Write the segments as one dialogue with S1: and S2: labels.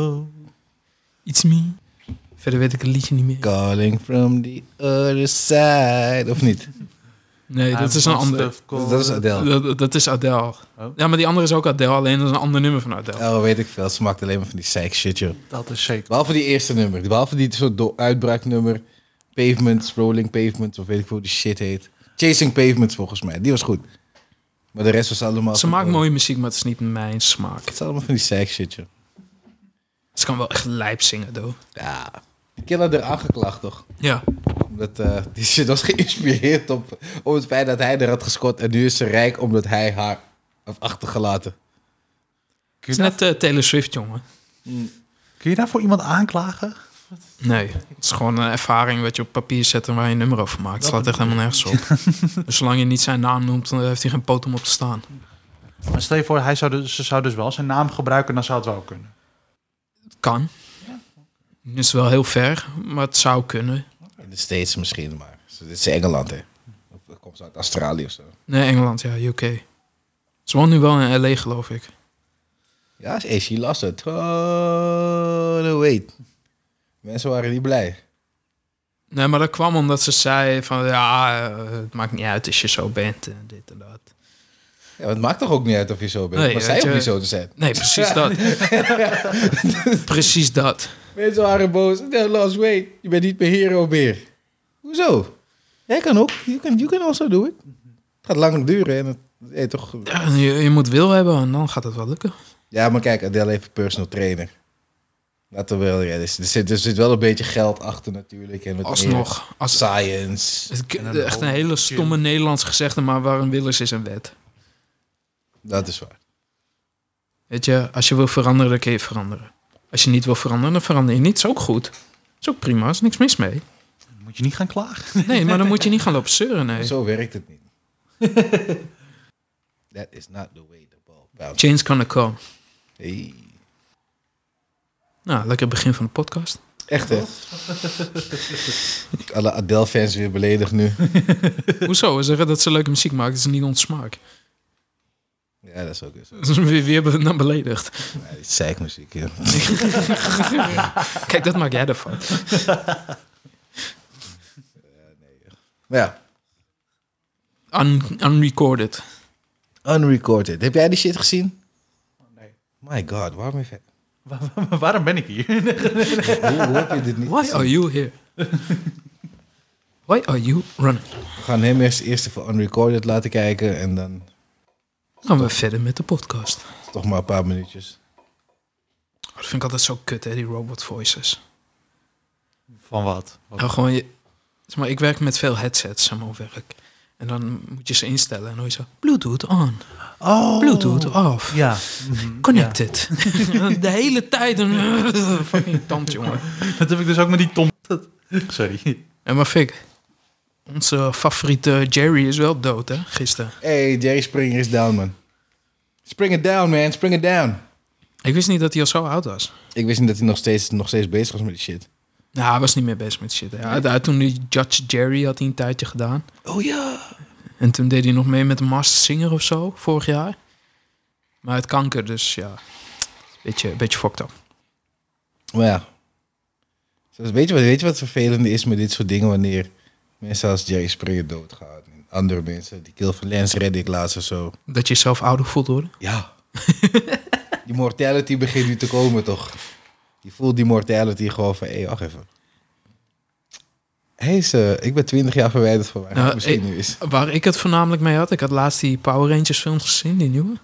S1: Oh, it's me. Verder weet ik het liedje niet meer.
S2: Calling from the other side. Of niet?
S1: Nee, dat is een ander.
S2: Dat is Adele.
S1: Dat, dat is Adele. Ja, maar die andere is ook Adele, alleen dat is een ander nummer van Adele.
S2: Oh, weet ik veel. Ze maakt alleen maar van die psych shit, joh.
S3: Dat is zeker.
S2: Behalve die eerste nummer. Behalve die soort do- uitbraaknummer. Pavements, Rolling Pavements, of weet ik veel hoe die shit heet. Chasing Pavements, volgens mij. Die was goed. Maar de rest was allemaal...
S1: Ze
S2: van-
S1: maakt
S2: oh,
S1: mooie muziek, maar het is niet mijn smaak.
S2: Het is allemaal van die psych shit, joh.
S1: Ze kan wel echt lijp zingen, doe.
S2: Ja. Die killer had er aangeklaagd, toch?
S1: Ja.
S2: Omdat eh, die shit was geïnspireerd op, op het feit dat hij er had gescoord. En nu is ze rijk omdat hij haar heeft achtergelaten.
S1: Het is net eh, Taylor Swift, jongen.
S3: Kun je daarvoor iemand aanklagen?
S1: Nee, het is gewoon een ervaring wat je op papier zet en waar je een nummer over maakt. Het slaat echt helemaal nergens op. dus zolang je niet zijn naam noemt, dan heeft hij geen poot om op te staan.
S3: Maar stel je voor, hij zou dus, ze zou dus wel zijn naam gebruiken, dan zou het wel kunnen.
S1: Het kan. Het is wel heel ver, maar het zou kunnen.
S2: In de States misschien, maar dit is Engeland, hè. Of komt ze uit Australië of zo.
S1: Nee, Engeland, ja, UK. Ze woont nu wel in L.A., geloof ik.
S2: Ja, hey, she lost it. Oh, wait. Mensen waren niet blij.
S1: Nee, maar dat kwam omdat ze zei van... ja, eh, het maakt niet uit als je zo bent en dit en dat.
S2: Ja, maar het maakt toch ook niet uit of je zo bent.
S1: Nee,
S2: maar
S1: weet
S2: zij hoeft
S1: je-
S2: niet zo te zijn.
S1: Nee, precies dat. precies dat.
S2: Mensen waren boos. No, lost weight. Je bent niet mijn hero meer. Hoezo? Jij kan ook. You can, you can also do it. Het gaat lang duren en het... hey, toch...
S1: Ja, je, je moet wil hebben en dan gaat het wel lukken.
S2: Ja, maar kijk, Adele heeft een personal trainer. Laten we wel, ja, er, zit, er zit wel een beetje geld achter natuurlijk. En wat meer
S1: Alsnog. Als,
S2: Science.
S1: Het-
S3: En een
S1: echt een
S3: hoop
S1: hele stomme Nederlands gezegde, maar waar een wil is, is een wet.
S2: Dat is waar.
S1: Weet je, als je wil veranderen, dan kun je veranderen. Als je niet wil veranderen, dan verander je niet. Is ook goed. Is ook prima, is niks mis mee.
S3: Moet je niet gaan klagen?
S1: Nee, maar dan moet je niet gaan lopen zeuren, nee.
S2: Zo werkt het niet. That is not the way the ball bounces.
S1: Change gonna come.
S2: Hey.
S1: Nou, lekker begin van de podcast.
S2: Echt, hè? Alle Adele-fans weer beledigd nu.
S1: Hoezo? We zeggen dat ze leuke muziek maakt, dat is niet ons smaak.
S2: Ja, dat is ook zo.
S1: Dat is weer, weer be- naar beledigd.
S2: Ja, die zeikmuziek, ja.
S1: Kijk, dat maak jij ervan.
S2: Maar ja,
S1: Un- unrecorded.
S2: unrecorded. Heb jij die shit gezien?
S3: Nee.
S2: My god, waarom heeft hij...
S3: Waarom ben ik hier?
S2: Hoe, hoe heb je dit niet
S1: Why are you here? Why are you running?
S2: We gaan hem eerst eerst even unrecorded laten kijken en dan
S1: Dan gaan we verder met de podcast.
S2: toch maar een paar minuutjes.
S1: Oh, Dat vind ik altijd zo kut, hè, die robot voices.
S3: Van wat?
S1: Nou, gewoon je, zeg maar, ik werk met veel headsets aan mijn werk. En dan moet je ze instellen en dan hoor je zo... Bluetooth on,
S3: Oh.
S1: Bluetooth off,
S3: Ja.
S1: connected. De hele tijd een fucking tand, jongen.
S3: Dat heb ik dus ook met die Tom. Sorry.
S1: En maar Fik, onze favoriete Jerry is wel dood, hè, gisteren.
S2: Hey, Jerry Springer is down, man. Spring it down, man. Spring it down.
S1: Ik wist niet dat hij al zo oud was.
S2: Ik wist niet dat hij nog steeds, nog steeds bezig was met die shit.
S1: Nou, hij was niet meer bezig met shit. hè. Hij, hij- toen die Judge Jerry had hij een tijdje gedaan.
S2: Oh ja.
S1: En toen deed hij nog mee met de Master Singer of zo, vorig jaar. Maar het kanker, dus ja. Beetje, beetje fucked up.
S2: Maar ja. Zoals- weet, je wat, weet je wat het vervelende is met dit soort dingen wanneer mensen als Jerry Springer doodgaan? En andere mensen, die kill van Lance Reddick laatst of zo.
S1: Dat je jezelf ouder voelt worden.
S2: Ja. die mortality begint nu te komen, toch? Je voelt die mortality gewoon van, hé, wacht even. Hé, is, eh, ik ben 20 jaar verwijderd van waar
S1: Nou,
S2: het misschien
S1: ik-
S2: nu is.
S1: Waar ik het voornamelijk mee had. Ik had laatst die Power Rangers films gezien, die nieuwe.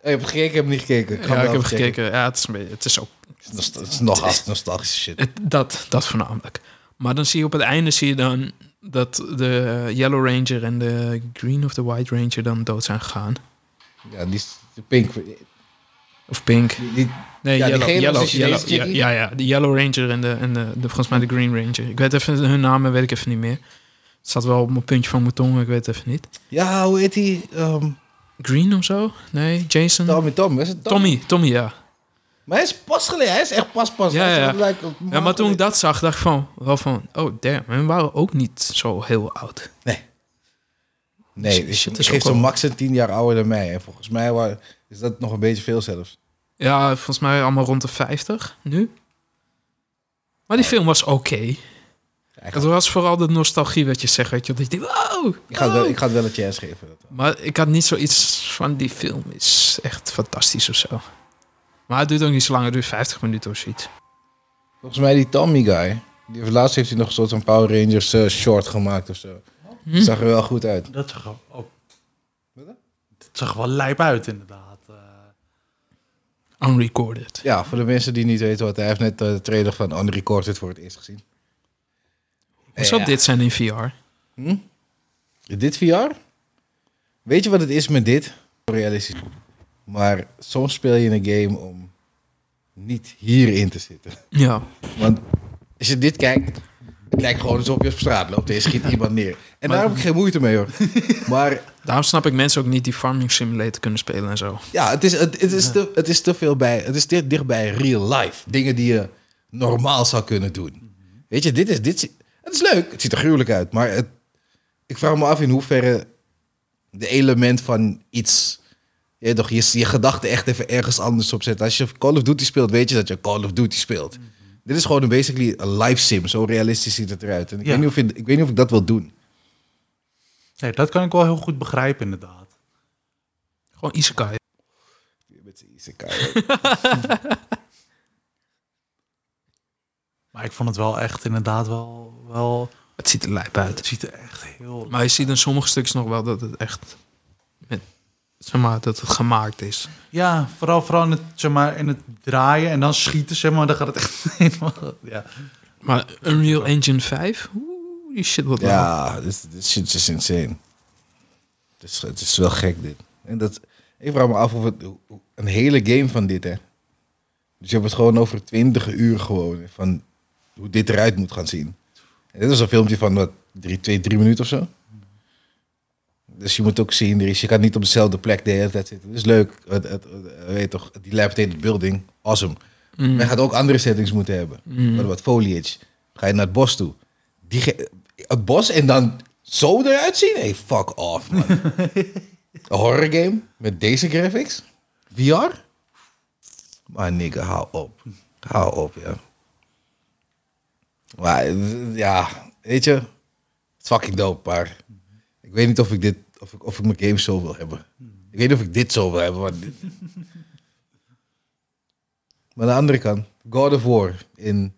S2: Hey, heb je gekeken? Ik heb niet gekeken. ga
S1: ja,
S2: wel
S1: ik heb
S2: even checken.
S1: gekeken. Ja, het is, een beetje- het is ook
S2: Het is nog- het is nog als nostalgische shit.
S1: het- dat, dat voornamelijk. Maar dan zie je op het einde zie je dan dat de Yellow Ranger en de Green of the White Ranger dan dood zijn gegaan.
S2: Ja, die is de pink.
S1: Of Pink.
S2: Die,
S1: Nee,
S2: Ja, die
S1: Yellow,
S2: gele was
S1: Yellow,
S2: die Chinese
S1: Yellow, ja,
S2: chickie.
S1: ja, ja, de Yellow Ranger en, de, en de, de, volgens mij de Green Ranger. Ik weet even hun namen, weet ik even niet meer. Het staat wel op mijn puntje van mijn tong, maar ik weet het even niet.
S2: ja, hoe heet die? Ehm,
S1: Green of zo? Nee, Jason?
S2: Tommy Tom. Is het Tom?
S1: Hmm. Tommy, Tommy, ja.
S2: Maar hij is pas geleden. Hij is echt pas pas.
S1: Ja,
S2: Hij is
S1: ja.
S2: echt like een
S1: Ja, maar
S2: maand
S1: toen ik
S2: geleden.
S1: dat zag, dacht ik van, wel van, oh damn, we waren ook niet zo heel oud.
S2: Nee,
S1: Shit,
S2: ik,
S1: shit,
S2: ik
S1: is ook
S2: geef zo'n
S1: wel-
S2: max een tien jaar ouder dan mij. En volgens mij wa- is dat nog een beetje veel zelfs.
S1: Ja, volgens mij allemaal rond de 50 nu. Maar die film was oké.
S2: Ik
S1: Het
S2: ga,
S1: was vooral de nostalgie wat je zegt, weet je. Dat je denkt, wow!
S2: ik ga, het, wel,
S1: wow.
S2: ik ga het wel een chance geven. dat wel.
S1: Maar ik had niet zoiets van die film is echt fantastisch of zo. Maar het duurt ook niet zo lang, het duurt 50 minuten of zoiets.
S2: Volgens mij die Tommy guy. Die heeft, laatst heeft hij nog een soort van Power Rangers eh, short gemaakt of zo.
S1: Hm?
S2: Zag er wel goed uit.
S3: Dat zag er ook...
S2: Wat dan?
S3: Dat zag er wel lijp uit, inderdaad. Eh,
S1: Unrecorded.
S2: Ja, voor de mensen die niet weten wat hij heeft net eh, de trailer van Unrecorded voor het eerst gezien.
S1: Hoe zou
S2: Ja.
S1: dit zijn in VR?
S2: Hm? Dit VR? Weet je wat het is met dit? Realistisch. Maar soms speel je een game om niet hierin te zitten.
S1: Ja.
S2: Want als je dit kijkt, het lijkt gewoon alsof je op straat loopt en je schiet iemand neer. En daar heb ik geen moeite mee hoor. Maar
S1: Daarom snap ik mensen ook niet die Farming Simulator kunnen spelen en zo.
S2: ja, het is, het, het is, te, het is te veel bij. Het is te dichtbij real life. Dingen die je normaal zou kunnen doen. Weet je, dit is. Dit, is- het is leuk. Het ziet er gruwelijk uit. Maar het, ik vraag me af in hoeverre de element van iets. Je, weet toch, je, je gedachten echt even ergens anders op zet. Als je Call of Duty speelt, weet je dat je Call of Duty speelt. Dit is gewoon een basically een live sim. Zo realistisch ziet het eruit. En ik,
S3: Ja.
S2: weet niet of je- ik weet niet of ik dat wil doen.
S3: nee, dat kan ik wel heel goed begrijpen, inderdaad.
S1: Gewoon Isekai.
S2: Met z'n isekai.
S3: Maar ik vond het wel echt inderdaad wel... wel
S1: Het ziet er lijp uit.
S3: het ziet er echt heel...
S1: Maar je ziet in sommige stukjes nog wel dat het echt... Met, zeg maar, dat het gemaakt is.
S3: Ja, vooral, vooral in, het, zeg maar, in het draaien en dan schieten, zeg maar. Dan gaat het echt helemaal... Ja.
S1: Maar Unreal Engine 5? Oeh, die shit wordt lauw.
S2: Ja, dit, dit shit is insane. Het is, het is wel gek dit. En dat, ik vraag me af of het een hele game van dit hè. Dus je hebt het gewoon over 20 uur gewoon van hoe dit eruit moet gaan zien. En dit is een filmpje van wat drie, twee, drie minuten of zo. Dus je moet ook zien, er is, je kan niet op dezelfde plek de hele tijd zitten. Het is leuk, het, het, het- weet je toch, die dilapidated building, awesome.
S1: Mm,
S2: Men gaat ook andere settings moeten hebben.
S1: mm.
S2: Wat, wat foliage. Ga je naar het bos toe. Die ge- het bos en dan zo eruit zien? Hey, fuck off, man. Een horror game met deze graphics? VR? Maar nigga, hou op. Hou op, ja. Maar eh, ja, weet je... Het is fucking dope, maar... Ik weet niet of ik dit... Of ik, of ik mijn game zo wil hebben.
S1: Hmm.
S2: Ik weet niet of ik dit zo wil hebben, maar... dit- maar aan de andere kant, God of War in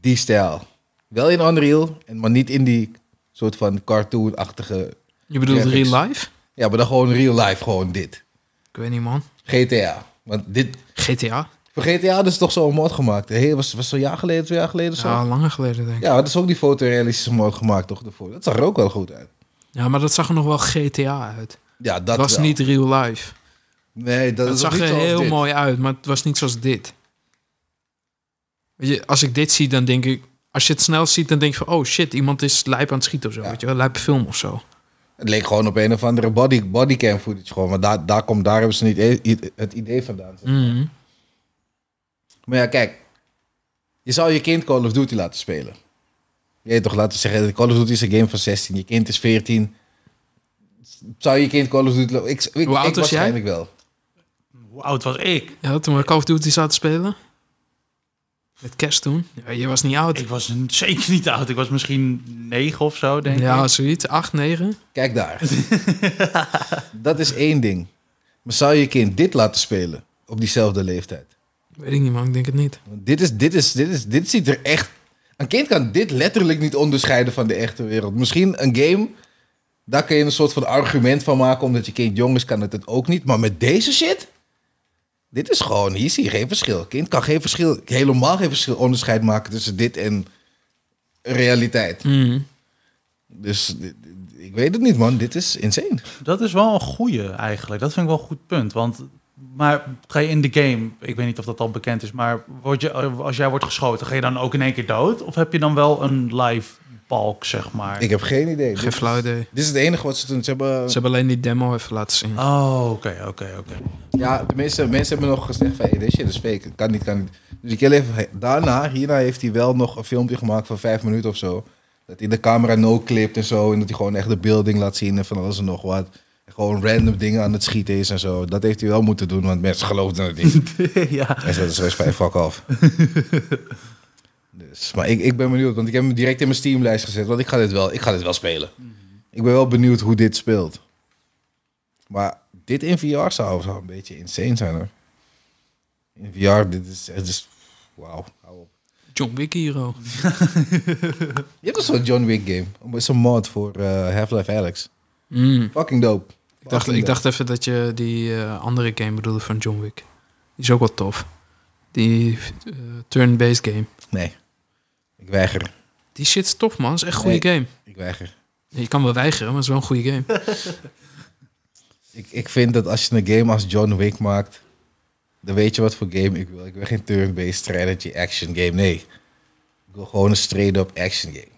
S2: die stijl. Wel in Unreal, en maar niet in die soort van cartoon-achtige...
S1: Je bedoelt
S2: graphics.
S1: real life?
S2: Ja, maar dan gewoon real life, gewoon dit.
S1: Ik weet niet, man.
S2: GTA. Want dit,
S1: GTA?
S2: voor GTA hadden ze toch zo'n mod gemaakt. Hey, was, was zo'n jaar geleden, twee jaar geleden zo.
S1: Ja,
S2: Ja,
S1: langer geleden, denk ik.
S2: ja dat is ook die fotorealistische mod gemaakt, toch? Ervoor. Dat zag er ook wel goed uit.
S1: Ja, maar dat zag er nog wel GTA uit.
S2: Ja, dat
S1: Het was
S2: wel.
S1: niet real life.
S2: Nee, dat,
S1: Het
S2: is ook
S1: zag
S2: niet
S1: er
S2: zoals
S1: heel
S2: dit.
S1: mooi uit, maar het was niet zoals dit. Weet je, als ik dit zie, dan denk ik... Als je het snel ziet, dan denk je van... Oh shit, iemand is lijp aan het schieten of zo.
S2: Ja.
S1: Weet je wel, lijp film of zo.
S2: Het leek gewoon op een of andere body, bodycam footage gewoon. Maar daar, daar, komt, daar hebben ze niet e- i- het idee vandaan.
S1: Mhm.
S2: Maar ja, kijk. Je zou je kind Call of Duty laten spelen. Je weet toch, laten we zeggen, Call of Duty is een game van 16. Je kind is 14. Zou je kind Call of Duty... la- Ik, ik,
S1: Hoe oud
S2: ik
S1: was jij?
S2: waarschijnlijk wel.
S3: Hoe oud was ik?
S1: Ja, toen we Call of Duty zaten spelen. Met kerst toen. Ja, je was niet oud.
S3: Ik was een- zeker niet oud. Ik was misschien negen of zo, denk
S1: ja,
S3: ik.
S1: zoiets. 8, 9.
S2: Kijk daar. dat is één ding. Maar zou je kind dit laten spelen op diezelfde leeftijd?
S1: Weet ik niet, man. Ik denk het niet.
S2: Want dit, is, dit, is, dit, is, dit ziet er echt... Een kind kan dit letterlijk niet onderscheiden van de echte wereld. Misschien een game, daar kun je een soort van argument van maken... omdat je kind jong is, kan het het ook niet. Maar met deze shit... Dit is gewoon, hier zie je geen verschil. Kind kan geen verschil, helemaal geen verschil onderscheid maken... tussen dit en realiteit.
S1: Mhm.
S2: Dus dit- dit- ik weet het niet, man. Dit is insane.
S3: Dat is wel een goeie eigenlijk. Dat vind ik wel een goed punt. Want maar ga je in de game, ik weet niet of dat al bekend is, maar word je, als jij wordt geschoten, ga je dan ook in één keer dood? Of heb je dan wel een live balk, zeg maar?
S2: Ik heb geen idee.
S1: Geen
S2: Dit,
S1: flauw idee.
S2: dit is het enige wat ze doen. Ze hebben...
S1: Ze hebben alleen die demo even laten zien.
S3: Oh, oké, oké, oké.
S2: Ja, de meeste mensen hebben nog gezegd van, hey, dit shit is fake. Het Kan niet, kan niet. Dus ik heel even, daarna, hierna heeft hij wel nog een filmpje gemaakt van vijf minuten of zo. Dat hij de camera no-clipt en zo. En dat hij gewoon echt de building laat zien en van alles en nog wat. En gewoon random dingen aan het schieten is en zo. Dat heeft hij wel moeten doen, want mensen geloofden het niet.
S3: ja.
S2: Hij zegt, dat is vijf fuck af. dus, maar ik, ik ben benieuwd, want ik heb hem direct in mijn Steamlijst gezet. Want ik ga dit wel, ik ga dit wel spelen. Ik ben wel benieuwd hoe dit speelt. Maar dit in VR zou, zou een beetje insane zijn, hoor. In VR, dit is... Het is Wauw, hou op.
S1: John Wick Hero.
S2: Je hebt toch zo'n John Wick game? Het is een mod voor eh, Half-Life Alex.
S3: Mhm.
S1: Mm.
S2: Fucking dope.
S1: Ik, dacht,
S2: Fucking
S1: ik dacht even dat je die eh, andere game bedoelde van John Wick. Die is ook wel tof. Die eh, turn-based game.
S2: dope. Nee, ik weiger.
S1: Die shit is tof, man. is echt een goede game.
S2: Ik weiger.
S1: Je kan wel weigeren, maar het is wel een goede game.
S2: Ik, ik vind dat als je een game als John Wick maakt, dan weet je wat voor game ik wil. Ik wil geen turn-based strategy action game, nee. Ik wil gewoon een straight-up action game.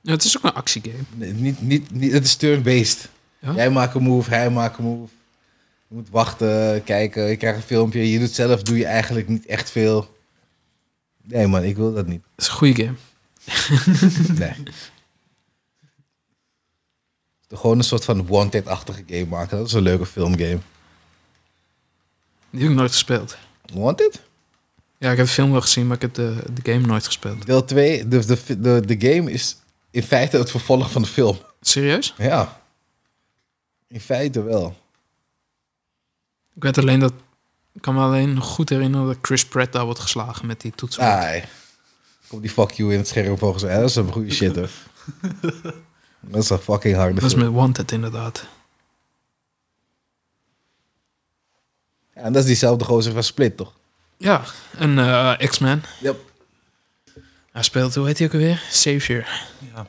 S1: Ja, het is ook een actiegame.
S2: Nee, niet, niet, niet, het is turn-based.
S1: Ja?
S2: Jij maakt een move, hij maakt een move. Je moet wachten, kijken, je krijgt een filmpje. Je doet zelf, doe je eigenlijk niet echt veel. Nee man, ik wil dat niet.
S1: Het is een goede game.
S2: Nee. Gewoon een soort van Wanted-achtige game maken. Dat is een leuke filmgame.
S1: Die heb ik nooit gespeeld.
S2: Wanted?
S1: Ja, ik heb de film wel gezien, maar ik heb de, de game nooit gespeeld.
S2: Deel 2, de, de, de, de game is in feite het vervolg van de film.
S1: Serieus?
S2: Ja. In feite wel.
S1: Ik weet alleen dat... Ik kan me alleen nog goed herinneren dat Chris Pratt daar wordt geslagen met die toetsen.
S2: Nee. Komt die fuck you in het scherm volgens mij. Dat is een goede shit hoor. Dat is een fucking harde
S1: dat is
S2: film.
S1: met Wanted inderdaad.
S2: Ja, en dat is diezelfde gozer van Split toch?
S1: Ja, en eh, X-Men.
S2: Yep.
S1: Hij speelt, hoe heet hij ook alweer? Savior.
S3: ja.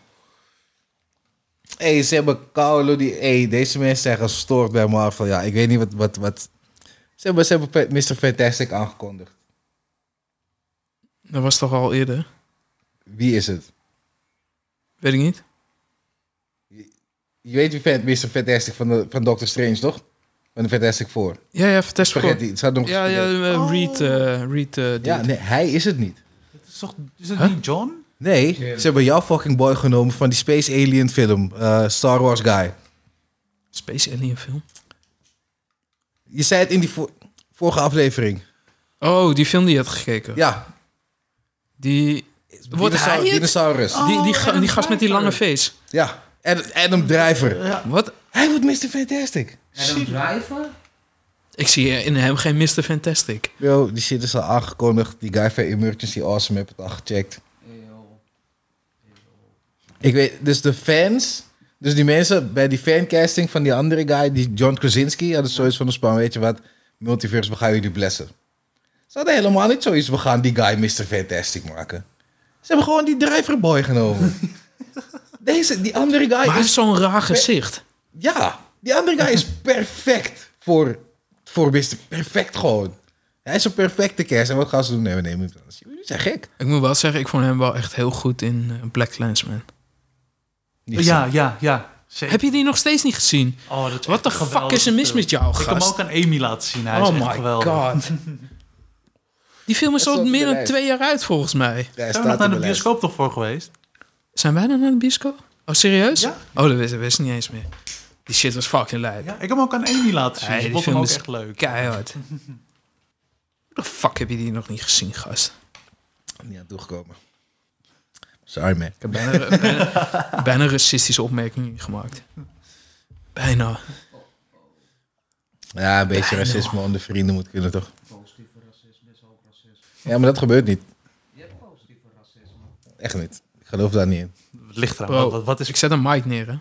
S2: Hé, hey, ze hebben Carlo die... Hey, deze mensen zijn gestoord bij Marvel. Ja, ik weet niet wat... wat, wat. Ze, hebben, ze hebben Mr. Fantastic aangekondigd.
S1: Dat was toch al eerder?
S2: Wie is het?
S1: Weet ik niet.
S2: Je weet wie fan- Mr. Fantastic van, de, van Doctor Strange, toch? Van de Fantastic Four.
S1: Ja, ja, Fantastic Four.
S2: Spaghetti. Ze hadden hem
S1: Ja, ja,
S2: gespaghetti.
S1: eh,
S3: Oh.
S1: Reed. eh, Reed eh, dude.
S2: ja, nee, hij is het niet.
S3: Het is, toch, is het
S1: Huh?
S3: niet John?
S2: Nee, ze hebben jouw fucking boy genomen van die Space Alien film. eh, Star Wars Guy.
S1: Space Alien film.
S2: Je zei het in die vo- vorige aflevering.
S1: Oh, die film die je had gekeken.
S2: Ja.
S1: Die, Wordt
S2: Dinosaur-
S1: hij het?
S2: Dinosaurus.
S1: die, die, ga-
S3: Adam
S1: die gast met die lange
S3: Driver.
S1: face.
S2: Ja. Ad- Adam Driver.
S1: Wat?
S2: Hij wordt Mr. Fantastic.
S4: Adam Driver?
S1: Ik zie eh, in hem geen Mr. Fantastic.
S2: Yo, die shit is al aangekondigd. Die guy van Emergency Awesome heb het al gecheckt.
S4: Eeuw.
S2: Ik weet, dus de fans, dus die mensen bij die fancasting van die andere guy, die John Krasinski, hadden zoiets van de span, weet je wat, multiverse, we gaan jullie blessen. Ze hadden helemaal niet zoiets, we gaan die guy Mr. Fantastic maken. Ze hebben gewoon die driverboy genomen. Deze, die andere guy
S1: Maar hij
S2: is,
S1: heeft zo'n raar gezicht.
S2: ja, die andere guy is perfect voor, voor Mr. Perfect gewoon. Hij is een perfecte kerst. En wat gaan ze doen? Nee, we nemen hem anders. Jullie zijn gek.
S1: Ik moet wel zeggen, ik vond hem wel echt heel goed in eh, Black Landsman.
S2: Niet
S3: ja, ja, ja. Zeker.
S1: Heb je die nog steeds niet gezien?
S3: Oh, dat is
S1: Wat de
S3: echt een
S1: fuck is er
S3: geweldige
S1: mis
S3: film.
S1: met jou,
S3: Ik heb hem
S1: gast?
S3: ook aan Amy laten zien. Hij is
S1: Oh
S3: echt
S1: my
S3: geweldig.
S1: god. Die film is
S2: Het
S1: al
S2: staat op
S1: meer
S2: de
S1: dan
S2: lijst.
S1: twee jaar uit, volgens mij.
S2: zo. Hij
S3: Zijn we nog
S2: staat
S3: naar
S2: in
S3: de
S2: de lijst.
S3: bioscoop toch voor geweest?
S1: Zijn wij dan naar de bioscoop? Oh, serieus?
S3: Ja.
S1: Oh, dat wist, dat wist ik niet eens meer. Die shit was fucking lijp.
S3: Ja, ik heb hem ook aan Amy laten zien.
S1: Hey,
S3: ik
S1: die
S3: vond hem
S1: film
S3: ook
S1: is-
S3: echt leuk.
S1: Keihard. Hoe de fuck heb je die nog niet gezien, gast?
S2: Niet aan toegekomen. Sorry man.
S1: Ik heb bijna, bijna, bijna een racistische opmerking gemaakt. Bijna.
S2: Ja, een beetje
S1: Bijna.
S2: racisme onder vrienden moet kunnen, toch?
S4: Positieve racisme is ook racisme.
S2: Ja, maar dat gebeurt niet.
S4: Je hebt positieve racisme.
S2: Echt niet. Ik geloof daar niet in.
S3: Ligt eraan.
S1: Bro,
S3: Wat, wat,
S2: Dus-
S3: is,
S1: Ik zet een mic neer, hè?
S4: Ik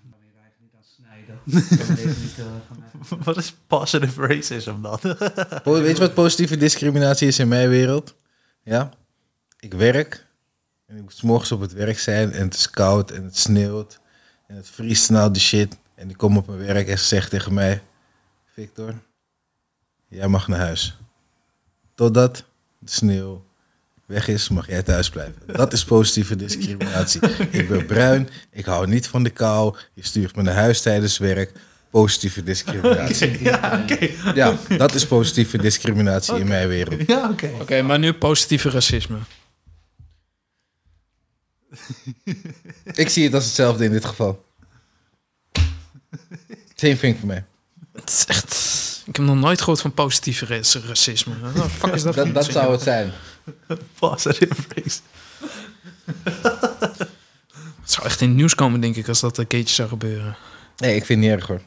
S4: kan hier eigenlijk niet aan snijden. Ik kan deze niet eh, van mij.
S3: wat is positive racism dan?
S2: Po- Weet je wat positieve discriminatie is in mijn wereld? Ja? Ik werk. En ik moet 's morgens op het werk zijn. En het is koud. En het sneeuwt. En het vriest snel de shit. En ik kom op mijn werk en ze zegt tegen mij... Victor, jij mag naar huis. Totdat de sneeuw weg is, mag jij thuis blijven. Dat is positieve discriminatie. Ik ben bruin, ik hou niet van de kou. Je stuurt me naar huis tijdens werk. Positieve discriminatie.
S3: ja, oké.
S2: Ja, dat is positieve discriminatie in mijn wereld.
S3: Ja, oké.
S1: Oké, maar nu positieve racisme.
S2: Ik zie het als hetzelfde in dit geval. Same thing voor mij.
S1: Het is echt... Ik heb nog nooit gehoord van positief ra- racisme. Wat de fuck is dat,
S2: Dat,
S1: voor
S2: dat
S1: iets?
S2: zou het zijn.
S3: Positive race.
S1: Het zou echt in het nieuws komen, denk ik, als dat een keertje zou gebeuren.
S2: Nee, ik vind het niet erg hoor.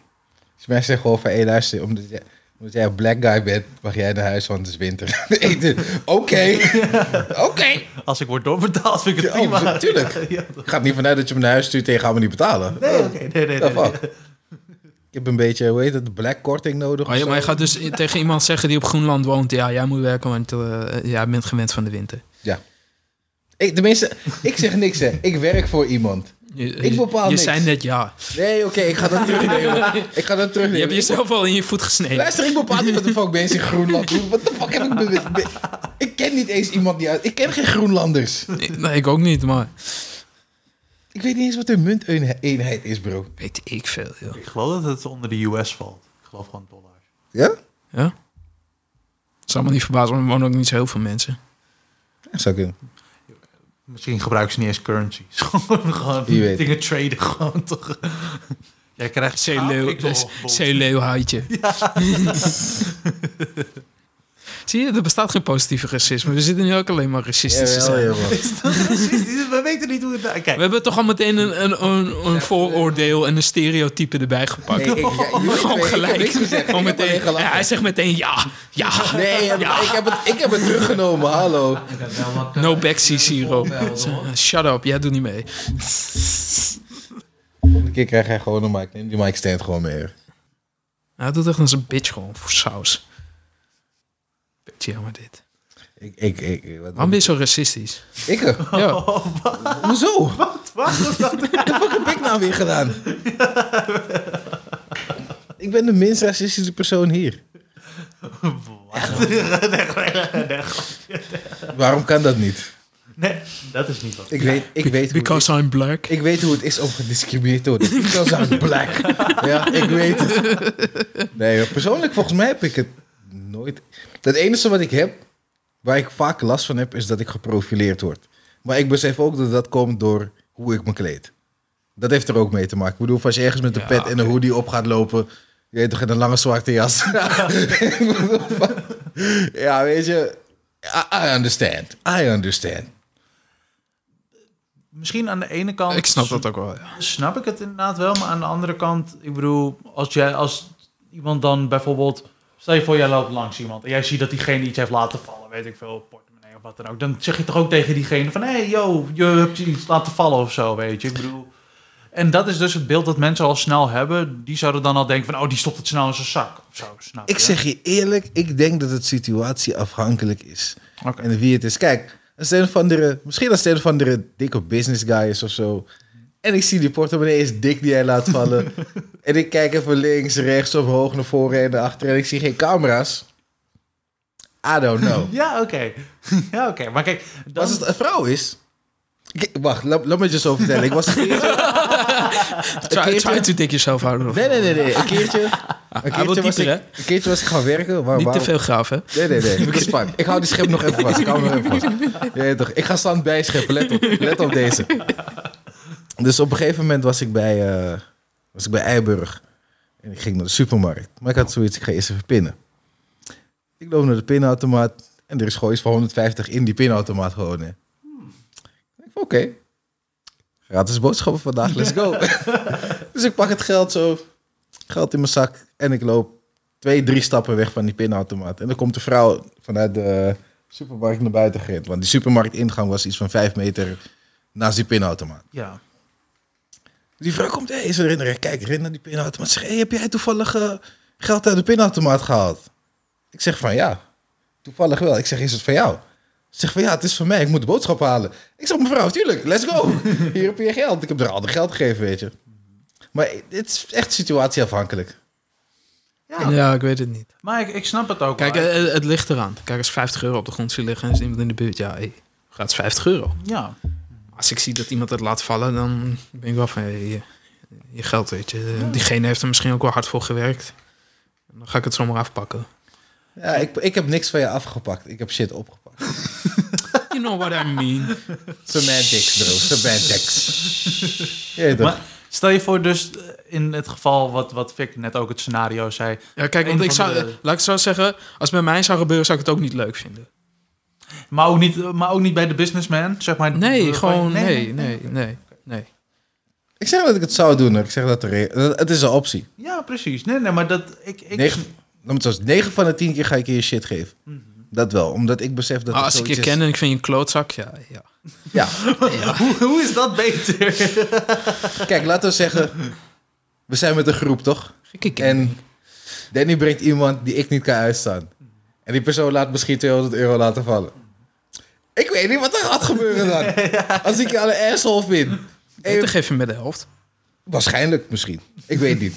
S2: Als mensen zeggen gewoon van, hé luister, omdat jij, omdat jij een black guy bent, mag jij naar huis, want het is winter. Ik denk, Oké, oké.
S3: Als ik word doorbetaald, vind ik het
S2: Ja,
S3: prima.
S2: oh, tuurlijk.
S3: Ja,
S2: Ik ga er niet vanuit dat je me naar huis stuurt en je gaat me niet betalen.
S3: nee, oké, nee, nee, nee,
S2: The
S3: nee.
S2: fuck? Ik heb een beetje, hoe heet het, black korting nodig.
S1: Oh, ja,
S2: of
S1: maar je
S2: zo.
S1: gaat dus i- tegen iemand zeggen die op Groenland woont... ja, jij moet werken, want eh, jij bent gewend van de winter.
S2: ik, tenminste, ik zeg niks hè. Ik werk voor iemand.
S1: Je,
S2: Ik bepaal
S1: Je
S2: niks.
S1: zei net ja.
S2: Nee, oké, ik ga dat terugnemen. Ik ga dat
S1: Je
S2: terugnemen.
S1: hebt jezelf al in je voet
S2: Ik-
S1: gesneden.
S2: Luister, ik bepaal niet wat de fuck mensen in Groenland doen. Wat de fuck heb ik... be- be- Ik ken niet eens iemand die uit... Ik ken geen Groenlanders.
S1: Nee, ik ook niet, maar...
S2: Ik weet niet eens wat een munteenheid is, bro.
S1: Weet ik veel, joh.
S3: Ik geloof dat het onder de US valt. Ik geloof gewoon dollars.
S2: Ja?
S1: Ja? Het zou me niet verbazen, want er wonen ook niet zo heel veel mensen.
S2: Dat zou kunnen.
S3: Misschien gebruiken ze niet eens currencies. gewoon gewoon
S2: Wie weet.
S3: dingen traden gewoon toch. Jij krijgt
S1: Zeeleeuw,
S3: Ah, Ik wil-
S1: zeeleeuwhuidje. Zie je, er bestaat geen positieve racisme. We zitten nu ook alleen maar racistische zijn.
S3: Precies, we weten niet hoe het... nou-
S1: We
S3: Kijk,
S1: hebben toch al meteen een, een, een, een vooroordeel en een stereotype erbij gepakt.
S2: Nee, ik, ja, jullie
S1: Gewoon
S2: twee, Ik heb
S1: gelijk.
S2: niks gezegd.
S1: Gewoon
S2: Ik heb alleen
S1: meteen, ja,
S2: gelachen.
S1: hij zegt meteen ja, ja.
S2: Nee, ja, maar ik heb, het, ik heb het teruggenomen, hallo.
S4: Ik heb wel wat... eh,
S1: No backseat, Siro.
S4: voorbeelden, hoor.
S1: Shut up, jij doet niet mee.
S2: Een keer krijg jij gewoon een mic. Neem die mic stand gewoon mee.
S1: Hij doet echt als een bitch gewoon voor saus. Beetje jammer dit.
S2: Ik, ik, ik... Wat,
S1: Waarom ben je zo racistisch?
S2: Ik? eh,
S1: Ja.
S2: Hoezo? Wat? Wat de fuck heb ik nou weer gedaan? Ik ben de minst racistische persoon hier. Waarom kan dat niet?
S3: nee, dat is niet wat.
S2: Ik weet, ik weet hoe het
S1: Because I'm black.
S2: is. Ik weet hoe het is om gediscrimineerd te worden. Ik was aan black. Ja, ik weet het. Nee, hoor, persoonlijk volgens mij heb ik het nooit... Het enige wat ik heb, waar ik vaak last van heb, is dat ik geprofileerd word. Maar ik besef ook dat dat komt door hoe ik me kleed. Dat heeft er ook mee te maken. Ik bedoel, als je ergens met een
S1: Ja,
S2: pet en een hoodie op gaat lopen... Je weet toch, in een lange zwarte jas. Ik bedoel, van- ja, weet je... I, I understand. I understand.
S3: Misschien aan de ene kant...
S1: Ik snap dat ook wel, ja.
S3: snap ik het inderdaad wel, maar aan de andere kant, ik bedoel, als jij als iemand dan bijvoorbeeld, stel je voor jij loopt langs iemand en jij ziet dat diegene iets heeft laten vallen, weet ik veel, portemonnee of wat dan ook, dan zeg je toch ook tegen diegene van, hé, hey, yo, je hebt iets laten vallen of zo, weet je, ik bedoel. En dat is dus het beeld dat mensen al snel hebben. Die zouden dan al denken van, oh, die stopt het snel in zijn zak. Of zo, snap
S2: Ik
S3: je?
S2: zeg je eerlijk, ik denk dat het situatieafhankelijk is.
S3: Oké.
S2: En wie het is. Kijk, als een van de, misschien als een van de dikke business guy is of zo. En ik zie die portemonnee is dik die hij laat vallen. en ik kijk even links, rechts, omhoog, naar voren en naar achteren. En ik zie geen camera's. I don't know.
S3: Ja, oké. ja, oké. Maar kijk, dan...
S2: Als het een vrouw is... Ik- wacht, laat, laat me het je zo vertellen. Ik was een keertje...
S1: Try, try to dik jezelf houden.
S2: Nee, nee, nee. nee. Een keertje,
S1: wil
S2: een keertje, was ik,
S1: dieper, hè?
S2: een keertje was ik gaan werken. Waar,
S1: Niet te
S2: waar-
S1: veel graven.
S2: Nee, nee, nee. Dat is fijn. Ik hou die schep nog even vast. Ik hou hem even vast. Ja, ja, toch. Ik ga stand bijscheppen. Let op. Let op deze. Dus op een gegeven moment was ik bij, eh, was ik bij Eiburg. En ik ging naar de supermarkt. Maar ik had zoiets, ik ga eerst even pinnen. Ik loop naar de pinautomaat. En er is gewoon iets van 150 in die pinautomaat gewoon. Hè. Ik denk, oké. Gratis boodschappen vandaag, let's go. dus ik pak het geld zo. Geld in mijn zak. En ik loop twee, drie stappen weg van die pinautomaat. En dan komt de vrouw vanuit de supermarkt naar buiten gerend. Want die supermarktingang was iets van vijf meter naast die pinautomaat.
S3: Ja.
S2: Die vrouw komt, hé, hey, is er herinneren? Kijk, rent naar die pinautomaat. Zeg, hey, heb jij toevallig eh, geld uit de pinautomaat gehaald? Ik zeg van ja. Toevallig wel. Ik zeg, is het van jou? Ze zegt van ja, het is van mij. Ik moet de boodschap halen. Ik zeg, mevrouw, tuurlijk, let's go. Hier heb je je geld. Ik heb er al de geld gegeven, weet je. Maar het is echt situatieafhankelijk.
S3: ja.
S1: Ja, ik weet het niet.
S3: Maar ik, ik snap het ook
S1: Kijk,
S3: wel.
S1: eh, eh, het ligt eraan. Kijk, als 50 euro op de grond ziet liggen en is iemand in de buurt, ja, hey, gaat 50 euro.
S3: Ja.
S1: Als ik zie dat iemand het laat vallen, dan ben ik wel van hey, je, je geld, weet je. Eh, Diegene heeft er misschien ook wel hard voor gewerkt. Dan ga ik het zomaar afpakken.
S2: Ja, ik, ik heb niks van je afgepakt. Ik heb shit opgepakt.
S1: You know what I mean.
S2: Semantics, bro. Semantics. Ja, toch?
S3: Maar Stel je voor dus eh, in het geval wat, wat Vic net ook het scenario zei.
S1: Ja, kijk, want
S3: Een
S1: ik
S3: van
S1: zou,
S3: de-
S1: laat ik het zo zeggen, als het bij mij zou gebeuren, zou ik het ook niet leuk vinden.
S3: Maar ook niet, maar ook niet bij de businessman, zeg maar.
S1: Nee,
S3: Eh,
S1: gewoon,
S3: van-
S1: nee, nee, nee, nee.
S2: Ik zeg dat ik het zou doen. hoor. Ik zeg dat er, het is een optie.
S3: Ja, precies. Nee, nee, maar dat... Ik, ik,
S2: Negen, laat me het zo zeggen, negen van de tien keer ga ik je je shit geven.
S3: Mhm.
S2: Dat wel, omdat ik besef dat
S1: Maar
S2: het
S1: Ah, als ik je
S2: zoiets
S1: ken
S2: is.
S1: en ik vind je een klootzak, ja. ja.
S2: Ja,
S3: hoe, hoe is dat beter?
S2: kijk, laten we zeggen, we zijn met een groep, toch?
S1: Gekke ken.
S2: En Danny brengt iemand die ik niet kan uitstaan. En die persoon laat misschien 200 euro laten vallen. Ik weet niet wat er gaat gebeuren dan. Als ik je alle asshole vind.
S1: En dan geef je me de helft.
S2: Waarschijnlijk misschien. Ik weet niet.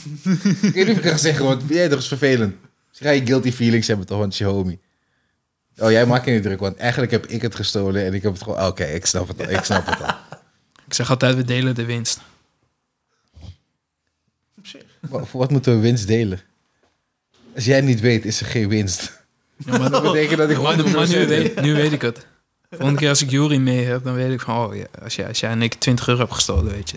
S2: ik weet niet of ik kan zeggen, want jij toch is vervelend. Ze ga je guilty feelings hebben toch, want het is je homie. Oh, jij maakt je niet druk, want eigenlijk heb ik het gestolen en ik heb het gewoon... Ah, Oké, ik snap het al, ik snap het al.
S1: Ik zeg altijd, we delen de winst.
S2: Wa- Voor wat moeten we winst delen? Als jij niet weet, is er geen winst.
S1: Ja, maar,
S2: Dat betekent dat ik
S1: maar- maar
S2: 100%
S1: nu,
S2: weet.
S1: Oh. weet, nu weet ik het. Volgende keer als ik Jury mee heb, dan weet ik van, oh ja, als jij, als jij en ik 20 euro hebt gestolen, weet je.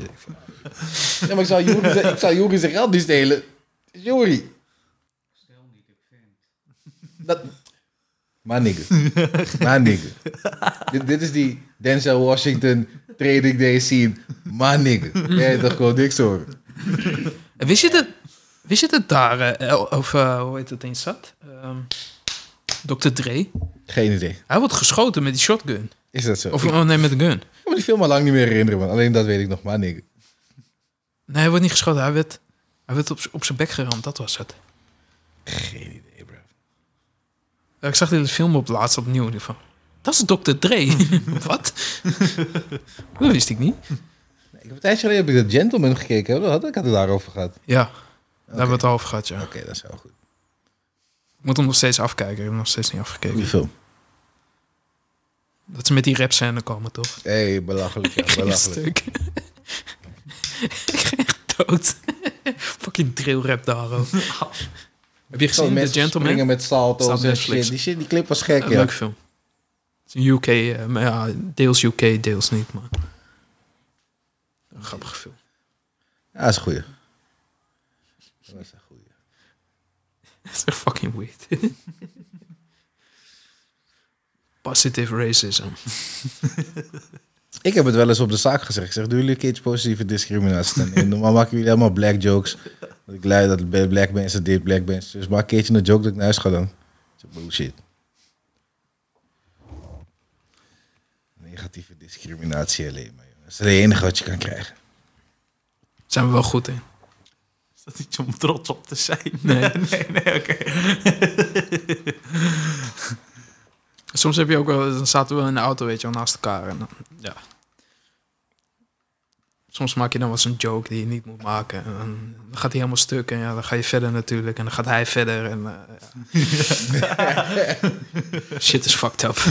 S2: Ja, maar ik zou Jori zijn, ik zou "Ah, Jori zijn geld niet stelen. Jori.
S4: Stel niet, ik vind.
S2: Dat... Maar nigger. Maar nigger. dit, dit is die Denzel Washington trading day scene. Maar nigger. Jij hebt toch gewoon niks horen.
S1: En Wist je dat, wist je dat daar, eh, El- of eh, hoe heet dat eens zat? Ehm Dr. Dre.
S2: Geen idee.
S1: Hij wordt geschoten met die shotgun.
S2: Is dat zo?
S1: Of
S2: ik
S1: oh, nee, met een gun.
S2: kan me die film al lang niet meer herinneren, man. Alleen dat weet ik nog. Maar nigger.
S1: Nee, hij wordt niet geschoten. Hij werd, hij werd op, z'n- op zijn bek geramd. Dat was het.
S2: Geen idee, bro.
S1: Ja, Eh, Ik zag dit film op laatst opnieuw. en ik Van, dat is Dr. Dre. Wat? dat wist ik niet.
S2: Nee, Ik heb een tijdje geleden heb ik The Gentleman gekeken. Hè? Had ik had het daarover gehad. Oké,
S1: Ja, daar hebben we het al over gehad, ja.
S2: dat is wel goed.
S1: Ik moet hem nog steeds afkijken. Ik heb hem nog steeds niet
S2: Goeie
S1: afgekeken.
S2: film.
S1: Dat ze met die rap scène komen, toch?
S2: Hé, hey, belachelijk. Ja,
S1: Ik ging
S2: belachelijk.
S1: stuk. ik ging echt dood. Fucking drill rap daar, hoor. Heb je
S2: Gewoon
S1: gezien, The
S2: Oh, mensen
S1: Gentleman?
S2: springen
S1: Een
S2: met
S1: Staat
S2: salto's
S1: op
S2: en
S1: Netflix.
S2: shit. Die, shit. die clip was gek, ja.
S1: leuke film. Het is een UK, eh, maar ja, deels UK, deels niet, maar... Een grappige film.
S2: Ja, dat is een goeie. Dat is een goeie.
S1: Dat is echt fucking weird. Positive racism.
S2: Ik heb het wel eens op de zaak gezegd. Ik zeg, doen jullie een keertje positieve discriminatie? Dan in. Normaal maken jullie allemaal black jokes. Dat ik lui dat bij black mensen dit, black mensen. Dus maak een keertje een joke dat ik naar huis ga dan. Dat is bullshit. Negatieve discriminatie alleen maar. joh. Dat is het enige wat je kan krijgen.
S1: Zijn we wel goed in.
S3: Is dat iets om trots op te zijn?
S1: Nee.
S3: nee, nee, oké.
S1: Soms heb je ook wel, dan zaten we wel in de auto, weet je wel, naast elkaar. En dan, ja. Soms maak je dan wel eens een joke die je niet moet maken. En dan dan gaat hij helemaal stuk en ja, dan ga je verder natuurlijk. En dan gaat hij verder en eh, ja. Shit is fucked up.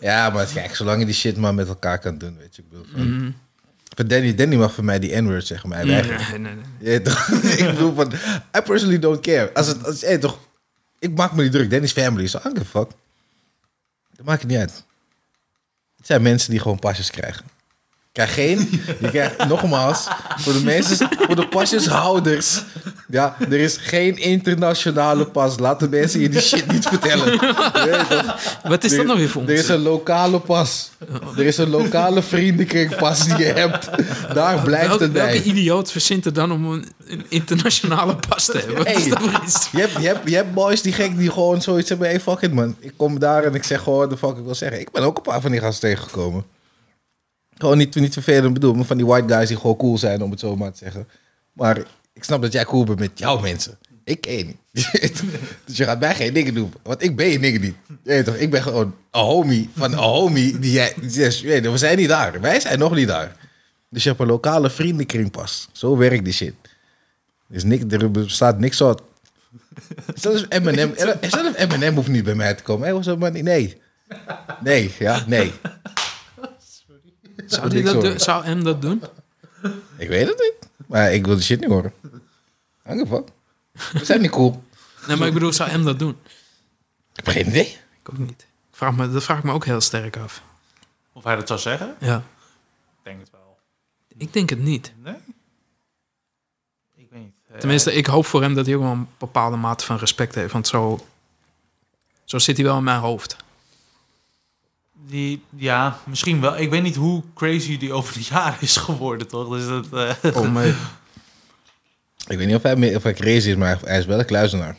S2: Ja, maar kijk, zolang je die shit maar met elkaar kan doen, weet je. Ik bedoel, van-
S1: Mhm.
S2: van Danny, Danny mag voor mij die N-word zeggen, maar hij
S1: Nee,
S2: weigert.
S1: nee, nee.
S2: Ja, toch? ik bedoel van, I personally don't care. Als het, als, hey, toch, ik maak me niet druk. Danny's family is anker, fuck. Dat maakt het niet uit. Het zijn mensen die gewoon pasjes krijgen. Ik krijg geen, je krijgt nogmaals, voor de mensen, voor de pasjeshouders. Ja, er is geen internationale pas. Laat de mensen je die shit niet vertellen. Ja, toch?
S1: Wat is dat
S2: Er-
S1: nou weer voor
S2: Er is
S1: ons?
S2: een lokale pas. Er is een lokale vriendenkringpas die je hebt. Daar blijft
S1: Welke,
S2: het bij.
S1: welke idioot verzint er dan om een, een internationale pas te hebben? Wat is
S2: Hey.
S1: dat voor iets?
S2: Je hebt, je, hebt, je hebt boys die gek die gewoon zoiets hebben. Hey, fuck it, man. Ik kom daar en ik zeg gewoon de fuck ik wil zeggen. Ik ben ook een paar van die gasten tegengekomen. Gewoon niet, niet vervelend bedoel, maar van die white guys die gewoon cool zijn, om het zo maar te zeggen. Maar ik snap dat jij cool bent met jouw mensen. Ik één niet. dus je gaat mij geen dingen doen. Want ik ben je dingen niet. Je weet toch, ik ben gewoon een homie van een homie die jij... die zegt, je weet toch, we zijn niet daar. Wij zijn nog niet daar. Dus je hebt een lokale vriendenkring pas. Zo werkt die shit. Dus niks, er bestaat niks soort. Zelfs Eminem, zelfs Eminem hoeft niet bij mij te komen. Hey, what's up, man? Nee. Nee, ja, nee.
S1: Zou, die dat
S2: Sorry.
S1: doen? Zou hem dat doen?
S2: Ik weet het niet. Maar ik wil de shit niet horen. Hang ervan. We zijn niet cool.
S1: Nee, maar ik bedoel, zou hem dat doen?
S2: Ik heb geen idee.
S1: Ik ook niet. Ik Vraag me, dat vraag ik me ook heel sterk af.
S3: Of hij dat zou zeggen?
S1: Ja.
S3: Ik denk het wel.
S1: Ik denk het niet.
S3: Nee? Ik weet niet. Eh,
S1: Tenminste, ik hoop voor hem dat hij ook wel een bepaalde mate van respect heeft. Want zo, zo zit hij wel in mijn hoofd.
S3: Die, ja, misschien wel. Ik weet niet hoe crazy die over de jaren is geworden, toch? Dus dat, eh,
S1: Om, eh,
S2: Ik weet niet of hij, meer, of hij crazy is, maar hij is wel een kluizenaar.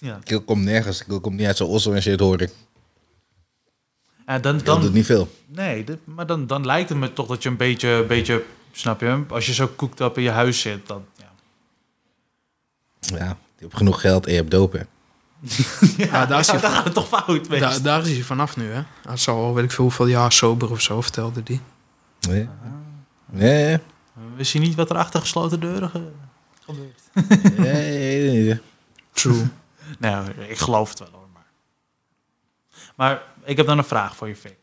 S3: ja.
S2: Ik kom nergens. Ik kom niet uit zo'n ossel en shit, hoor ik.
S3: Ja, dan,
S2: Dat doet
S3: dan,
S2: niet veel.
S3: nee, dit- maar dan, dan lijkt het me toch dat je een beetje, een beetje, snap je? Als je zo cooked up in je huis zit, dan... Ja.
S2: Ja, je hebt genoeg geld en je hebt dopen.
S1: Ja, daar is
S3: ja,
S1: hij
S3: dan
S1: van.
S3: gaat het toch fout, weet
S1: daar, daar is hij vanaf nu, hè? Hij is al, weet ik veel, hoeveel jaar sober of zo, vertelde hij.
S2: Nee. Nee,
S3: Wist je niet wat er achter gesloten deuren ge- gebeurt?
S2: nee, nee, nee, nee.
S1: True.
S3: Nou, ik geloof het wel hoor. Maar, maar ik heb dan een vraag voor je, Fik.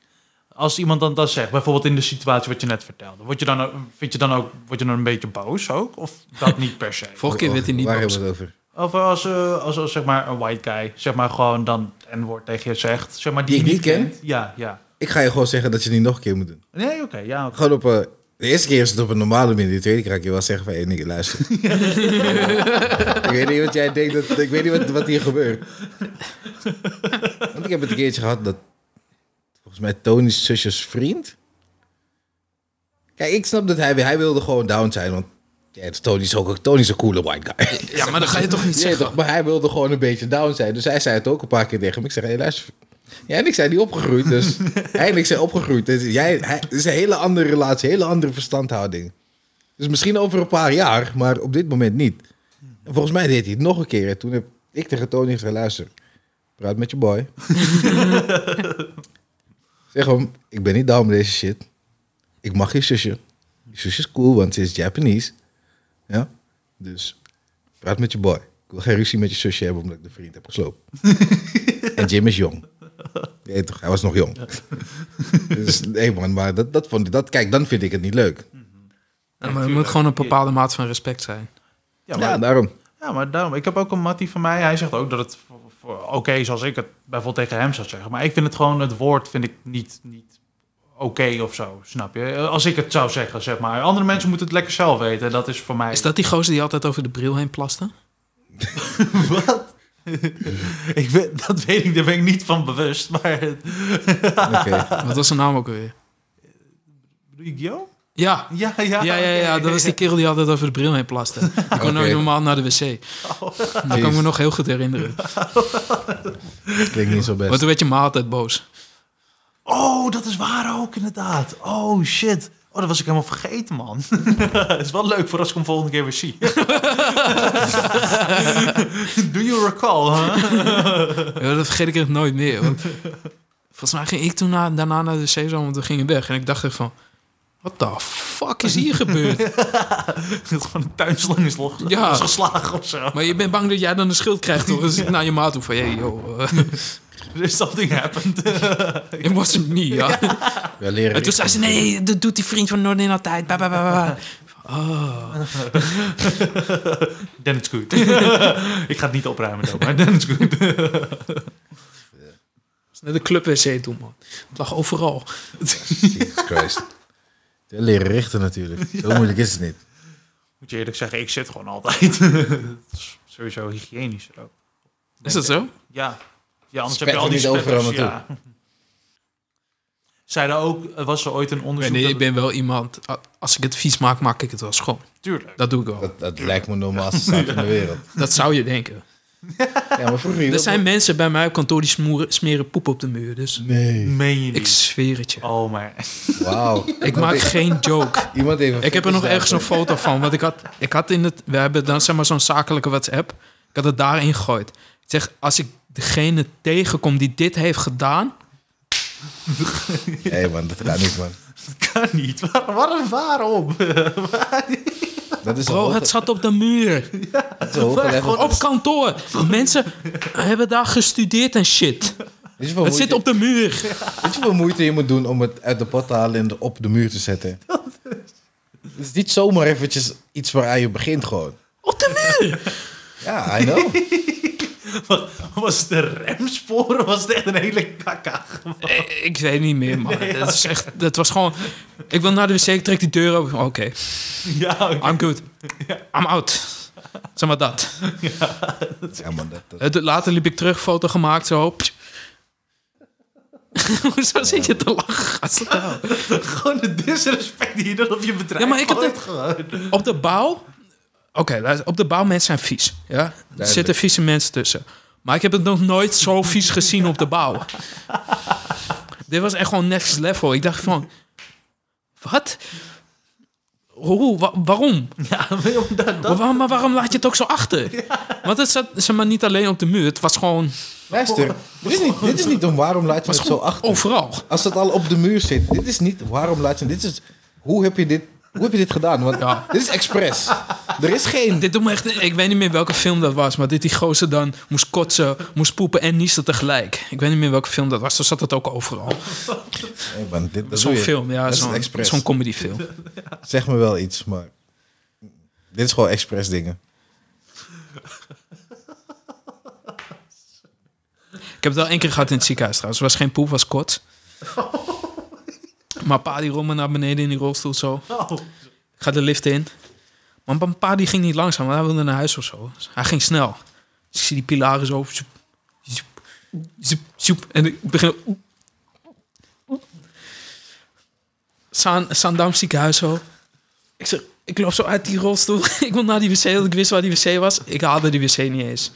S3: Als iemand dan dat zegt, bijvoorbeeld in de situatie wat je net vertelde, word je dan, ook- vind je dan ook word je dan een beetje boos ook? Of dat niet per se?
S1: Vorige keer werd hij niet
S2: Waar
S1: boos.
S2: hebben we het over?
S3: Of als, eh, als, als zeg maar een white guy, zeg maar gewoon dan een woord tegen je zegt, zeg maar
S2: Die
S3: die, je
S2: ik niet ken?
S3: kent. Ja, ja.
S2: Ik ga je gewoon zeggen dat je het niet nog een keer moet doen.
S3: Nee, oké, ja. oké.
S2: Gewoon op eh, De eerste keer is het op een normale manier. De tweede keer ga ik je wel zeggen van... Hé, nigga, luister. ik weet niet wat jij denkt. Dat, ik weet niet wat, wat hier gebeurt. Want ik heb het een keertje gehad dat... Volgens mij Tony's zusjes vriend... Kijk, ik snap dat hij... Hij wilde gewoon down zijn, want... Ja, het is Tony is ook Tony is een coole white guy.
S1: Ja, maar dat ga je toch niet
S2: Nee,
S1: zeggen?
S2: toch, maar hij wilde gewoon een beetje down zijn. Dus hij zei het ook een paar keer tegen me. Ik zeg, hé, luister. Jij en ik zijn niet opgegroeid, dus... hij en ik zijn opgegroeid. Dus jij, hij, het is een hele andere relatie, een hele andere verstandhouding. Dus misschien over een paar jaar, maar op dit moment niet. En volgens mij deed hij het nog een keer. En toen heb ik tegen Tony gezegd, luister, praat met je boy. zeg hem, ik ben niet down met deze shit. Ik mag je zusje. Je zusje is cool, want ze is Japanese. Ja? Dus Praat met je boy. Ik wil geen ruzie met je zusje hebben omdat ik de vriend heb gesloopt. en Jim is jong. Je weet toch, hij was nog jong. dus nee man, maar dat, dat vond ik, dat, kijk, dan vind ik het niet leuk.
S1: Ja, maar het moet gewoon een bepaalde mate van respect zijn.
S3: Ja, maar,
S2: Ja, daarom.
S3: ja, maar daarom. Ik heb ook een mattie van mij, hij zegt ook dat het voor- voor- oké is als ik het bijvoorbeeld tegen hem zou zeggen. Maar ik vind het gewoon, het woord vind ik niet, niet oké of zo, snap je? Als ik het zou zeggen, zeg maar. Andere mensen moeten het lekker zelf weten. Dat is voor mij...
S1: Is dat die gozer die altijd over de bril heen plaste?
S3: Wat? ik weet, dat weet ik, daar ben ik niet van bewust. Maar
S2: Oké.
S1: Wat was zijn naam ook alweer?
S3: Rigio?
S1: Ja.
S3: Ja, ja,
S1: Ja, ja, ja,
S3: oké.
S1: dat was die kerel die altijd over de bril heen plaste. Die kon
S2: Oké.
S1: nooit normaal naar de wc. Dat kan ik me
S2: Jeez.
S1: nog heel goed herinneren.
S2: Klinkt niet zo
S1: Want
S2: best.
S1: toen werd je ma altijd boos.
S3: Oh, dat is waar ook, inderdaad. Oh, shit. Oh, dat was ik helemaal vergeten, man. Het is wel leuk voor als ik hem volgende keer weer zie. Do you recall, huh?
S1: Ja, dat vergeet ik echt nooit meer. Want volgens mij ging ik toen na- daarna naar de wc zo, want we gingen weg. En ik dacht echt van, what the fuck is hier gebeurd?
S3: Dat gewoon een tuinslang is, los,
S1: Ja.
S3: is geslagen of zo.
S1: Maar je bent bang dat jij dan een schild krijgt, toch? Dus ik naar je ma toe van, hey, joh, eh,
S3: There's something Dus happened.
S1: it wasn't me, ja.
S2: Ja, leren
S1: En toen zei ze, nee, dat doet die vriend van Noordin altijd. Ba, ba, ba, ba. Oh.
S3: Then it's good. ik ga het niet opruimen, though, maar then it's good.
S1: Naar de club wc toe, man. Het lag overal.
S2: Jesus Christ. Ja, leren richten natuurlijk. Zo moeilijk is het niet.
S3: Moet je eerlijk zeggen, ik zit gewoon altijd. Het is Sowieso hygiënisch ook.
S1: Is dat zo?
S3: Ja. Ja, anders
S2: Spet
S3: heb je al
S2: er
S3: die
S2: niet overal
S3: spetters. Ja. Zeiden ook, er was er ooit een onderzoek...
S1: nee,
S3: dat
S1: ik ben wel iemand... a- Als ik het vies maak, maak ik het wel schoon.
S3: het- Tuurlijk.
S1: Dat doe ik wel.
S2: Dat, dat lijkt me de normaalste staat in de wereld.
S1: Dat zou je denken.
S2: Ja, maar vroeger...
S1: Er zijn mensen bij mij op kantoor die smoeren, smeren poep op de muur. Dus
S2: Nee.
S3: meen je
S1: ik
S3: niet.
S1: zweer het je.
S3: Oh, maar...
S2: Wauw.
S1: Ik maak geen joke.
S2: Iemand even...
S1: Ik heb er nog ergens een foto van. Want ik had, ik had in het... We hebben dan zeg maar zo'n zakelijke WhatsApp. Ik had het daarin gegooid. Ik zeg, als ik degene tegenkom die dit heeft gedaan...
S2: Nee man, dat gaat niet man.
S3: Dat kan niet. Waar, waarom? waarom?
S2: Dat is
S1: Bro, het zat op de muur.
S2: zo
S1: Op kantoor. Mensen hebben daar gestudeerd en shit. Het zit op de muur.
S2: Weet je hoeveel moeite je moet doen om het uit de pot te halen en er op de muur te zetten? Het is niet zomaar eventjes iets waar je begint gewoon.
S1: Op de muur.
S2: Ja, I know.
S3: Wat- Was het de remsporen? Was het echt een hele kaka?
S1: Eh, Ik weet niet meer, man. dat, is echt, dat was gewoon... Ik wil naar de wc, ik trek die deur open. Oké,
S3: Ja, oké.
S1: I'm good. I'm out. Zeg maar dat.
S2: Ja, man, dat, dat,
S1: Eh, de- Later liep ik terug, foto gemaakt, zo. Hoezo zit je te lachen? gast?
S3: gewoon de disrespect die je dan op je bedrijf
S1: Ja, maar ik heb
S3: gooit
S1: dit-
S3: gewoon.
S1: Op de bouw... Oké, luister, op de bouw mensen zijn vies. Ja? Er zitten vieze mensen tussen. Maar ik heb het nog nooit zo vies gezien op de bouw. Dit was echt gewoon next level. Ik dacht van... Wat? Hoe? Wa- waarom?
S3: Ja, maar omdat
S1: Maar
S3: dat...
S1: waarom, maar waarom laat je het ook zo achter? Want het zat zeg maar, niet alleen op de muur. Het was gewoon, het
S2: luister, dit is, niet, dit is niet om waarom laat je
S1: was
S2: het zo
S1: gewoon
S2: achter.
S1: overal.
S2: Als dat al op de muur zit, dit is niet waarom laat je dit is hoe heb je dit hoe heb je dit gedaan? Want
S1: Ja.
S2: dit is expres. Er is geen
S1: Dit doet me echt... Ik weet niet meer welke film dat was. Maar dit die gozer dan moest kotsen, moest poepen en niezen tegelijk. Ik weet niet meer welke film dat was. Toen zat het ook overal.
S2: nee, man, dit, dat
S1: Zo'n
S2: doe je.
S1: film, ja.
S2: Dat is een
S1: Zo'n
S2: expres.
S1: zo'n comedyfilm.
S2: Zeg me wel iets, maar dit is gewoon expres dingen.
S1: Ik heb het wel één keer gehad in het ziekenhuis trouwens. Het was geen poep, het was kots. Maar pa die rolde naar beneden in die rolstoel zo.
S3: Oh,
S1: Ik ga de lift in. Maar mijn pa die ging niet langzaam, want hij wilde naar huis of zo. Dus hij ging snel. Dus ik zie die pilaren zo. Zoep, zoep, zoep, zoep. En ik begin... Zaan, Zaandam ziekenhuis zo. Ik zeg, ik loop zo uit die rolstoel. ik wil naar die wc, want ik wist waar die wc was. Ik haalde die wc niet eens.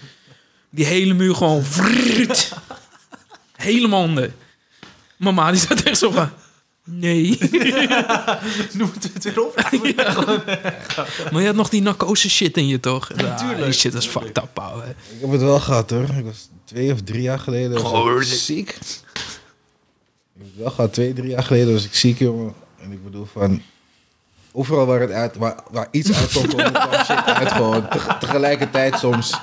S1: Die hele muur gewoon... vrrrt. Helemaal onder. Mama die zat echt zo van... Nee.
S3: nu moeten we het weer op.
S1: Maar je had nog die narcose shit in je, toch? Ja,
S3: tuurlijk.
S1: Die shit is fucked up, ouwe.
S2: Ik heb het wel gehad hoor. Ik was twee of drie jaar geleden was ik ziek. Ik heb het wel gehad. Twee, drie jaar geleden was ik ziek, jongen. En ik bedoel van... Overal waar, het uit, waar, waar iets uit kon komen, kwam shit uit gewoon. Te- tegelijkertijd soms.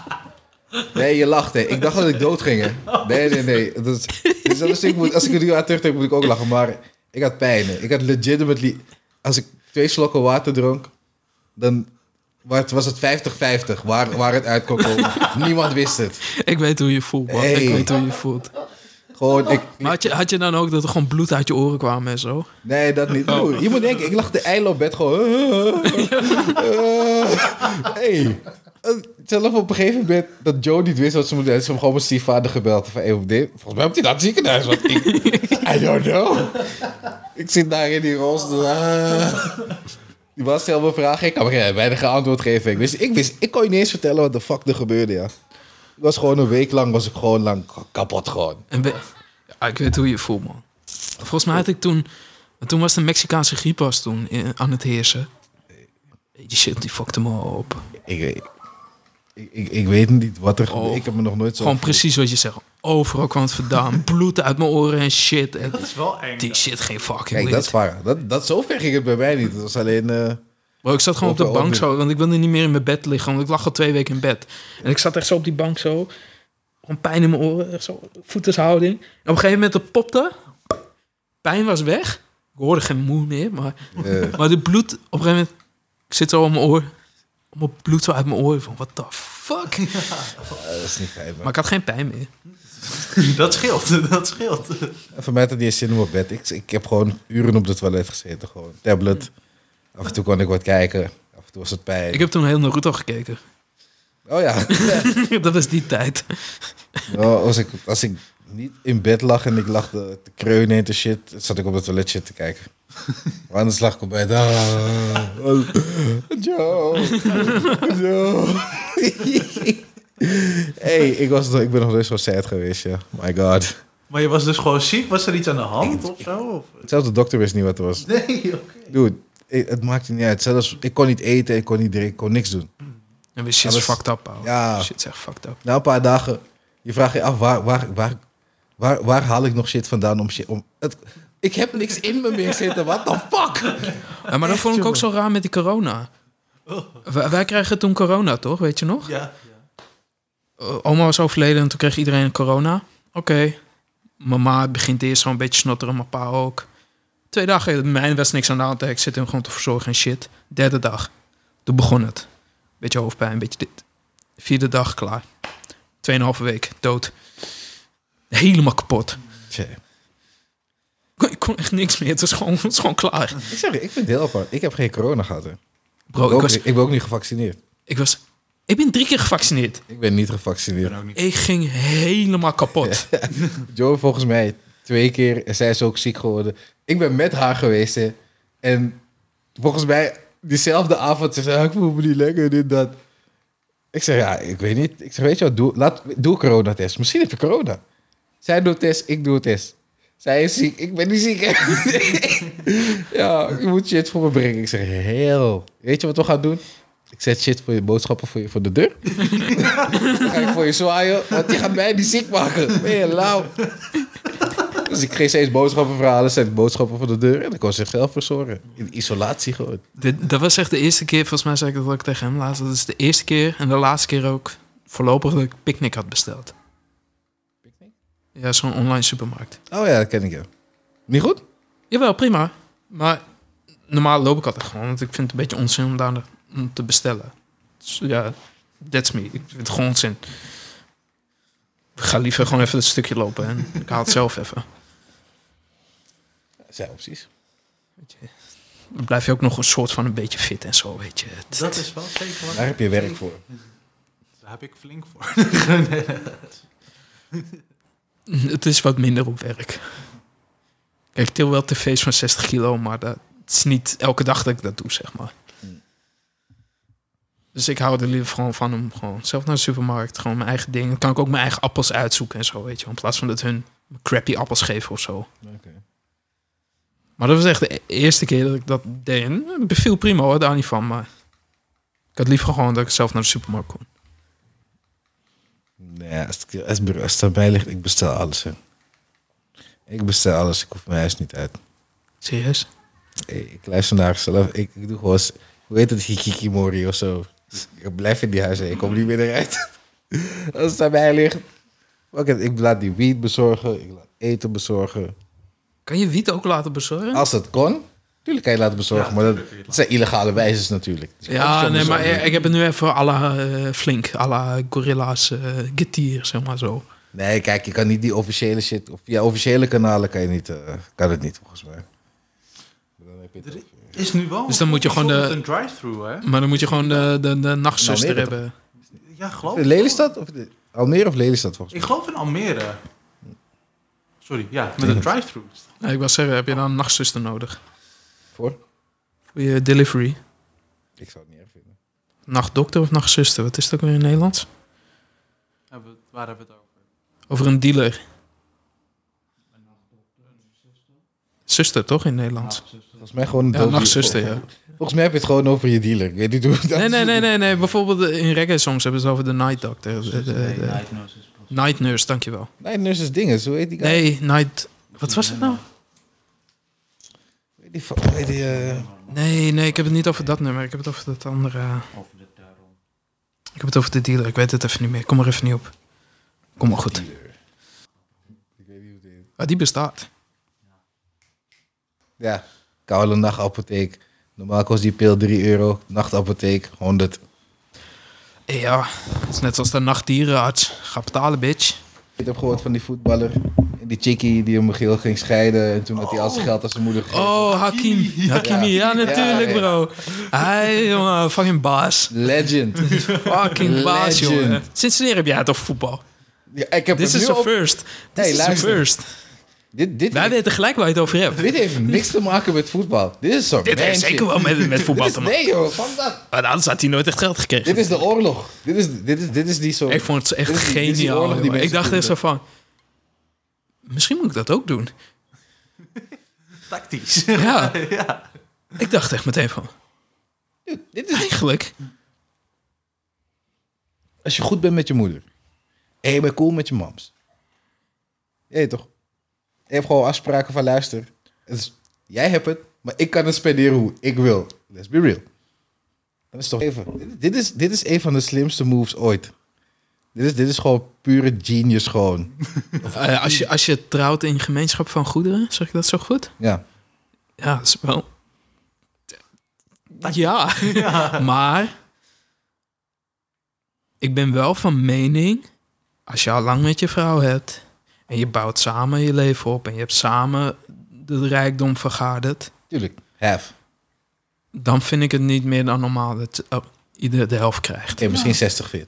S2: Nee, je lacht hè. Ik dacht dat ik dood ging hè. Nee, nee, nee. Dat is, dus dat is- ik moet, als ik er nu aan terugdenk, moet ik ook lachen. Maar ik had pijn hè. Ik had legitimately... Als ik twee slokken water dronk, dan... Maar het was het 50-50 waar, waar het uit kon komen. Niemand wist het.
S1: Ik weet hoe je voelt, man. Ik
S2: Hey.
S1: weet hoe je voelt.
S2: Gewoon, ik,
S1: Maar had je, had je dan ook dat er gewoon bloed uit je oren kwam en zo?
S2: Nee, dat niet. Broer, je moet denken, ik lag de eil op bed gewoon. Eh, hey. Eh, Zelf op een gegeven moment dat Joe niet wist wat ze moest doen. Ze hem gewoon mijn stiefvader gebeld. Van, hey, hoe dit- volgens mij moet hij naar het ziekenhuis. Want ik, I don't know. Ik zit daar in die rolstoel. Ah. Die was stelde me vragen. Ik kan me geen- weinig antwoord geven. Ik, wist, ik, wist, ik kon je niet eens vertellen wat de fuck er gebeurde. Ja. Ik was gewoon een week lang was ik gewoon lang kapot gewoon.
S1: En we- ja, ik weet hoe je voelt, man. Volgens mij had ik toen... Toen was de Mexicaanse griep was toen in- aan het heersen. Die shit, die fuckte me op.
S2: Ik, weet- ik, ik, ik weet niet wat er gebeurde.
S1: Oh.
S2: Ik heb me nog nooit zo...
S1: Gewoon precies wat je zegt. Overal kwam het vandaan. Bloed uit mijn oren en shit. En
S3: Dat is wel eng.
S1: die shit geen fucking
S2: Kijk,
S1: weet.
S2: dat is waar. Dat, dat, zover ging het bij mij niet. Het was alleen... eh,
S1: Bro, ik zat gewoon op de
S2: Overal
S1: bank
S2: doen.
S1: zo, want ik wilde niet meer in mijn bed liggen, want ik lag al twee weken in bed. En ik zat echt zo op die bank zo, gewoon pijn in mijn oren, echt zo, voetenshouding. En op een gegeven moment het popte, pijn was weg. Ik hoorde geen moe meer, maar,
S2: eh,
S1: maar het bloed, op een gegeven moment, ik zit zo op mijn oor, op mijn bloed zo uit mijn oor, van what the fuck.
S2: dat is niet fijn. man.
S1: Maar ik had geen pijn meer.
S3: Dat scheelt, dat scheelt.
S2: En Voor mij had het niet eens zin om op bed. Ik, ik heb gewoon uren op de toilet gezeten. Gewoon tablet. Af en toe kon ik wat kijken. Af en toe was het pijn.
S1: Ik heb toen heel Naruto gekeken.
S2: Oh ja.
S1: dat was die tijd.
S2: Nou, als, ik, als ik niet in bed lag en ik lag te, te kreunen en te shit... zat ik op de toilet shit te kijken. Maar anders lag ik op bed. Ah, Joe. Joe. hey, ik, was, nog- ik ben nog nooit zo sad geweest, ja. My god.
S3: Maar je was dus gewoon ziek? Was er iets aan de hand of zo? Of-
S2: Zelfs de dokter wist niet wat er was.
S3: Nee, oké.
S2: Dude, ik- het maakte niet uit. Zelfs, ik kon niet eten, ik kon niet drinken, ik kon niks doen.
S1: En we shit
S2: Ja,
S1: is
S2: dat-
S1: fucked up, ouwe.
S2: ja.
S1: Shit is echt fucked up.
S2: Na een paar dagen, je vraagt je af, waar, waar, waar, waar, waar haal ik nog shit vandaan om shit... Om, het, ik heb niks in me meer zitten, what the fuck?
S1: Ja, maar dat vond ik ook zo raar met die corona. Wij, wij kregen toen corona, toch? Weet je nog?
S3: Ja.
S1: Eh, oma was overleden en toen kreeg iedereen corona. Oké. Mama begint eerst zo'n beetje snotteren, mijn pa ook. Twee dagen, eh, mijn was niks aan de hand. Ik zit hem gewoon te verzorgen en shit. Derde dag, toen begon het. Beetje hoofdpijn, beetje dit. Vierde dag, klaar. Tweeënhalve week, dood. Helemaal kapot.
S2: Tje.
S1: Ik kon- Ik kon echt niks meer. Het was gewoon, het was gewoon klaar.
S2: Ik zeg, je, ik vind het heel apart. Ik heb geen corona gehad. Hè.
S1: Bro,
S2: ik,
S1: ik
S2: ook,
S1: was,
S2: niet- ik ben ook niet gevaccineerd.
S1: ik was... Ik ben drie keer gevaccineerd.
S2: Ik ben niet
S3: Ik
S2: gevaccineerd.
S3: ben ook niet.
S1: Ik ging helemaal kapot.
S2: Joe volgens mij twee keer. En zij is ook ziek geworden. Ik ben met haar geweest. Hè. En volgens mij diezelfde avond ze zei ze... "Ah, Ik voel me niet lekker, dit, dat. Ik zeg, ja, ik weet niet. Ik zeg, weet je wat, doe, laat, doe een coronatest. Misschien heb je corona. Zij doet test, ik doe test. Zij is ziek, ik ben niet ziek. hè. ja, je moet shit voor me brengen. Ik zeg, heel. Weet je wat we gaan doen? Ik zet shit voor je boodschappen voor, je, voor de deur. Dan ga ik voor je zwaaien, want je gaat mij niet ziek maken. Ben je lauw? Dus ik geef steeds boodschappen verhalen, zet boodschappen voor de deur en ik kon zichzelf verzorgen. In isolatie gewoon.
S1: Dit- dat was echt de eerste keer, volgens mij zei ik dat ook tegen hem laatst. Dat is de eerste keer en de laatste keer ook voorlopig dat ik picknick had besteld. Ja, zo'n online supermarkt.
S2: Oh ja, dat ken ik ja. Niet goed?
S1: Jawel, prima. Maar normaal loop ik altijd gewoon, want ik vind het een beetje onzin om daar om te bestellen. Dus ja, that's me. Ik vind het gewoon onzin. Ik ga liever gewoon even het stukje lopen en ik haal het zelf even.
S2: Dat zijn opties.
S1: Dan blijf je ook nog een soort van een beetje fit en zo, weet je. Het-
S3: Dat is wel zeker wat.
S2: Daar heb je werk voor.
S3: Daar heb ik flink voor.
S1: Het is wat minder op werk. Kijk, ik til wel tv's van 60 kilo, maar dat het is niet elke dag dat ik dat doe, zeg maar.
S2: Hmm.
S1: Dus ik hou er liever gewoon van om gewoon zelf naar de supermarkt, gewoon mijn eigen ding. Dan kan ik ook mijn eigen appels uitzoeken en zo, weet je. wel, In plaats van dat hun me crappy appels geven of zo.
S2: Oké.
S1: Maar dat was echt de e- eerste keer dat ik dat deed. En het beviel prima hoor, daar niet van. Maar ik had liever gewoon dat ik zelf naar de supermarkt kon.
S2: Nee, als het, als het bureau- als het erbij ligt, ik bestel alles. Hè. Ik bestel alles, ik hoef mijn huis niet uit.
S1: Serieus?
S2: Hey, ik luister naar zelf. Ik, ik doe gewoon, eens- hoe heet het, hikikimori of zo. Ik blijf in die huis, ik kom niet meer eruit. Als het daarbij ligt. fuck it, ik laat die wiet bezorgen, ik laat eten bezorgen.
S1: Kan je wiet ook laten bezorgen?
S2: Als het kon, natuurlijk kan je laten bezorgen,
S3: Ja,
S2: maar dat,
S3: tuurlijk kun je het
S2: dat zijn illegale wijzes natuurlijk. Dus ik kan het
S1: Ja,
S2: zo
S1: nee, maar
S2: bezorgen.
S1: ik, ik heb het nu even à la eh, flink, à la Gorilla's eh Getir, zeg maar zo.
S2: Nee, kijk, je kan niet die officiële shit, of via officiële kanalen kan, je niet, eh, kan het niet volgens mij. Maar dan heb je het
S3: Er
S2: over-
S3: is nu wel.
S1: Dus dan moet je gewoon
S3: bijvoorbeeld
S1: de-
S3: een drive-thru, hè?
S1: Maar dan moet je gewoon de, de, de nachtzuster
S2: Nou, nee,
S1: hebben.
S3: Ja, geloof ik.
S2: Lelystad? Of de- Almere of Lelystad volgens
S3: Ik geloof in Almere. Sorry, ja, met een drive-thru.
S1: Nou, ik was zeggen, heb je dan een nachtzuster nodig?
S2: mij. Voor?
S1: Voor je delivery.
S2: Ik zou het niet erg vinden.
S1: Nachtdokter of nachtzuster, wat is dat ook weer in het Nederlands?
S3: Hebben we- Waar hebben we het over?
S1: Over een dealer. Zuster toch in het Nederlands?
S2: Volgens mij gewoon een
S1: Ja,
S2: dood-
S1: nachtzuster, ja.
S2: Volgens mij heb je het gewoon over je dealer. Ik weet niet hoe dat
S1: Nee, nee, nee, nee, nee. Bijvoorbeeld eh, in reggae songs hebben ze het over de night doctor. De- de- de-
S4: Nee, Night Nurse is pas-
S1: night nurse, dankjewel.
S2: Nee, Nurse is dingen. Zo heet die guy.
S1: Nee, night... Wat was het nou?
S2: Hoe heet die, hoe heet die, eh,
S1: Nee, nee, ik heb het niet over dat nummer. Ik heb het over dat andere... eh,
S4: Over de daarom.
S1: Ik heb het over de dealer. Ik weet het even niet meer. Kom er even niet op. Kom maar goed.
S2: Ik weet niet hoe die heet.
S1: Ah, die bestaat.
S2: Ja, koude nachtapotheek. Normaal kost die pil 3 euro. Nachtapotheek 100.
S1: Eh, Ja, het is net zoals de nachtdierenarts. Ga betalen, bitch.
S2: Ik heb gehoord van die voetballer. En die chickie die hem geel ging scheiden. En toen had hij al zijn geld aan zijn moeder gegeven.
S1: Oh, Hakim. Hakimi, ja, natuurlijk,
S2: Ja, ja.
S1: bro. Hij, jongen, fucking baas.
S2: Legend.
S1: Fucking baas,
S2: Legend.
S1: jongen. Sinds wanneer heb jij het over voetbal?
S2: Ja, ik heb
S1: This
S2: het
S1: is
S2: nu
S1: a
S2: op.
S1: first. This
S2: Hey,
S1: is a
S2: luister.
S1: first.
S2: Dit, dit,
S1: Wij weten gelijk waar je het over hebt.
S2: dit heeft niks te maken met voetbal. Dit is zo.
S1: Dit heeft zeker wel met, met voetbal te maken.
S2: Nee joh, van dat.
S1: Maar anders had hij nooit echt geld gekregen.
S2: Dit is de oorlog. Dit is, dit is, dit is die soort...
S1: Ik vond het echt
S2: Oh. Dit is die- dit is die
S1: geniaal.
S2: oorlog die
S1: jongen. ik
S2: mensen
S1: dacht echt zo
S2: voeren.
S1: van... Misschien moet ik dat ook doen.
S3: Tactisch.
S1: Ja.
S3: ja.
S1: Ik dacht echt meteen van,
S2: Dude, dit is
S1: eigenlijk...
S2: Als je goed bent met je moeder. En je bent cool met je mams. Je weet toch? Je hebt gewoon afspraken van luister. het is- jij hebt het, maar ik kan het spenderen hoe ik wil. Let's be real. Dat is toch even. dit- Dit is, dit is een van de slimste moves ooit. Dit is, dit is gewoon pure genius gewoon.
S1: eh, als, je, als je trouwt in gemeenschap van goederen, zeg ik dat zo goed?
S2: Ja.
S1: Ja, dat is wel... Ja, maar... Ik ben wel van mening als je al lang met je vrouw hebt en je bouwt samen je leven op en je hebt samen de rijkdom vergaderd,
S2: Tuurlijk. Half.
S1: dan vind ik het niet meer dan normaal dat oh, ieder de helft krijgt.
S2: Oké, misschien 60-40.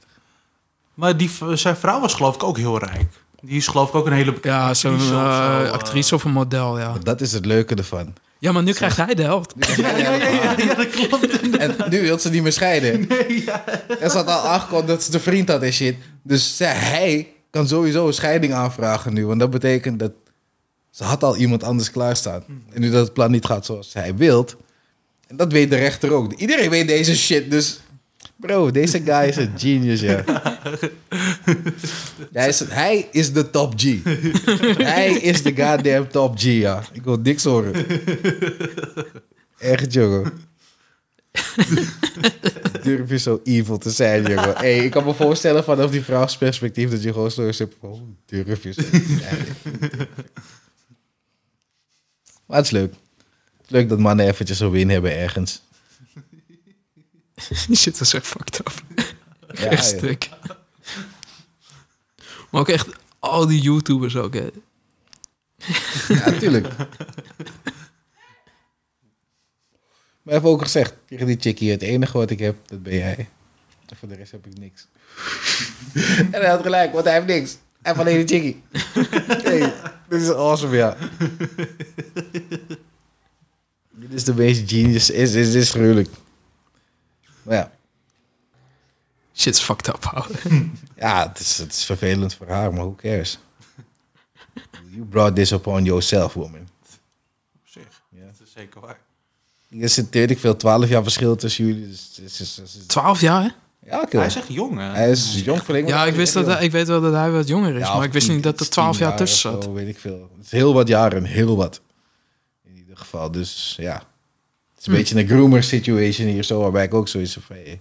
S3: Maar die, v- zijn vrouw was geloof ik ook heel rijk. Die is geloof ik ook een hele bekende
S1: Ja, zo'n
S3: actrice of zo,
S1: eh,
S3: eh.
S1: actrice of een model, ja.
S2: Dat is het leuke ervan.
S1: Ja, maar nu krijgt hij de helft.
S3: Ja, ja, ja, ja, ja, dat klopt.
S2: En nu wil ze niet meer scheiden. En ze had al aangekondigd dat ze de vriend had en shit. Dus zij, hij kan sowieso een scheiding aanvragen nu. Want dat betekent dat ze had al iemand anders klaarstaan.
S3: Hmm.
S2: En nu dat het plan niet gaat zoals hij wilt. En dat weet de rechter ook. Iedereen weet deze shit, dus... Bro, deze guy is een genius, ja. hij, is, hij is de top G. hij is de goddamn top G, ja. Ik wil niks horen. Echt, jongen. Durf je zo evil te zijn, jongen. Hey, ik kan me voorstellen vanaf die vrouwsperspectief dat je gewoon zo zit van... "Oh, Durf je zo te zijn. Maar het is leuk. Het is leuk dat mannen eventjes een win hebben ergens.
S1: Die zitten zo fucked up.
S2: Ja,
S1: echt
S2: ja.
S1: stuk. Maar ook echt al die YouTubers ook, hè.
S2: Ja, tuurlijk. Maar even ook gezegd, tegen die chickie, het enige wat ik heb, dat ben jij. En voor de rest heb ik niks. en hij had gelijk, want hij heeft niks. Hij heeft alleen die chickie. hey, dit is awesome, ja. dit is de meest genius, is, is, is gruwelijk. Maar ja,
S1: Shit is fucked up, ouwe.
S2: ja het, is, het is vervelend voor haar, maar who cares? You brought this upon yourself, woman.
S3: Op zich,
S2: Ja.
S3: dat is zeker waar.
S2: Er zit, weet ik veel, 12 jaar verschil tussen jullie. Dus, het is- het is- het is-
S1: 12 jaar, hè?
S2: ja, oké.
S3: Hij is echt jong, hè?
S2: Hij is jong voor
S1: Ja, ik, wist dat hij- ik weet wel dat hij wat jonger is, maar ik wist niet dat er 12 jaar tussen zat.
S2: Zo, weet ik veel. Het is heel wat jaren, heel wat. In ieder geval, dus ja. Het is
S1: Hm.
S2: een beetje een groomer situation hier zo, waarbij ik ook zoiets heb van... Hey,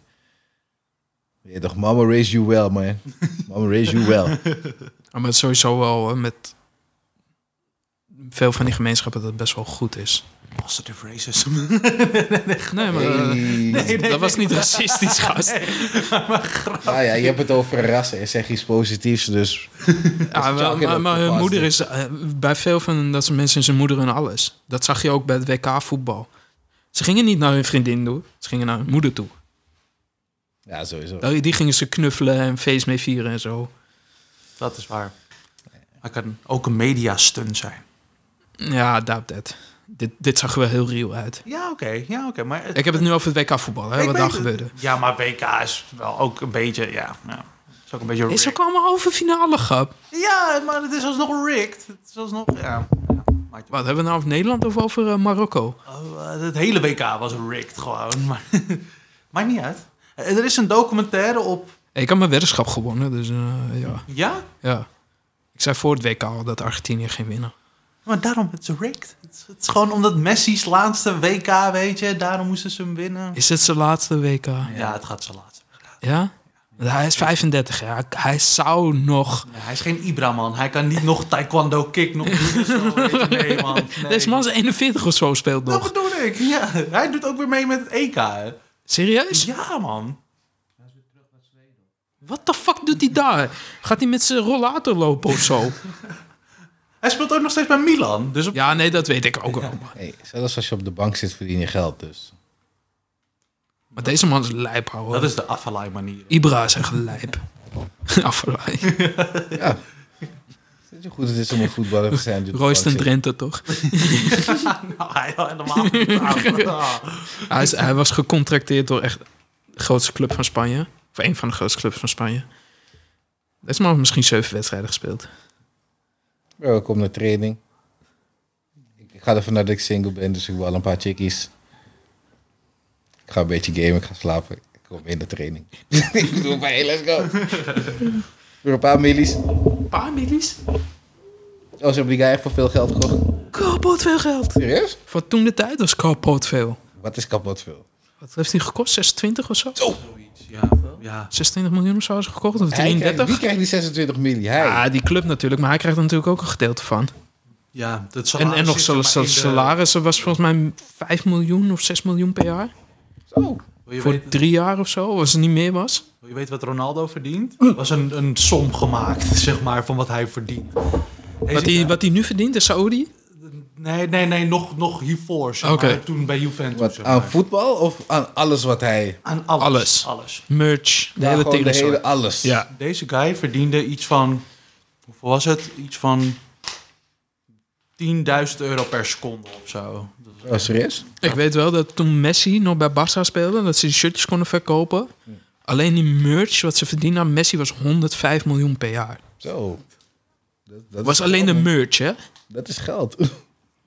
S2: weet je toch, mama raise you well, man. Mama raise you well.
S1: Ja, Maar het is sowieso wel eh, met veel van die gemeenschappen dat het best wel goed is.
S3: Positive racism.
S1: Nee, maar eh,
S2: Hey.
S1: dat was niet racistisch, gast.
S2: Nou ja, je hebt het over rassen en zeg iets positiefs, dus...
S1: Ja, wel,
S2: Jungle
S1: maar,
S2: ook
S1: maar hun
S2: gepast,
S1: moeder
S2: hè?
S1: is eh, bij veel van dat soort mensen is hun moeder hun alles. Dat zag je ook bij het WK voetbal. Ze gingen niet naar hun vriendin toe, ze gingen naar hun moeder toe.
S2: Ja, sowieso.
S1: Daar- Die gingen ze knuffelen en feest mee vieren en zo.
S3: Dat is waar. Hij kan ook een media-stun zijn.
S1: Ja, doubt that. Dit, dit zag er wel heel real uit.
S3: Ja, oké. Ja, oké. Maar het-
S1: Ik heb het nu over het WK voetbal, hè, wat
S3: Ik weet
S1: daar
S3: het.
S1: gebeurde.
S3: Ja, maar WK is wel ook een beetje... Ja, ja. Is ook een beetje...
S1: Is ook
S3: rigged.
S1: allemaal halve finale, grap.
S3: Ja, maar het is alsnog rigged. Het is alsnog... Ja. ja. maakt je-
S1: Wat hebben we nou over Nederland of over eh, Marokko?
S3: Oh, eh, het hele WK was rigged gewoon. Maar maakt niet uit. Eh, Er is een documentaire op...
S1: Ik had mijn weddenschap gewonnen, dus eh, ja.
S3: Ja?
S1: ja. Ik zei voor het WK al dat Argentinië ging winnen.
S3: Maar daarom, het is rigged. Het is, het is gewoon omdat Messi's laatste WK, weet je. Daarom moesten ze hem winnen.
S1: Is dit zijn laatste WK? Ja?
S3: Ja, het gaat zijn laatste.
S1: Want Hij is 35 jaar. Hij zou nog...
S3: Nee, hij is geen Ibra-man. Hij kan niet nog taekwondo kick nog doen. of zo, weet je. Nee, man. Nee.
S1: Deze man is 41 of zo speelt
S3: Dat
S1: nog.
S3: bedoel ik. Ja, hij doet ook weer mee met het EK. hè.
S1: Serieus?
S3: Ja, man.
S1: Wat de fuck doet hij daar? Gaat hij met zijn rollator lopen of zo?
S3: Hij speelt ook nog steeds bij Milan. Dus op...
S1: Ja, nee, dat weet ik ook wel. Maar-
S2: Hey, zelfs als je op de bank zit, verdien je geld, dus...
S1: Maar deze man is lijp, hoor.
S3: dat is de Afalai manier.
S1: Ibra is echt lijp. Afvallei.
S2: Ja. Weet je hoe goed het is om een voetballer te zijn? die op de
S1: Royston
S2: bank zit?
S1: Drenthe, toch?
S3: nou, hij helemaal niet. Ah.
S1: Hij, is- hij was gecontracteerd door echt de grootste club van Spanje. Of een van de grootste clubs van Spanje. Deze man heeft misschien zeven wedstrijden gespeeld.
S2: Bro, ik kom naar training. Ik ik ga ervan uit dat ik single ben, dus ik wil een paar chickies. Ik ga een beetje gamen, ik ga slapen. Ik kom in de training. ik doe maar hey, let's go. Weer een paar millies. Oh,
S1: Een paar millies?
S2: ze hebben die guy echt voor veel geld gekocht.
S1: Kapot veel geld.
S2: Serieus?
S1: Van toen de tijd was kapot veel.
S2: Wat is kapot veel?
S1: Wat heeft hij gekost? 26 of zo?
S3: Ja, ja.
S1: 26 miljoen of zo is gekocht? Of
S2: Hij krijgt- Wie
S1: 33?
S2: krijgt die 26 milli? Hij.
S1: Ja, die club natuurlijk, maar hij krijgt er natuurlijk ook een gedeelte van.
S3: ja dat
S1: En,
S3: salaris
S1: en nog
S3: zit er
S1: sal-
S3: maar
S1: sal-
S3: in de-
S1: salarissen was volgens mij 5 miljoen of 6 miljoen per jaar.
S2: Zo.
S3: Wil je,
S1: voor
S3: weten,
S1: drie jaar of zo, als het niet meer was.
S3: wil je weten wat Ronaldo verdient? Er was een, een som gemaakt, zeg maar, van wat hij verdient. Hij
S1: Wat
S3: zit-
S1: hij, wat hij nu verdient in Saudi?
S3: Nee, nee, nee, nog, nog hiervoor, zeg
S1: Oké.
S3: maar, toen bij Juventus.
S2: Wat,
S3: zeg
S2: aan
S3: maar.
S2: voetbal of aan alles wat hij...
S3: Aan alles.
S1: Alles. Merch, de
S2: Ja,
S1: hele
S2: gewoon de
S1: tegenstelling.
S2: hele alles.
S1: Ja,
S3: Deze guy verdiende iets van, hoeveel was het? Iets van 10.000 euro per seconde of zo. Dat was-
S2: Oh, serieus?
S1: ik weet wel dat toen Messi nog bij Barça speelde, dat ze die shirtjes konden verkopen. Alleen die merch wat ze verdienen aan Messi was 105 miljoen per jaar.
S2: Zo. Dat, dat
S1: Was
S2: is
S1: alleen de
S2: geld, man.
S1: merch, hè?
S2: Dat is geld.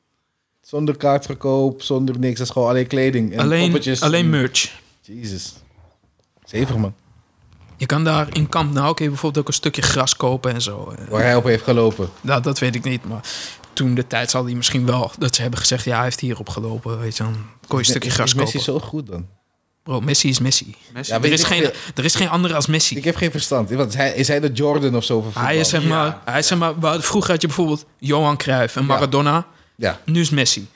S2: zonder kaartverkoop, zonder niks. Dat is gewoon alleen kleding en
S1: Alleen,
S2: poppetjes.
S1: alleen merch.
S2: Jezus. Zeven man.
S1: Je kan daar in kamp nou, oké, bijvoorbeeld ook een stukje gras kopen en zo. Eh,
S2: Waar hij op heeft gelopen.
S1: Nou, dat weet ik niet, maar toen de tijd zal hij misschien wel dat ze hebben gezegd, ja, hij heeft hierop gelopen, weet je, dan kon je een stukje
S2: Is-
S1: gras
S2: is Messi
S1: kopen.
S2: zo goed dan?
S1: Bro, Messi is Messi.
S3: Messi,
S2: Ja,
S1: Er
S2: weet
S1: is
S2: ik
S1: geen, er is geen andere als Messi.
S2: Ik heb geen verstand. Want is, hij, is hij de Jordan of zo van voetbal?
S1: Hij is, zeg maar,
S3: Ja.
S1: hij is, zeg maar, waar- vroeger had je bijvoorbeeld Johan Cruijff en Maradona.
S2: Ja,
S1: Nu is Messi.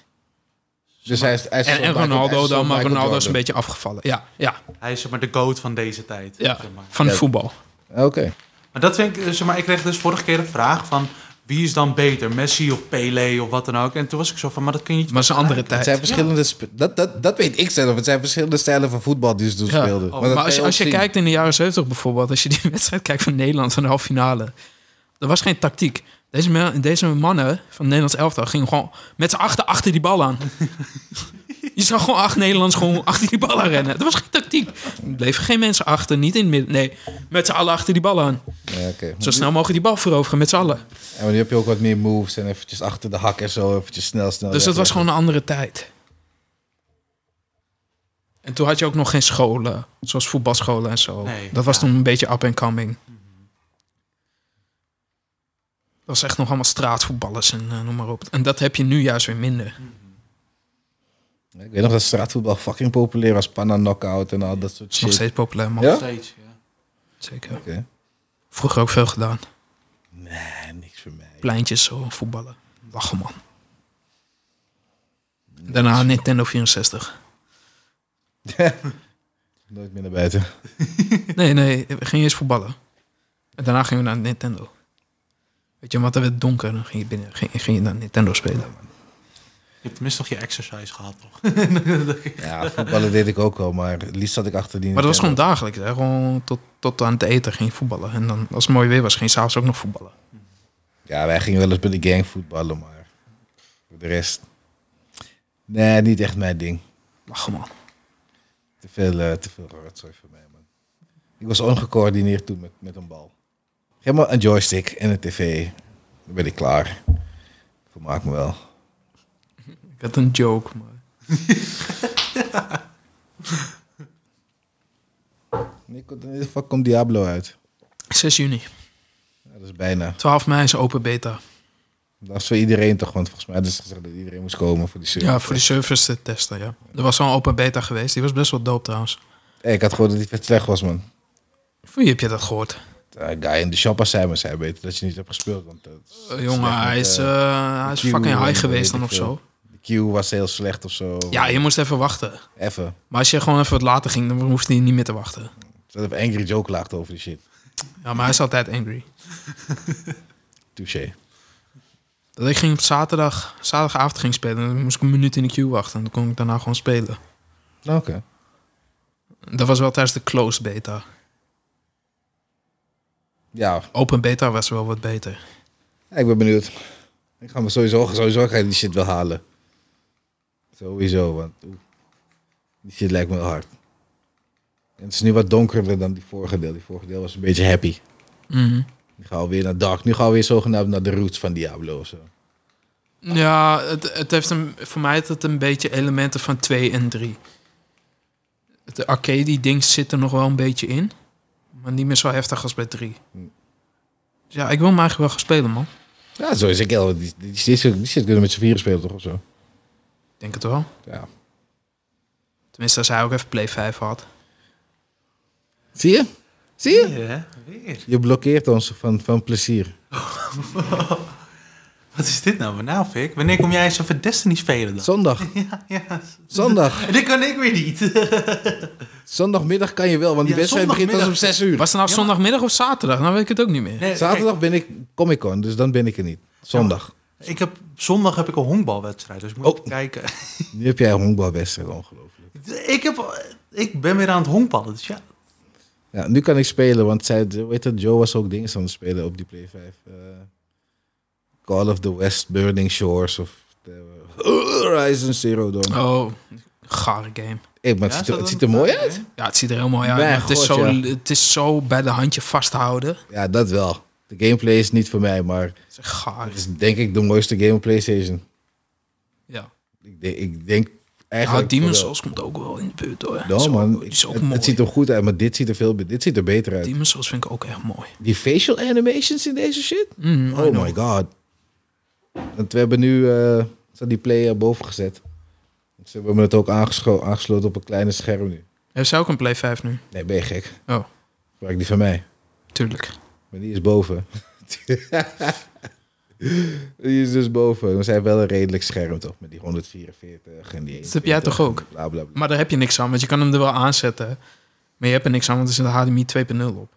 S2: dus hij is... Hij is
S1: En,
S2: zo'n
S1: en
S2: Michael- hij
S1: Ronaldo
S2: zo'n
S1: dan, maar
S2: Michael
S1: Ronaldo is een
S2: Jordan.
S1: beetje afgevallen. Ja, ja,
S3: hij is zeg maar de goat van deze tijd.
S1: ja.
S3: zeg maar.
S1: Van het
S2: Ja.
S1: voetbal.
S2: Oké.
S3: Maar dat vind ik, eh, zeg maar, ik kreeg dus vorige keer een vraag van wie is dan beter, Messi of Pele of wat dan ook. En toen was ik zo van, maar dat kun je niet.
S1: Maar het is een andere
S2: Het
S1: tijd.
S2: zijn verschillende... sp- Dat, dat, dat weet ik zelf. Het zijn verschillende stijlen van voetbal die ze toen
S1: Ja.
S2: speelden. dat
S3: Oh,
S1: Maar
S2: kan
S1: als je,
S2: ook
S1: als je
S2: zien.
S1: kijkt in de jaren 70 bijvoorbeeld, als je die wedstrijd kijkt van Nederland van de halve finale, er was geen tactiek. Deze, me- deze mannen van het Nederlands elftal gingen gewoon met z'n achter achter die bal aan. je zag gewoon acht Nederlands gewoon achter die bal aan rennen. Er was geen tactiek. Er bleven geen mensen achter, niet in het midden. Nee, met z'n allen achter die bal aan.
S2: Ja, oké.
S1: Zo snel mogelijk die bal voorover gaan met z'n allen.
S2: En maar nu heb je ook wat meer moves en eventjes achter de hak en zo. Eventjes snel, snel.
S1: Dus dat
S2: weg,
S1: was
S2: weg.
S1: gewoon een andere tijd. En toen had je ook nog geen scholen, zoals voetbalscholen en zo.
S3: Nee,
S1: dat was
S3: ja.
S1: toen een beetje up and coming. Dat was echt nog allemaal straatvoetballers en eh, noem maar op. En dat heb je nu juist weer minder.
S2: Ik weet nog dat straatvoetbal fucking populair was. Panna knockout en al dat soort
S1: is nog
S2: shit.
S1: steeds populair, man.
S2: Ja?
S3: Nog steeds, ja.
S1: Zeker.
S2: Oké.
S1: Vroeger ook veel gedaan.
S2: Nee, niks voor mij.
S1: Pleintjes zo, voetballen. Lachen, man. Daarna Nintendo 64.
S2: Nooit meer naar buiten.
S1: Nee, nee, we gingen eerst voetballen. En daarna gingen we naar Nintendo. Weet je, want dan werd het donker en dan ging je, binnen, ging, ging je naar Nintendo spelen.
S3: Je hebt tenminste nog je exercise gehad, toch?
S2: Ja, voetballen deed ik ook wel, maar het liefst zat ik achter die
S1: Maar dat was gewoon
S2: Nintendo.
S1: dagelijks. Hè? Gewoon tot, tot aan het eten ging je voetballen. En dan, als het mooi weer was, ging je s'avonds ook nog voetballen.
S2: Ja, wij gingen wel eens bij de gang voetballen, maar voor de rest... Nee, niet echt mijn ding.
S1: Lachen man.
S2: Te veel, eh, te veel rotzooi voor mij, man. Ik was ongecoördineerd toen met, met een bal. Geef me een joystick en een tv. Dan ben ik klaar. Vermaak me wel.
S1: Ik had een joke, maar...
S2: Nee, in de fuck komt Diablo uit.
S1: 6 juni.
S2: Ja, dat is bijna.
S1: 12 mei is open beta.
S2: Dat is voor iedereen toch, want volgens mij hadden ze gezegd dat iedereen moest komen voor die serie.
S1: Ja, voor die servers te testen, ja. Er was al een open beta geweest. Die was best wel dope trouwens.
S2: Hey, ik had gehoord dat die vet slecht was, man.
S1: Voor je heb je dat gehoord? Eh,
S2: De guy in de shop als zij maar zei beter dat je niet hebt gespeeld, want dat is
S1: Eh, jongen,
S2: slecht met,
S1: hij is,
S2: eh,
S1: eh, hij is
S2: Q
S1: fucking
S2: en
S1: high geweest
S2: weet
S1: dan
S2: ik
S1: of zo.
S2: de queue was heel slecht of zo.
S1: Ja, je moest even wachten.
S2: Even.
S1: Maar als je gewoon even wat later ging, dan hoefde hij niet meer te wachten.
S2: Dat even Angry Joe klaagde over die shit.
S1: Ja, maar hij is altijd angry.
S2: Touché.
S1: Dat ik ging op zaterdag, zaterdagavond ging spelen. Dan moest ik een minuut in de queue wachten. En dan kon ik daarna gewoon spelen.
S2: Nou, Oké.
S1: Dat was wel tijdens de closed beta.
S2: Ja,
S1: Open beta was wel wat beter.
S2: Ja, ik ben benieuwd. Ik ga me sowieso, sowieso ga ik die shit wel halen. Sowieso, want oeh, die shit lijkt me wel hard. En het is nu wat donkerder dan die vorige deel. Die vorige deel was een beetje happy.
S1: Mhm.
S2: Nu gaan we weer naar dark. Nu gaan we weer zogenaamd naar de roots van Diablo of zo.
S1: Ja, het, het heeft een, voor mij had het een beetje elementen van 2 en 3. Het arcade ding zit er nog wel een beetje in. Maar niet meer zo heftig als bij 3.
S2: Hm.
S1: Dus ja, ik wil hem eigenlijk wel gaan spelen, man.
S2: Ja, zo is ik wel. Die, die, die, shit- die shit kunnen we met z'n vieren spelen toch of zo.
S1: Ik denk het wel.
S2: Ja.
S1: Tenminste, als hij ook even Play 5 had.
S2: Zie je? Zie je?
S3: Weer, hè? Weer.
S2: Je blokkeert ons van, van plezier.
S3: Wat is dit nou? Maar Nou, Fik, wanneer kom jij eens even Destiny spelen dan?
S2: Zondag.
S3: Ja, ja.
S2: Zondag.
S3: En dat kan ik weer niet.
S2: Zondagmiddag kan je wel, want die
S3: Ja,
S2: wedstrijd begint pas om
S3: zondagmiddag.
S2: 6 uur.
S1: Was het nou zondagmiddag of zaterdag? Nou weet ik het ook niet meer.
S3: Nee,
S2: Zaterdag ben ik Comic Con, dus dan ben ik er niet. Zondag.
S3: kijk, ik heb, zondag heb ik een honkbalwedstrijd, dus moet ik
S2: Oh.
S3: kijken.
S2: Nu heb jij een honkbalwedstrijd, ongelooflijk.
S3: Ik, heb, eh, ik ben weer aan het honkballen, dus ja.
S2: Ja, nu kan ik spelen, want zij, hoe heet dat, Joe was ook dingen aan het spelen op die Play 5. eh, Call of the West, Burning Shores of the- Horizon Zero Dawn.
S1: Oh, gare game.
S2: Hey, maar
S3: Ja,
S2: het, ziet,
S3: staat
S2: er- het
S3: dat
S2: ziet
S3: een-
S2: er mooi uit.
S1: Ja, het ziet er heel mooi uit.
S2: Mijn
S1: maar het, is
S2: god,
S1: zo,
S2: ja.
S1: het is zo bij de handje vasthouden.
S2: Ja, dat wel. De gameplay is niet voor mij, maar
S1: Het is echt gaar.
S2: het is denk ik de mooiste game op PlayStation.
S1: Ja.
S2: Ik, de- ik denk
S1: Ja,
S2: eigenlijk...
S1: Demon's
S2: voor wel.
S1: Souls komt ook wel in de buurt hoor.
S2: Ja,
S1: Zo,
S2: man.
S1: die is ook
S2: het,
S1: mooi.
S2: het ziet er goed uit, maar dit ziet er, veel, be- dit ziet er beter uit.
S1: Demon's Souls vind ik ook echt mooi.
S2: Die facial animations in deze shit?
S1: Mm, I
S2: Oh
S1: know.
S2: my god. Want we hebben nu eh, ze had die player boven gezet. Ze hebben me het ook aangescho- aangesloten op een kleine scherm nu.
S1: Heeft zij ook een Play 5 nu?
S2: Nee, ben je gek?
S1: Oh.
S2: Gebruik die van mij.
S1: Tuurlijk.
S2: Maar die is boven. die is dus boven. We zijn wel een redelijk scherm toch? Met die 144 en die
S1: Dat heb jij
S2: 41
S1: toch ook?
S2: en Bla bla bla.
S1: Maar daar heb je niks aan, want je kan hem er wel aanzetten. Maar je hebt er niks aan, want er zit een HDMI 2.0 op.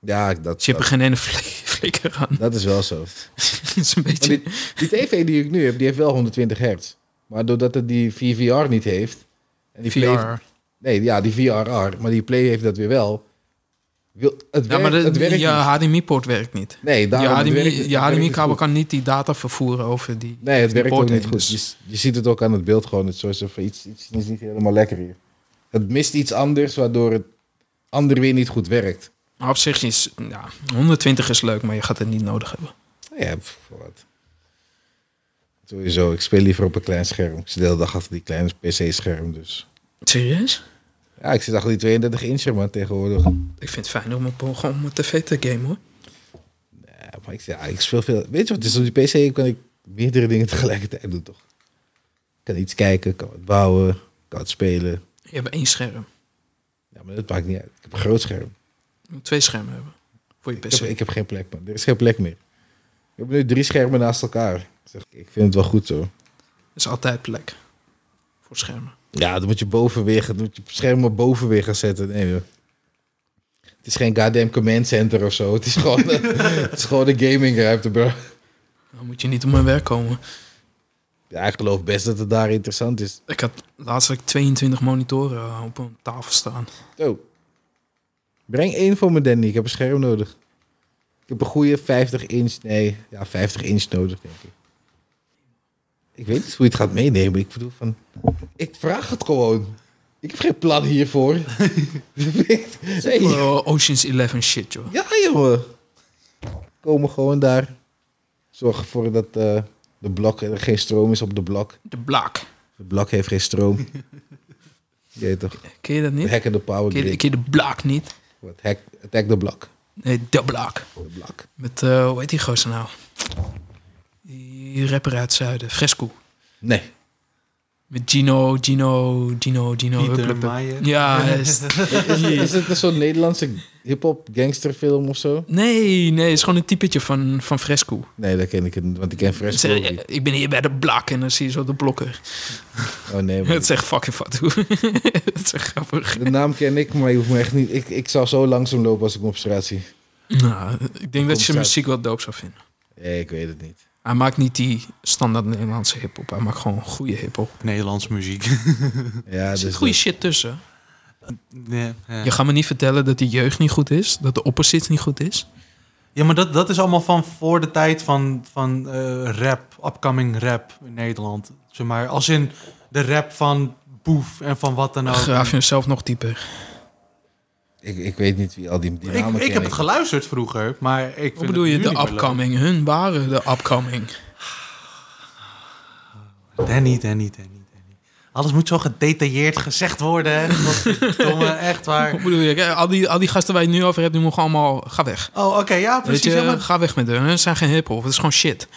S2: Ja, dat,
S1: Dus je hebt
S2: dat,
S1: er geen ene flik- flikker aan.
S2: dat is wel zo.
S1: Het is een beetje...
S2: Maar Die tv die ik nu heb, die heeft wel 120 hertz. Maar doordat het die VVR niet heeft... En die
S1: VR.
S2: Play- Nee, ja, die VRR. Maar die Play heeft dat weer wel. Wil, het,
S1: Ja, maar
S2: werkt,
S1: de,
S2: het werkt
S1: je
S2: niet.
S1: HDMI-poort werkt niet.
S2: Nee,
S1: Je
S2: daarom, het werkt niet-
S1: HDMI,
S2: het
S1: je
S2: werkt niet
S1: HDMI-kabel
S2: goed.
S1: kan niet die data vervoeren over die...
S2: Nee, het
S1: die
S2: werkt ook
S1: poort
S2: niet
S1: heen,
S2: goed.
S1: dus-
S2: Je, je ziet het ook aan het beeld gewoon. Het, is soort van iets, iets is niet helemaal lekker hier. Het mist iets anders, waardoor het ander weer niet goed werkt.
S1: Maar op zich is... Ja, 120 is leuk, maar je gaat het niet nodig hebben.
S2: Nou Ja, pff, voor wat. Sowieso, ik speel liever op een klein scherm. Ik zit de hele dag achter die kleine PC-scherm, dus...
S1: Serieus?
S2: Ja, ik zit achter die 32 inch man, tegenwoordig.
S1: Ik vind het fijn om op, gewoon op mijn tv te gamen, hoor.
S2: Ja, maar ik, ja, ik speel veel... Weet je wat, het is op die PC kan ik meerdere dingen tegelijkertijd doen, toch? Ik kan iets kijken, kan wat bouwen, kan wat spelen.
S1: Je hebt één scherm.
S2: Ja, maar dat maakt niet uit. Ik heb een groot scherm.
S1: Je moet twee schermen hebben. Voor je
S2: Ik
S1: PC.
S2: heb, ik heb geen plek, man. Er is geen plek meer. We hebben nu drie schermen naast elkaar. Ik Zeg, ik vind het wel goed zo.
S1: is altijd plek. Voor schermen.
S2: Ja, dan moet je boven weer, gaan- dan moet je schermen boven weer gaan zetten. Nee, joh. Het is geen goddamn command center of zo. Het is gewoon, het is gewoon een gamingruimte, bro.
S1: Dan moet je niet op mijn werk komen.
S2: Ja, ik geloof best dat het daar interessant is.
S1: Ik had laatst had ik 22 monitoren eh, op een tafel staan.
S2: Zo. Oh. Breng één voor me, Danny. Ik heb een scherm nodig. Ik heb een goede 50 inch, nee, ja, 50 inch nodig, denk ik. Ik weet niet hoe je het gaat meenemen. Ik bedoel van, ik vraag het gewoon. Ik heb geen plan hiervoor. nee,
S1: Oh, Ocean's 11 shit, joh.
S2: ja, jongen. Komen gewoon daar. Zorg ervoor dat eh, de blok, er geen stroom is op de blok.
S1: De blak.
S2: De blok heeft geen stroom. Jeet toch.
S1: Ken je dat niet?
S2: Hacken de power
S1: Ken je,
S2: grid.
S1: ken je de blak niet?
S2: Wat, Hack, attack de blok.
S1: Nee, de blak.
S2: De blok.
S1: Met, eh, hoe heet die gozer nou? Die rapper uit het zuiden. Fresco.
S2: Nee.
S1: Met Gino, Gino, Gino, Gino.
S3: Pieter
S1: huppelepup.
S3: Maier.
S1: Ja, is-
S2: Is, is het een soort Nederlandse hip-hop gangsterfilm of zo?
S1: nee, nee, het is gewoon een typetje van, van Fresco.
S2: Nee, dat ken ik niet, want ik ken Fresco
S1: Zeg,
S2: niet.
S1: ik ben hier bij de blak en dan zie je zo de blokker.
S2: Oh nee, maar
S1: Het is echt fucking fatu. Het is echt grappig.
S2: de naam ken ik, maar je hoeft me echt niet... Ik, ik zou zo langzaam lopen als ik hem op straat zie.
S1: Nou, ik denk dat je zijn
S2: uit.
S1: muziek wel doop zou vinden.
S2: Nee, ik weet het niet.
S1: Hij maakt niet die standaard Nederlandse hip-hop. Hij maakt gewoon goede hip-hop.
S3: Nederlands muziek.
S2: Ja,
S1: Er
S2: dus
S1: zit goede
S2: dat-
S1: shit tussen.
S3: Nee, ja.
S1: Je gaat me niet vertellen dat de jeugd niet goed is. Dat de opposite niet goed is.
S3: Ja, maar dat, dat is allemaal van voor de tijd van, van eh, rap, upcoming rap in Nederland. Zeg maar, als in de rap van Boef en van wat dan ook.
S1: Graaf jezelf nog dieper.
S2: ik, ik weet niet wie al die, die
S3: ik,
S2: namen
S3: ik
S2: ken
S3: heb het geluisterd vroeger, maar ik vind
S1: Hoe bedoel
S3: het
S1: je
S3: nu
S1: de
S3: niet meer leuk.
S1: upcoming? Hun waren de upcoming.
S3: Danny, Danny, Danny, Danny. Alles moet zo gedetailleerd gezegd worden. Domme, echt
S1: Hoe
S3: waar.
S1: bedoel je? Kijk, Al die, al die gasten waar je het nu over hebt, die mogen allemaal... Ga weg.
S3: Oh, oké, ja,
S1: Weet
S3: precies.
S1: je,
S3: ja, maar,
S1: ga weg met hun. Hun zijn geen hip-hop. Het is gewoon shit.